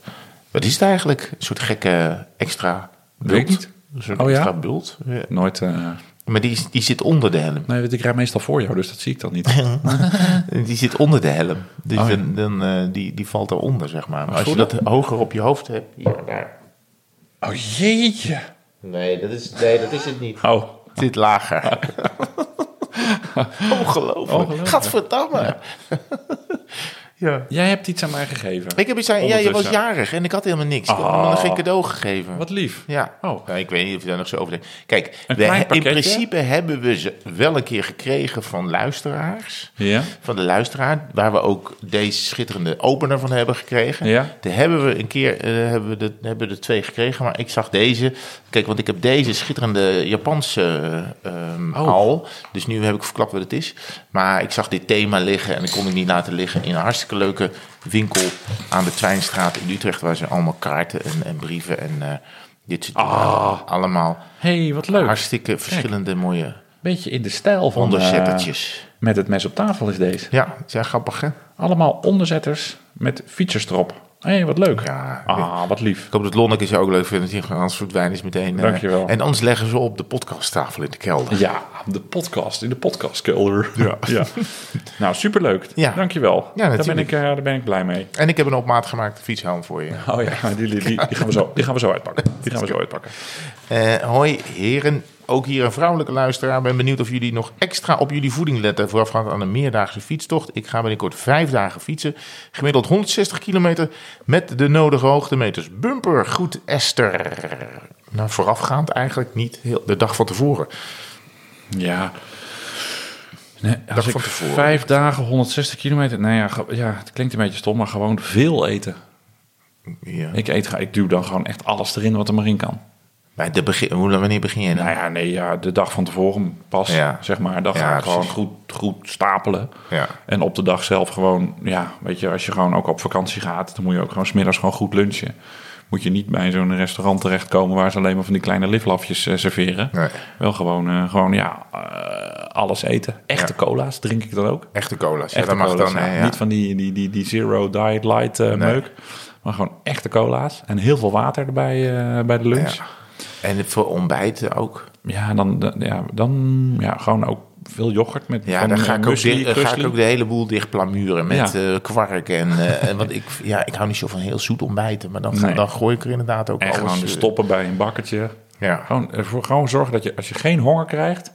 Speaker 2: Wat is het eigenlijk? Een soort gekke extra. Bult.
Speaker 1: Weet ik niet.
Speaker 2: Een soort
Speaker 1: Oh ja?
Speaker 2: extra bult. Ja.
Speaker 1: Nooit... eh,
Speaker 2: Maar die, is- die zit onder de helm.
Speaker 1: nee, weet ik rij meestal voor jou, dus dat zie ik dan niet.
Speaker 2: Die zit onder de helm. Dus
Speaker 1: Oh ja.
Speaker 2: dan, dan, eh, die, die valt eronder, zeg maar. Maar als je
Speaker 1: goed.
Speaker 2: dat hoger op je hoofd hebt. Ja, daar.
Speaker 1: Oh, jeetje.
Speaker 2: Nee, dat is, nee, dat is het niet.
Speaker 1: Oh,
Speaker 2: zit lager. Ongelooflijk.
Speaker 1: Ongelooflijk.
Speaker 2: Gadverdamme. Ja.
Speaker 1: jij hebt iets aan mij gegeven.
Speaker 2: Ik heb iets aan, ja, je was
Speaker 1: Ondertussen. Oh.
Speaker 2: jarig en ik had helemaal niks. Ik had me nog geen cadeau gegeven.
Speaker 1: Wat lief.
Speaker 2: Ja.
Speaker 1: Oh.
Speaker 2: Nou, ik weet niet of je daar nog zo over denkt. Kijk,
Speaker 1: Een
Speaker 2: we-
Speaker 1: klein
Speaker 2: in
Speaker 1: pakketje?
Speaker 2: principe hebben we ze wel een keer gekregen van luisteraars.
Speaker 1: Ja?
Speaker 2: Van de luisteraar, waar we ook deze schitterende opener van hebben gekregen.
Speaker 1: Ja.
Speaker 2: Daar hebben we een keer eh, hebben we de, hebben we er twee gekregen, maar ik zag deze. Kijk, want ik heb deze schitterende Japanse eh, ehm,
Speaker 1: Oh.
Speaker 2: al. Dus nu heb ik verklapt wat het is. Maar ik zag dit thema liggen en ik kon het niet laten liggen in een hartstikke leuke winkel aan de Twijnstraat in Utrecht, waar ze allemaal kaarten en, en brieven en. eh, Dit soort
Speaker 1: Ah.
Speaker 2: allemaal
Speaker 1: Hé, hey, wat leuk.
Speaker 2: hartstikke verschillende mooie
Speaker 1: Beetje in de stijl van... eh
Speaker 2: onderzettertjes.
Speaker 1: met het mes op tafel is deze.
Speaker 2: Ja, zijn grappig hè?
Speaker 1: Allemaal onderzetters met fietsers erop. Hé, hey, wat leuk.
Speaker 2: Ja,
Speaker 1: ah, wat lief.
Speaker 2: Ik hoop dat Lonneke ze ook leuk vindt. want die- Anders verdwijnen is meteen. eh,
Speaker 1: Dankjewel.
Speaker 2: En anders leggen ze op de podcasttafel in de kelder.
Speaker 1: Ja, de podcast in de podcastkelder. Ja. ja. Nou, superleuk.
Speaker 2: Ja.
Speaker 1: Dankjewel. daar, ben
Speaker 2: natuurlijk.
Speaker 1: ik, eh, daar ben ik blij mee.
Speaker 2: En ik heb een op maat gemaakte fietshelm voor je.
Speaker 1: Oh ja, die, die, die, die gaan, we zo, die gaan we zo uitpakken. Die gaan we zo uitpakken.
Speaker 2: Eh, hoi heren, ook hier een vrouwelijke luisteraar. Ben benieuwd of jullie nog extra op jullie voeding letten voorafgaand aan een meerdaagse fietstocht. Ik ga binnenkort vijf dagen fietsen, gemiddeld 160 kilometer met de nodige hoogtemeters. Bumper, goed Esther. Nou, voorafgaand eigenlijk niet heel de dag van tevoren.
Speaker 1: Ja. Nee, als ik
Speaker 2: van tevoren.
Speaker 1: vijf dagen 160 kilometer... Nou ja, ge- ja, het klinkt een beetje stom, maar gewoon veel eten.
Speaker 2: Ja.
Speaker 1: Ik, eet, ga- ik duw dan gewoon echt alles erin wat er maar in kan.
Speaker 2: Maar de begin, hoe- wanneer begin je nou?
Speaker 1: Nou ja, nee, ja, de dag van tevoren pas,
Speaker 2: Ja.
Speaker 1: zeg maar. Dan
Speaker 2: Ja,
Speaker 1: ga ik gewoon
Speaker 2: precies.
Speaker 1: goed, goed stapelen.
Speaker 2: Ja.
Speaker 1: En op de dag zelf gewoon, ja, weet je, als je gewoon ook op vakantie gaat... dan moet je ook gewoon smiddags gewoon goed lunchen. Moet je niet bij zo'n restaurant terechtkomen... waar ze alleen maar van die kleine liflafjes eh, serveren.
Speaker 2: Nee.
Speaker 1: Wel gewoon, eh, gewoon ja, eh, alles eten. Echte cola's drink ik dan ook.
Speaker 2: Echte cola's. Ja,
Speaker 1: Echte
Speaker 2: dat mag
Speaker 1: cola's,
Speaker 2: dan.
Speaker 1: ja.
Speaker 2: hè, ja.
Speaker 1: Niet van die, die, die, die zero diet light eh, meuk. Maar gewoon echte cola's. En heel veel water erbij eh, bij de lunch.
Speaker 2: Ja. En voor ontbijten ook.
Speaker 1: Ja, dan, dan- ja, dan ja, gewoon ook veel yoghurt met
Speaker 2: Ja,
Speaker 1: van,
Speaker 2: dan ga
Speaker 1: eh,
Speaker 2: ik, ook
Speaker 1: muesli,
Speaker 2: dicht- eh, ga
Speaker 1: krusli.
Speaker 2: ik ook de hele boel dicht plamuren met
Speaker 1: Ja.
Speaker 2: eh, kwark. En, eh, en want ik, ja, ik hou niet zo van heel zoet ontbijten. Maar dan, ga-
Speaker 1: Nee.
Speaker 2: dan gooi ik er inderdaad ook
Speaker 1: En
Speaker 2: alles.
Speaker 1: gewoon de
Speaker 2: eh,
Speaker 1: stoppen bij een bakkertje.
Speaker 2: Ja.
Speaker 1: Gewoon, ervoor, gewoon zorgen dat je, als je geen honger krijgt...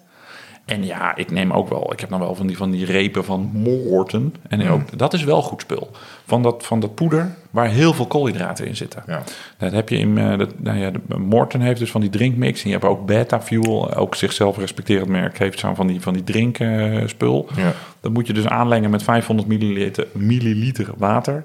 Speaker 1: En ja, ik neem ook wel... Ik heb dan wel van die, van die repen van Morten. En
Speaker 2: Mm.
Speaker 1: ook, dat is wel goed spul. Van dat, van dat poeder waar heel veel koolhydraten in zitten.
Speaker 2: Ja.
Speaker 1: Dat heb je in... eh, dat, nou ja, de, Morten heeft dus van die drinkmix. En je hebt ook Beta Fuel. eh, Ook zichzelf respecterend merk heeft zo'n van die, van die drinkspul.
Speaker 2: Ja.
Speaker 1: Dat moet je dus aanlengen met 500 milliliter, milliliter water.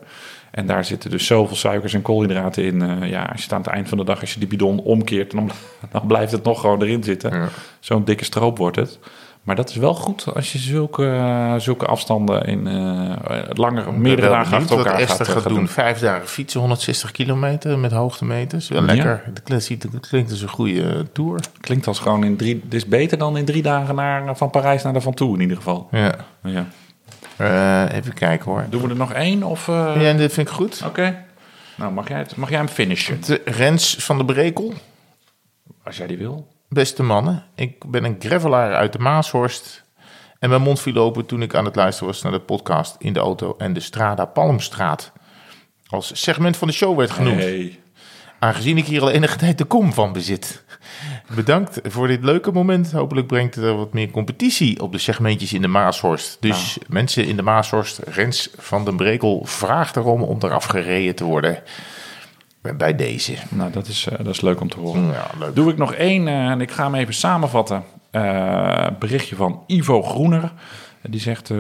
Speaker 1: En daar zitten dus zoveel suikers en koolhydraten in. Eh, ja, als je het aan het eind van de dag, als je die bidon omkeert, dan, dan blijft het nog gewoon erin zitten.
Speaker 2: Ja.
Speaker 1: Zo'n dikke stroop wordt het. Maar dat is wel goed als je zulke, eh, zulke afstanden in eh langere,
Speaker 2: Ik ben
Speaker 1: meerdere
Speaker 2: wel
Speaker 1: dagen
Speaker 2: benieuwd
Speaker 1: achter elkaar gaat,
Speaker 2: wat Esther
Speaker 1: eh,
Speaker 2: gaat,
Speaker 1: gaat
Speaker 2: doen. Vijf dagen fietsen, 160 kilometer met hoogtemeters. Wel
Speaker 1: Ja.
Speaker 2: lekker. Dat klinkt, ziet- dat klinkt als een goede eh, tour.
Speaker 1: Klinkt als gewoon in drie. Dit is beter dan in drie dagen naar, van Parijs naar daarvan toe in ieder geval.
Speaker 2: Ja.
Speaker 1: Ja.
Speaker 2: Eh, even kijken hoor.
Speaker 1: Doen we er nog één? Of, eh,
Speaker 2: Ja, en dit vind ik goed.
Speaker 1: Oké. Nou, mag jij, het, mag jij hem finishen?
Speaker 2: De Rens van de Brekel.
Speaker 1: Als jij die wil.
Speaker 2: Beste mannen, ik ben een gravelaar uit de Maashorst. En mijn mond viel open toen ik aan het luisteren was naar de podcast in de auto en de Strada Palmstraat. Als segment van de show werd genoemd.
Speaker 1: Nee.
Speaker 2: Aangezien ik hier al enige tijd de kom van bezit. Bedankt voor dit leuke moment. Hopelijk brengt het er wat meer competitie op de segmentjes in de Maashorst. Dus
Speaker 1: Nou.
Speaker 2: mensen in de Maashorst, Rens van den Brekel vraagt erom om eraf gereden te worden. Bij deze.
Speaker 1: Nou, dat is, eh, dat is leuk om te horen.
Speaker 2: Ja, leuk.
Speaker 1: Doe ik nog één eh, en ik ga hem even samenvatten. Eh, berichtje van Ivo Groener. Die zegt, eh,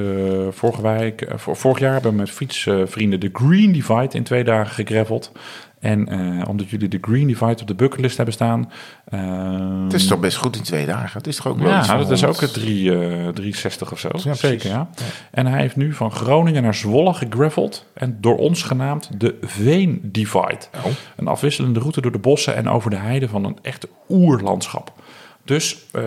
Speaker 1: vorige week, eh, vor- vorig jaar hebben we met fietsvrienden de Green Divide in twee dagen gegraveld. En eh, omdat jullie de Green Divide op de bucketlist hebben staan... eh,
Speaker 2: Het is toch best goed in twee dagen. Het is toch ook wel iets
Speaker 1: ja,
Speaker 2: van
Speaker 1: dat is ook
Speaker 2: 100.
Speaker 1: het 3, eh 360 of zo.
Speaker 2: precies.
Speaker 1: Zeker, ja. En hij heeft nu van Groningen naar Zwolle gegraveld. En door ons genaamd de Veen Divide. Een afwisselende route door de bossen en over de heide van een echt oerlandschap. Dus eh,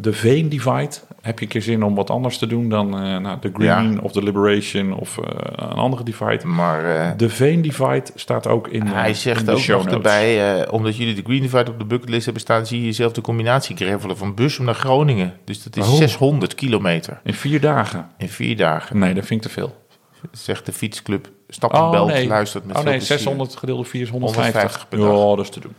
Speaker 1: de Veen Divide. Heb je een keer zin om wat anders te doen dan eh, nou, de Green of de Liberation of eh, een andere divide?
Speaker 2: Maar eh,
Speaker 1: De Veen Divide staat ook in, eh,
Speaker 2: hij
Speaker 1: in
Speaker 2: zegt
Speaker 1: de
Speaker 2: ook
Speaker 1: show
Speaker 2: nog
Speaker 1: notes.
Speaker 2: erbij, eh, omdat jullie de Green Divide op de bucketlist hebben staan, zie je jezelf de combinatie gravelen van Bussum naar Groningen. Dus dat is
Speaker 1: Oh.
Speaker 2: 600 kilometer
Speaker 1: In vier dagen.
Speaker 2: in vier dagen,
Speaker 1: Nee, dat vind ik te veel.
Speaker 2: zegt de fietsclub. Stap en belt, luistert met
Speaker 1: oh,
Speaker 2: veel
Speaker 1: nee
Speaker 2: plezier.
Speaker 1: 600 gedeeld door 4 is 150.
Speaker 2: 150 per dag.
Speaker 1: Ja, dat is te doen.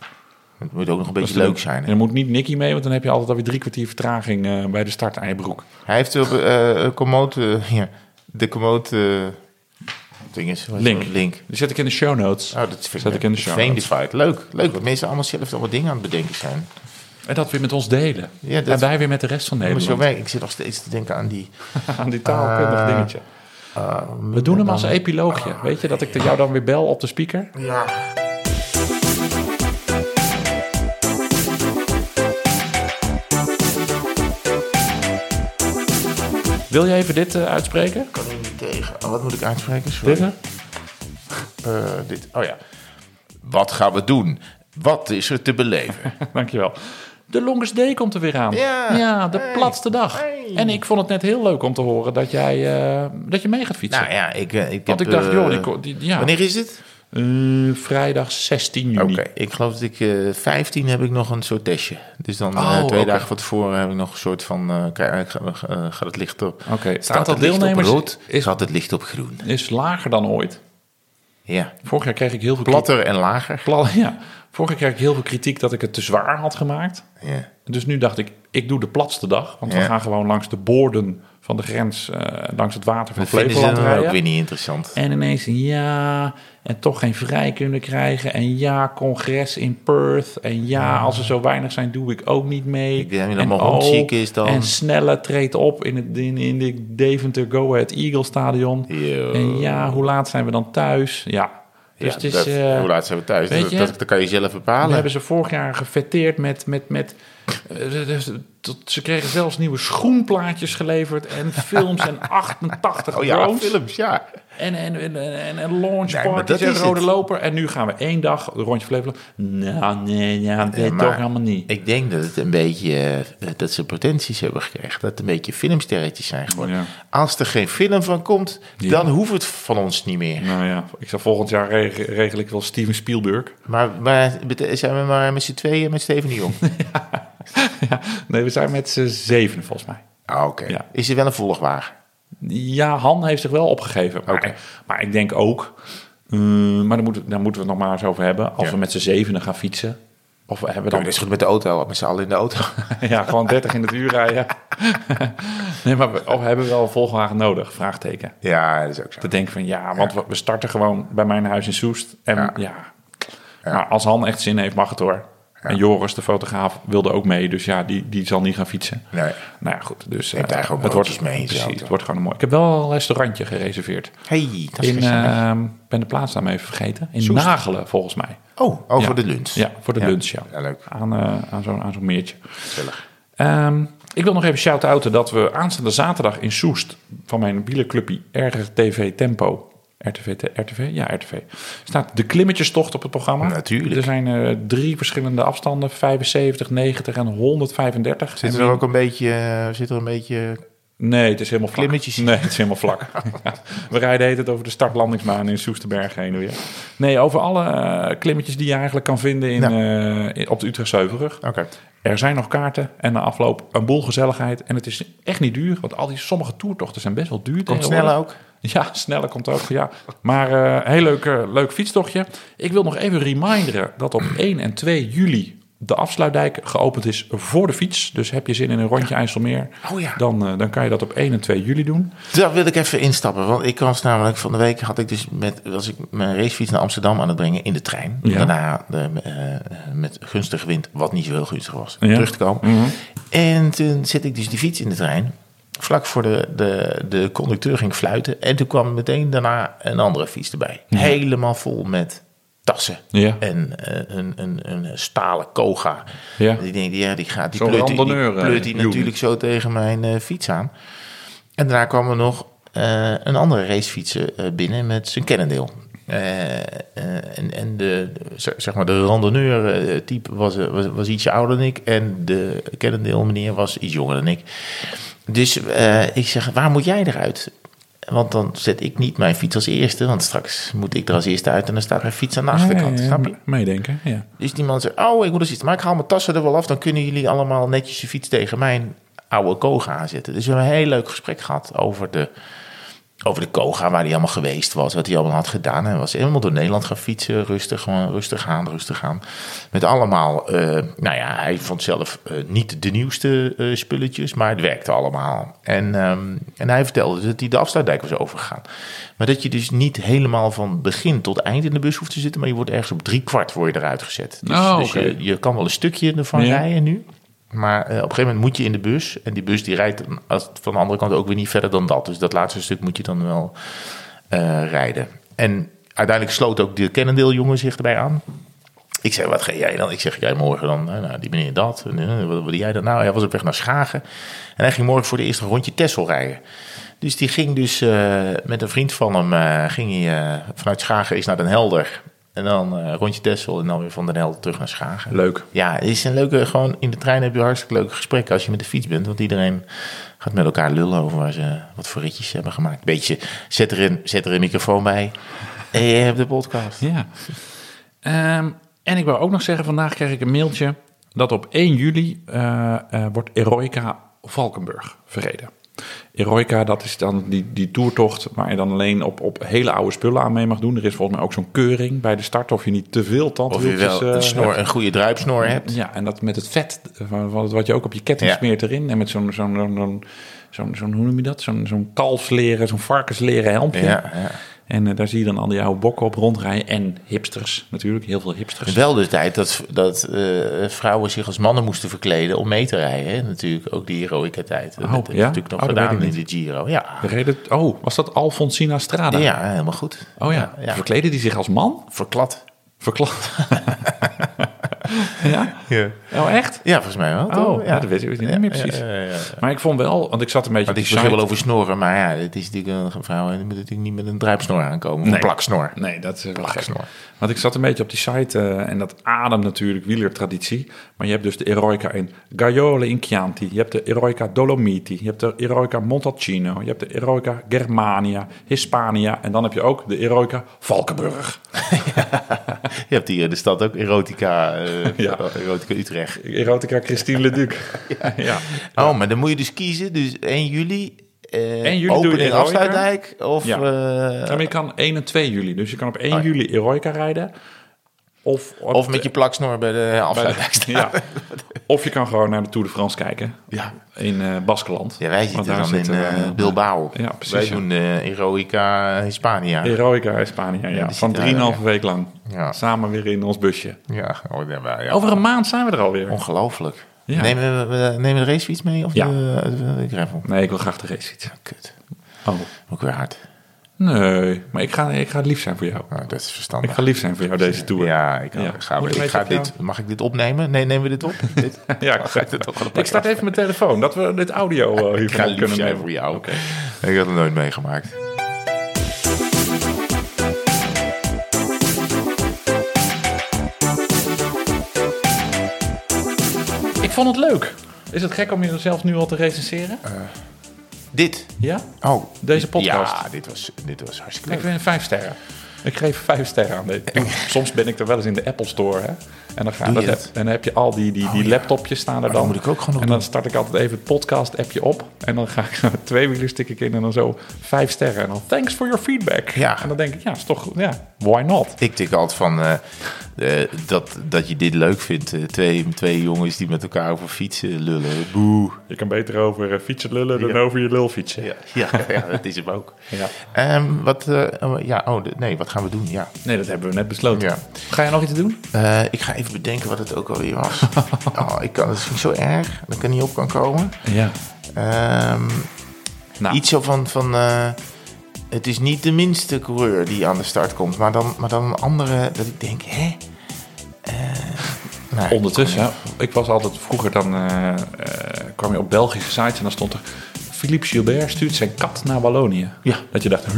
Speaker 2: Het moet ook nog een
Speaker 1: Dat is
Speaker 2: beetje
Speaker 1: te
Speaker 2: leuk
Speaker 1: doen.
Speaker 2: zijn.
Speaker 1: En
Speaker 2: Hè?
Speaker 1: er moet niet Nicky mee, want dan heb je altijd alweer drie kwartier vertraging eh, bij de start aan je broek.
Speaker 2: Hij heeft op eh Komoot, eh, ja, de Komoot eh, ding is, wat is
Speaker 1: Link.
Speaker 2: dat? Link.
Speaker 1: Die zet ik in de show notes.
Speaker 2: Oh, dat vind
Speaker 1: Zet ik in de show
Speaker 2: Green
Speaker 1: notes.
Speaker 2: Divide. Leuk, leuk. Dat mensen allemaal zelf allemaal dingen aan het bedenken zijn.
Speaker 1: En dat weer met ons delen.
Speaker 2: Ja, dat-
Speaker 1: En wij weer met de rest van
Speaker 2: Maar zo
Speaker 1: Nederland.
Speaker 2: werkt. Ik zit nog steeds te denken aan die.
Speaker 1: Aan die taalkundig
Speaker 2: Ah.
Speaker 1: dingetje.
Speaker 2: eh,
Speaker 1: We doen hem als epiloogje. Weet je, dat ik jou dan weer bel op de speaker.
Speaker 2: Ja.
Speaker 1: Wil jij even dit eh, uitspreken?
Speaker 2: kan hier niet tegen. Oh, wat moet ik uitspreken? Sorry.
Speaker 1: Dit? hè?
Speaker 2: Eh, dit. Oh ja. Wat gaan we doen? Wat is er te beleven?
Speaker 1: Dankjewel. De Longest Day komt er weer aan.
Speaker 2: Ja.
Speaker 1: de
Speaker 2: Hey.
Speaker 1: platste dag.
Speaker 2: Hey.
Speaker 1: En ik vond het net heel leuk om te horen dat jij, eh, dat je mee gaat fietsen.
Speaker 2: nou ja, ik, eh, ik
Speaker 1: Want
Speaker 2: heb,
Speaker 1: ik dacht,
Speaker 2: eh,
Speaker 1: joh, die, ko- die- ja.
Speaker 2: Wanneer is het?
Speaker 1: Eh, vrijdag 16
Speaker 2: Oké,
Speaker 1: juni.
Speaker 2: ik geloof dat ik eh 15 heb ik nog een soort testje. Dus dan eh,
Speaker 1: Oh,
Speaker 2: twee
Speaker 1: oké.
Speaker 2: dagen van tevoren heb ik nog een soort van... eh, kijk, eh, ga- eh, gaat het licht op?
Speaker 1: Oké, het
Speaker 2: Staat
Speaker 1: aantal
Speaker 2: het licht
Speaker 1: deelnemers
Speaker 2: op rood?
Speaker 1: is-
Speaker 2: Gaat het licht op groen?
Speaker 1: Is lager dan ooit.
Speaker 2: Ja.
Speaker 1: Vorig jaar kreeg ik heel veel
Speaker 2: Platter en lager.
Speaker 1: Pla- ja. Vorig jaar kreeg ik heel veel kritiek dat ik het te zwaar had gemaakt.
Speaker 2: Ja.
Speaker 1: Dus nu dacht ik, ik doe de platste dag. Want we
Speaker 2: Ja.
Speaker 1: gaan gewoon langs de boorden van de grens, eh, langs het water van
Speaker 2: Dat vinden ze
Speaker 1: Flevoland
Speaker 2: dan ook
Speaker 1: rijden.
Speaker 2: weer niet interessant.
Speaker 1: En ineens ja, en toch geen vrij kunnen krijgen. En ja, congres in Perth. En ja, als er zo weinig zijn, doe ik ook niet mee.
Speaker 2: Ik denk dat
Speaker 1: en, oh,
Speaker 2: mijn hond ziek is dan.
Speaker 1: en snelle treedt op in, het, in, in de Deventer Go Ahead Eagle Stadion.
Speaker 2: Yo.
Speaker 1: En ja, hoe laat zijn we dan thuis? Ja, dus
Speaker 2: Ja,
Speaker 1: het is,
Speaker 2: dat-
Speaker 1: eh,
Speaker 2: hoe laat zijn we thuis?
Speaker 1: weet
Speaker 2: Dat,
Speaker 1: je?
Speaker 2: dat, dat kan je zelf
Speaker 1: we
Speaker 2: bepalen.
Speaker 1: hebben ze vorig jaar gefeteerd met... met, met eh, eh, tot- ze kregen zelfs nieuwe schoenplaatjes geleverd en films en 88
Speaker 2: Oh ja,
Speaker 1: drones.
Speaker 2: films, ja.
Speaker 1: En, en, en, en, en launch
Speaker 2: Nee, maar
Speaker 1: parties
Speaker 2: dat
Speaker 1: en
Speaker 2: is
Speaker 1: rode
Speaker 2: het.
Speaker 1: loper. En nu gaan we één dag een rondje Flevoland. Nou, nee, ja, nee,
Speaker 2: maar-
Speaker 1: toch helemaal niet.
Speaker 2: Ik denk dat het een beetje eh, dat ze potenties hebben gekregen. Dat het een beetje filmsterretjes zijn geworden.
Speaker 1: Ja.
Speaker 2: Als er geen film van komt,
Speaker 1: Ja.
Speaker 2: dan hoeft het van ons niet meer.
Speaker 1: Nou ja, ik zal volgend jaar reg- regel ik wel Steven Spielberg.
Speaker 2: Maar, maar bete- zijn we maar met z'n tweeën met Steven de Jong?
Speaker 1: Ja, nee, we zijn met z'n zeven volgens mij.
Speaker 2: Ah, Oké.
Speaker 1: Ja.
Speaker 2: Is er wel een volgwaar?
Speaker 1: Ja, Han heeft zich wel opgegeven. Maar,
Speaker 2: Oké.
Speaker 1: maar ik denk ook... eh, maar daar moeten, daar moeten we het nog maar eens over hebben. Als
Speaker 2: Ja.
Speaker 1: we met z'n zevenen gaan fietsen... Of we hebben
Speaker 2: Dan
Speaker 1: dan...
Speaker 2: is goed met de auto, met z'n allen in de auto.
Speaker 1: ja, gewoon 30 in het uur rijden. nee, maar we, of we hebben wel een volgwagen nodig? Vraagteken.
Speaker 2: ja, dat is ook zo.
Speaker 1: Te denken van ja, want we- we starten gewoon bij mijn huis in Soest. En
Speaker 2: Ja.
Speaker 1: ja. Maar als Han echt zin heeft, mag het hoor. En Joris, de fotograaf, wilde ook mee. Dus ja, die, die zal niet gaan fietsen.
Speaker 2: Nee.
Speaker 1: Nou ja, goed. Dus
Speaker 2: Neemt
Speaker 1: eh,
Speaker 2: daar gewoon
Speaker 1: het
Speaker 2: broodjes
Speaker 1: wordt,
Speaker 2: mee in zijn
Speaker 1: Precies,
Speaker 2: auto.
Speaker 1: het wordt gewoon een mooi. Ik heb wel een restaurantje gereserveerd.
Speaker 2: Hey, dat is
Speaker 1: In,
Speaker 2: gezellig.
Speaker 1: ehm, ben de plaatsnaam even vergeten. In
Speaker 2: Soest.
Speaker 1: Nagelen, volgens mij.
Speaker 2: Oh, oh
Speaker 1: Ja.
Speaker 2: voor de lunch.
Speaker 1: Ja, voor de lunch, ja.
Speaker 2: Ja, leuk.
Speaker 1: Aan, eh, aan zo'n aan zo'n meertje.
Speaker 2: Gezellig.
Speaker 1: Ehm, ik wil nog even shout-outen dat we aanstaande zaterdag in Soest van mijn wielerclubje Erger TV Tempo. RTV, te- RTV? Ja, RTV. Staat de klimmetjestocht op het programma.
Speaker 2: Natuurlijk.
Speaker 1: Er zijn eh, drie verschillende afstanden. 75, 90 en 135.
Speaker 2: Zit
Speaker 1: En
Speaker 2: er
Speaker 1: wie-
Speaker 2: ook een beetje, eh, zit er een beetje
Speaker 1: Nee, het is helemaal vlak.
Speaker 2: Klimmetjes.
Speaker 1: Nee, het is helemaal vlak. Ja, we rijden het over de startlandingsbaan in Soesterberg heen weer. Nee, over alle eh, klimmetjes die je eigenlijk kan vinden in, eh, in- op de Utrechtse Heuvelrug.
Speaker 2: Oké.
Speaker 1: Er zijn nog kaarten en na afloop een boel gezelligheid. En het is echt niet duur, want al die sommige toertochten zijn best wel duur.
Speaker 2: Komt
Speaker 1: tegenwoordig.
Speaker 2: sneller ook?
Speaker 1: Ja, sneller komt ook, ja. Maar eh, heel leuk, eh, leuk fietstochtje. Ik wil nog even reminderen dat op 1 en 2 juli de afsluitdijk geopend is voor de fiets. Dus heb je zin in een rondje IJsselmeer,
Speaker 2: Oh ja.
Speaker 1: dan, eh, dan kan je dat op 1 en 2 juli doen.
Speaker 2: Daar wil ik even instappen, want ik was namelijk van de week had ik dus met was ik mijn racefiets naar Amsterdam aan het brengen in de trein.
Speaker 1: Ja.
Speaker 2: Daarna eh, eh, met gunstig wind, wat niet zo heel gunstig was,
Speaker 1: Ja. Mhm.
Speaker 2: terug te komen. En toen zet ik dus die fiets in de trein. Vlak voor de, de, de conducteur ging fluiten. En toen kwam meteen daarna een andere fiets erbij. Helemaal vol met tassen.
Speaker 1: Ja.
Speaker 2: En eh, een, een, een stalen koga.
Speaker 1: Ja.
Speaker 2: Die denk, ja, die gaat die
Speaker 1: Zo'n
Speaker 2: pleurt die- die
Speaker 1: randonneur, eh,
Speaker 2: pleurt die
Speaker 1: unit.
Speaker 2: natuurlijk zo tegen mijn eh, fiets aan. En daarna kwam er nog eh, een andere racefietser eh, binnen met zijn Cannondale. Eh, eh, en en de, z- zeg maar de randonneur-type was, eh, was, was ietsje ouder dan ik. En de Cannondale-meneer was iets jonger dan ik. Dus eh, ik zeg, waar moet jij eruit? Want dan zet ik niet mijn fiets als eerste. Want straks moet ik er als eerste uit en dan staat mijn fiets aan de achterkant.
Speaker 1: Ah, Ja, ja,
Speaker 2: Snap je?
Speaker 1: Meedenken, ja.
Speaker 2: Dus die man zegt, oh, ik moet eens iets. Maar ik haal mijn tassen er wel af. Dan kunnen jullie allemaal netjes je fiets tegen mijn oude Koga aanzetten. Dus we hebben een heel leuk gesprek gehad over de, over de Koga. Waar hij allemaal geweest was. Wat hij allemaal had gedaan. En hij was helemaal door Nederland gaan fietsen. Rustig, gewoon rustig aan, rustig aan. Met allemaal, eh, nou ja, hij vond zelf eh, niet de nieuwste eh, spulletjes. Maar het werkte allemaal. En, ehm, en hij vertelde dat hij de afsluitdijk was overgegaan. Maar dat je dus niet helemaal van begin tot eind in de bus hoeft te zitten. Maar je wordt ergens op drie kwart word je eruit gezet. Dus,
Speaker 1: Oh,
Speaker 2: dus
Speaker 1: oké.
Speaker 2: je, je kan wel een stukje ervan
Speaker 1: Ja.
Speaker 2: rijden nu. Maar eh, op een gegeven moment moet je in de bus. En die bus die rijdt dan als, van de andere kant ook weer niet verder dan dat. Dus dat laatste stuk moet je dan wel eh, rijden. En uiteindelijk sloot ook de Cannondale-jongen zich erbij aan. Ik zei, wat ga jij dan? Ik zeg, jij morgen dan, eh, nou, die meneer dat. En, eh, wat, wat doe jij dan? Nou, hij was op weg naar Schagen. En hij ging morgen voor de eerste rondje Tessel rijden. Dus die ging dus eh, met een vriend van hem, eh, ging hij eh, vanuit Schagen is naar Den Helder. En dan eh, rondje Dessel en dan weer van Den Helder terug naar Schagen.
Speaker 1: Leuk.
Speaker 2: Ja, het is een leuke, gewoon in de trein heb je hartstikke leuke gesprekken als je met de fiets bent. Want iedereen gaat met elkaar lullen over waar ze wat voor ritjes hebben gemaakt. Beetje, zet er een, zet er een microfoon bij en je hebt de podcast.
Speaker 1: Ja. Ehm, en ik wou ook nog zeggen, vandaag kreeg ik een mailtje dat op 1 juli eh, eh, wordt Eroica Valkenburg verreden. Eroica, dat is dan die, die toertocht waar je dan alleen op, op hele oude spullen aan mee mag doen. Er is volgens mij ook zo'n keuring bij de start of je niet te veel
Speaker 2: Of je
Speaker 1: tandwieltjes
Speaker 2: wel een,
Speaker 1: eh,
Speaker 2: snor, een goede druipsnor hebt.
Speaker 1: ja, en dat met het vet, eh, van- van wat je ook op je ketting
Speaker 2: Ja.
Speaker 1: smeert erin. En met zo'n, zo'n, zo'n, zo'n, zo'n, zo'n- hoe noem je dat? Zo'n, zo'n kalfsleren, zo'n varkensleren helmpje.
Speaker 2: Ja, ja.
Speaker 1: En eh, daar zie je dan al die oude bokken op rondrijden. En hipsters natuurlijk, heel veel hipsters.
Speaker 2: Wel de tijd dat, dat eh, vrouwen zich als mannen moesten verkleden om mee te rijden. Hè? Natuurlijk ook die heroïca tijd.
Speaker 1: Oh,
Speaker 2: dat is
Speaker 1: ja?
Speaker 2: natuurlijk nog
Speaker 1: Oh, dat
Speaker 2: gedaan
Speaker 1: weet
Speaker 2: in
Speaker 1: ik
Speaker 2: de Giro. Ja,
Speaker 1: Reden, oh, was dat Alfonsina Strada?
Speaker 2: ja helemaal goed.
Speaker 1: Oh ja.
Speaker 2: Ja, ja.
Speaker 1: verkleden die zich als man?
Speaker 2: Verklad.
Speaker 1: Verklapt. ja? Oh, echt?
Speaker 2: Ja, volgens mij wel. toch?
Speaker 1: Oh, ja, dat weet ik niet meer precies.
Speaker 2: ja, ja, ja.
Speaker 1: Maar ik vond wel, want ik zat een beetje
Speaker 2: Want
Speaker 1: op
Speaker 2: ik
Speaker 1: die
Speaker 2: begin wel
Speaker 1: site.
Speaker 2: over snoren, maar ja, het is natuurlijk een vrouw en die moet natuurlijk niet met een druipsnor aankomen. Of
Speaker 1: Nee.
Speaker 2: een plaksnor.
Speaker 1: Nee, dat is wel gek.
Speaker 2: snor.
Speaker 1: Want ik zat een beetje op die site eh, en dat ademt natuurlijk wielertraditie. Maar je hebt dus de Eroica in Gaiole in Chianti. Je hebt de Eroica Dolomiti. Je hebt de Eroica Montalcino. Je hebt de Eroica Germania, Hispania. En dan heb je ook de Eroica Valkenburg.
Speaker 2: Je hebt hier in de stad ook erotica, eh,
Speaker 1: Ja.
Speaker 2: erotica Utrecht.
Speaker 1: Erotica Christine Leduc. ja. ja.
Speaker 2: Oh, maar dan moet je dus kiezen. Dus 1 juli, eh
Speaker 1: 1 juli doe je
Speaker 2: opening
Speaker 1: erotica.
Speaker 2: Afsluitdijk of...
Speaker 1: Ja.
Speaker 2: eh,
Speaker 1: maar je kan 1 en 2 juli. Dus je kan op 1
Speaker 2: Oh ja.
Speaker 1: juli Eroica rijden. Of, op
Speaker 2: of
Speaker 1: de-
Speaker 2: met je plaksnor bij de
Speaker 1: bij
Speaker 2: afsluitdijk
Speaker 1: de-
Speaker 2: staan.
Speaker 1: ja. Of je kan gewoon naar de Tour de France kijken.
Speaker 2: Ja.
Speaker 1: In eh Baskeland.
Speaker 2: Ja, wij
Speaker 1: Want
Speaker 2: zitten
Speaker 1: daar
Speaker 2: dan in
Speaker 1: zitten we,
Speaker 2: eh,
Speaker 1: eh,
Speaker 2: Bilbao.
Speaker 1: Ja, precies,
Speaker 2: Wij
Speaker 1: ja.
Speaker 2: doen eh, erotica Hispania.
Speaker 1: Heroica Hispania, ja.
Speaker 2: die
Speaker 1: Van
Speaker 2: zit daar,
Speaker 1: 3,5 week lang.
Speaker 2: Ja.
Speaker 1: Samen weer in ons busje.
Speaker 2: ja, oh, ja, maar ja. Oh.
Speaker 1: Over een maand zijn we er alweer.
Speaker 2: Ongelooflijk.
Speaker 1: Ja.
Speaker 2: Nemen, we, we- nemen we de racefiets mee of
Speaker 1: Ja.
Speaker 2: de, de, de gravel?
Speaker 1: Nee, ik wil graag de race fietsen.
Speaker 2: Kut.
Speaker 1: Oh.
Speaker 2: Ook weer hard.
Speaker 1: Nee, maar ik ga, ik ga lief zijn voor jou.
Speaker 2: Nou, dat is
Speaker 1: Ik
Speaker 2: verstandig.
Speaker 1: ga lief zijn voor jou Oh, deze tour.
Speaker 2: Ja, ik,
Speaker 1: Ja.
Speaker 2: Ga,
Speaker 1: Moet
Speaker 2: ik
Speaker 1: een
Speaker 2: ga
Speaker 1: beetje op
Speaker 2: dit. Mag ik dit opnemen? Nee, nemen we dit op? dit?
Speaker 1: Ja, ik,
Speaker 2: ik dit ook wel op-
Speaker 1: ik start even mijn telefoon, dat we dit audio eh,
Speaker 2: Ik
Speaker 1: hiervan
Speaker 2: ga lief
Speaker 1: kunnen
Speaker 2: zijn
Speaker 1: nemen.
Speaker 2: voor jou. Ik had het nooit meegemaakt.
Speaker 1: Ik vond het leuk. Is het gek om jezelf nu al te recenseren?
Speaker 2: Eh. Dit.
Speaker 1: Ja?
Speaker 2: Oh,
Speaker 1: Deze podcast.
Speaker 2: Ja, dit was, dit was hartstikke
Speaker 1: Ik
Speaker 2: leuk.
Speaker 1: ben vijf sterren. Ik geef vijf sterren aan dit. Soms ben ik er wel eens in de Apple Store. Hè? En, dan ga,
Speaker 2: Doe je Oh,
Speaker 1: dat-
Speaker 2: dat?
Speaker 1: en dan heb je al die, die, die laptopjes staan er
Speaker 2: dat
Speaker 1: dan.
Speaker 2: moet ik ook gewoon nog
Speaker 1: En dan start ik altijd even het podcast appje op. En dan ga ik zo twee wielen stik ik in en dan zo vijf sterren. En dan thanks for your feedback.
Speaker 2: Ja.
Speaker 1: En dan denk ik, ja, is toch, ja, why not?
Speaker 2: Ik tik altijd van eh, eh, dat, dat je dit leuk vindt. Eh, twee, twee jongens die met elkaar over fietsen lullen. Boe.
Speaker 1: Je kan beter over eh, fietsen lullen dan over je lul fietsen.
Speaker 2: Ja, ja, ja, dat is hem ook.
Speaker 1: Ja.
Speaker 2: Ehm, wat, eh, oh, ja, oh, de- nee, wat gaan we doen? Ja.
Speaker 1: Nee, dat hebben we net besloten.
Speaker 2: Ja.
Speaker 1: Ga je nog iets doen?
Speaker 2: Eh, ik ga even bedenken wat het ook alweer was. oh, ik kan, dat vind ik zo erg dat ik er niet op kan komen.
Speaker 1: Ja.
Speaker 2: Ehm,
Speaker 1: Nou,
Speaker 2: Iets zo van, van eh, het is niet de minste coureur die aan de start komt, maar dan, maar dan een andere dat ik denk, hè? Eh, nou,
Speaker 1: Ondertussen, hè, ik was altijd vroeger dan eh, eh, kwam je op Belgische sites en dan stond er Philippe Gilbert stuurt zijn kat naar Wallonië.
Speaker 2: Ja.
Speaker 1: Dat je dacht, huh?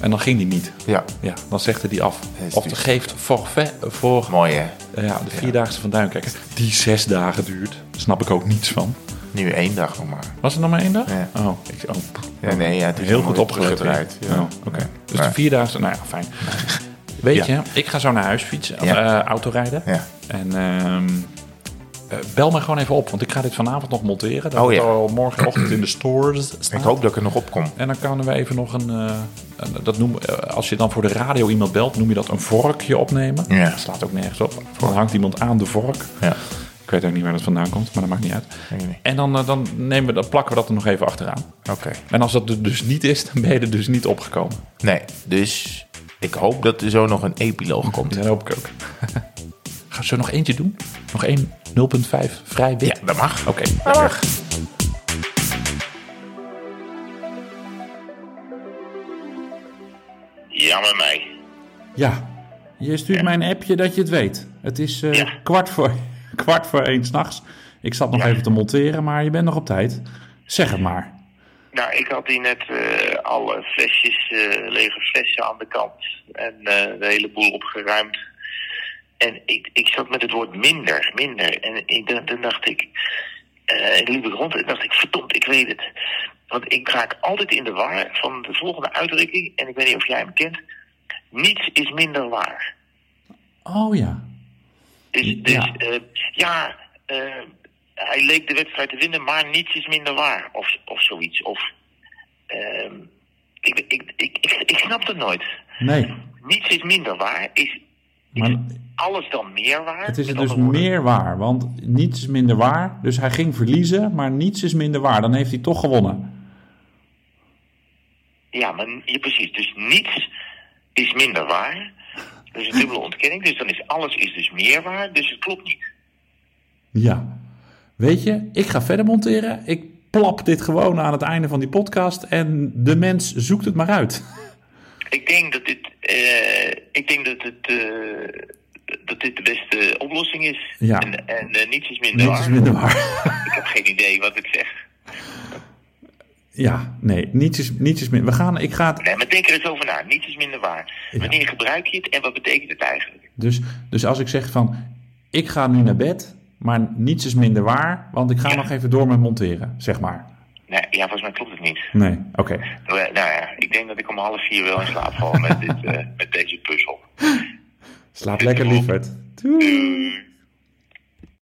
Speaker 1: en dan ging die niet.
Speaker 2: Ja,
Speaker 1: Ja, dan zegde die af.
Speaker 2: Ja, is
Speaker 1: Of
Speaker 2: die-
Speaker 1: de geeft forfait voor
Speaker 2: mooi hè.
Speaker 1: eh, ja, de vierdaagse van Duinkijk. Die zes dagen duurt. Snap ik ook niets van.
Speaker 2: Nu één dag nog maar.
Speaker 1: Was het nog maar één dag?
Speaker 2: Ja.
Speaker 1: Oh, ik, oh, pff.
Speaker 2: Ja, nee, ja, het is
Speaker 1: heel
Speaker 2: allemaal
Speaker 1: goed
Speaker 2: weer
Speaker 1: opgelet. hè?
Speaker 2: teruggedraaid, Ja.
Speaker 1: Oh, oké. Dus
Speaker 2: Maar-
Speaker 1: de vierdaagse, nou ja, fijn. Weet
Speaker 2: Ja.
Speaker 1: je, ik ga zo naar huis fietsen, of
Speaker 2: Ja.
Speaker 1: eh, autorijden.
Speaker 2: Ja.
Speaker 1: En ehm, eh, bel me gewoon even op, want ik ga dit vanavond nog monteren. Dat
Speaker 2: Oh,
Speaker 1: het
Speaker 2: ja.
Speaker 1: al morgenochtend in de stores
Speaker 2: Ik
Speaker 1: staat.
Speaker 2: hoop dat ik er nog op kom.
Speaker 1: En dan kunnen we even nog een, eh, een- dat noem, eh, als je dan voor de radio iemand belt, noem je dat een vorkje opnemen.
Speaker 2: Ja.
Speaker 1: Dat slaat ook nergens op. Dan hangt iemand aan de vork.
Speaker 2: Ja.
Speaker 1: Ik weet ook niet waar dat vandaan komt, maar dat maakt niet uit.
Speaker 2: Weet ik niet.
Speaker 1: En dan, eh, dan, nemen we, dan plakken we dat er nog even achteraan.
Speaker 2: Oké.
Speaker 1: En als dat er dus niet is, dan ben je er dus niet opgekomen.
Speaker 2: Nee, dus ik hoop dat er zo nog een epiloog komt.
Speaker 1: Ja, dat Dus hoop ik ook. Gaan we nog eentje doen? Nog één 0.5 vrij wit?
Speaker 2: Ja, dat mag.
Speaker 1: Oké.
Speaker 2: Dat mag.
Speaker 3: Jammer mij.
Speaker 1: Ja. Je stuurt mij een appje dat je het weet. Het is eh,
Speaker 3: Ja.
Speaker 1: kwart, voor, kwart voor één s'nachts. Ik zat nog even te monteren, maar je bent nog op tijd. Zeg het maar.
Speaker 3: Nou, ik had hier net eh, alle flesjes, eh, lege flessen aan de kant en eh, de hele boel opgeruimd. En ik, ik zat met het woord minder, minder. En ik, dacht- dan dacht ik, eh, ik liep ik rond en dacht ik, verdomd, ik weet het. Want ik raak altijd in de war van de volgende uitdrukking, en ik weet niet of jij hem kent. Niets is minder waar.
Speaker 1: Oh ja.
Speaker 3: Dus, dus
Speaker 1: Ja.
Speaker 3: ja, ja eh, hij leek de wedstrijd te winnen, maar niets is minder waar. Of, of zoiets. Of, ehm, ik, ik, ik, ik, ik snap het nooit.
Speaker 1: Nee.
Speaker 3: Niets is minder waar. Is,
Speaker 1: Maar
Speaker 3: alles dan meer waar?
Speaker 1: het is het
Speaker 3: Met
Speaker 1: dus
Speaker 3: andere woorden.
Speaker 1: meer waar. Want niets is minder waar. Dus hij ging verliezen, maar niets is minder waar. Dan heeft hij toch gewonnen.
Speaker 3: Ja, maar ja, precies. Dus niets is minder waar. Dus een dubbele ontkenning. Dus dan is alles is dus meer waar. Dus het klopt niet.
Speaker 1: Ja. Weet je, ik ga verder monteren. Ik plap dit gewoon aan het einde van die podcast. En de mens zoekt het maar uit.
Speaker 3: Ik denk dat dit, eh, ik denk dat het, eh, dat dit de beste oplossing is.
Speaker 1: Ja.
Speaker 3: En, en eh, niets is minder
Speaker 1: Niets
Speaker 3: waar.
Speaker 1: is minder waar.
Speaker 3: Ik heb geen idee wat ik zeg.
Speaker 1: Ja, nee, niets is, niets is minder. We gaan, ik ga het
Speaker 3: Nee, maar denk er eens over na. Niets is minder waar. Wanneer gebruik je het en wat betekent het eigenlijk?
Speaker 1: Dus, dus als ik zeg van, ik ga nu naar bed, maar niets is minder waar, want ik ga nog even door met monteren, zeg maar.
Speaker 3: Nee, ja, volgens mij klopt het niet.
Speaker 1: Nee, oké.
Speaker 3: Nou ja, nou ja, ik denk dat ik om half vier wel in slaap val met, dit, eh, met deze puzzel.
Speaker 1: Slaap lekker, lieverd. Doei.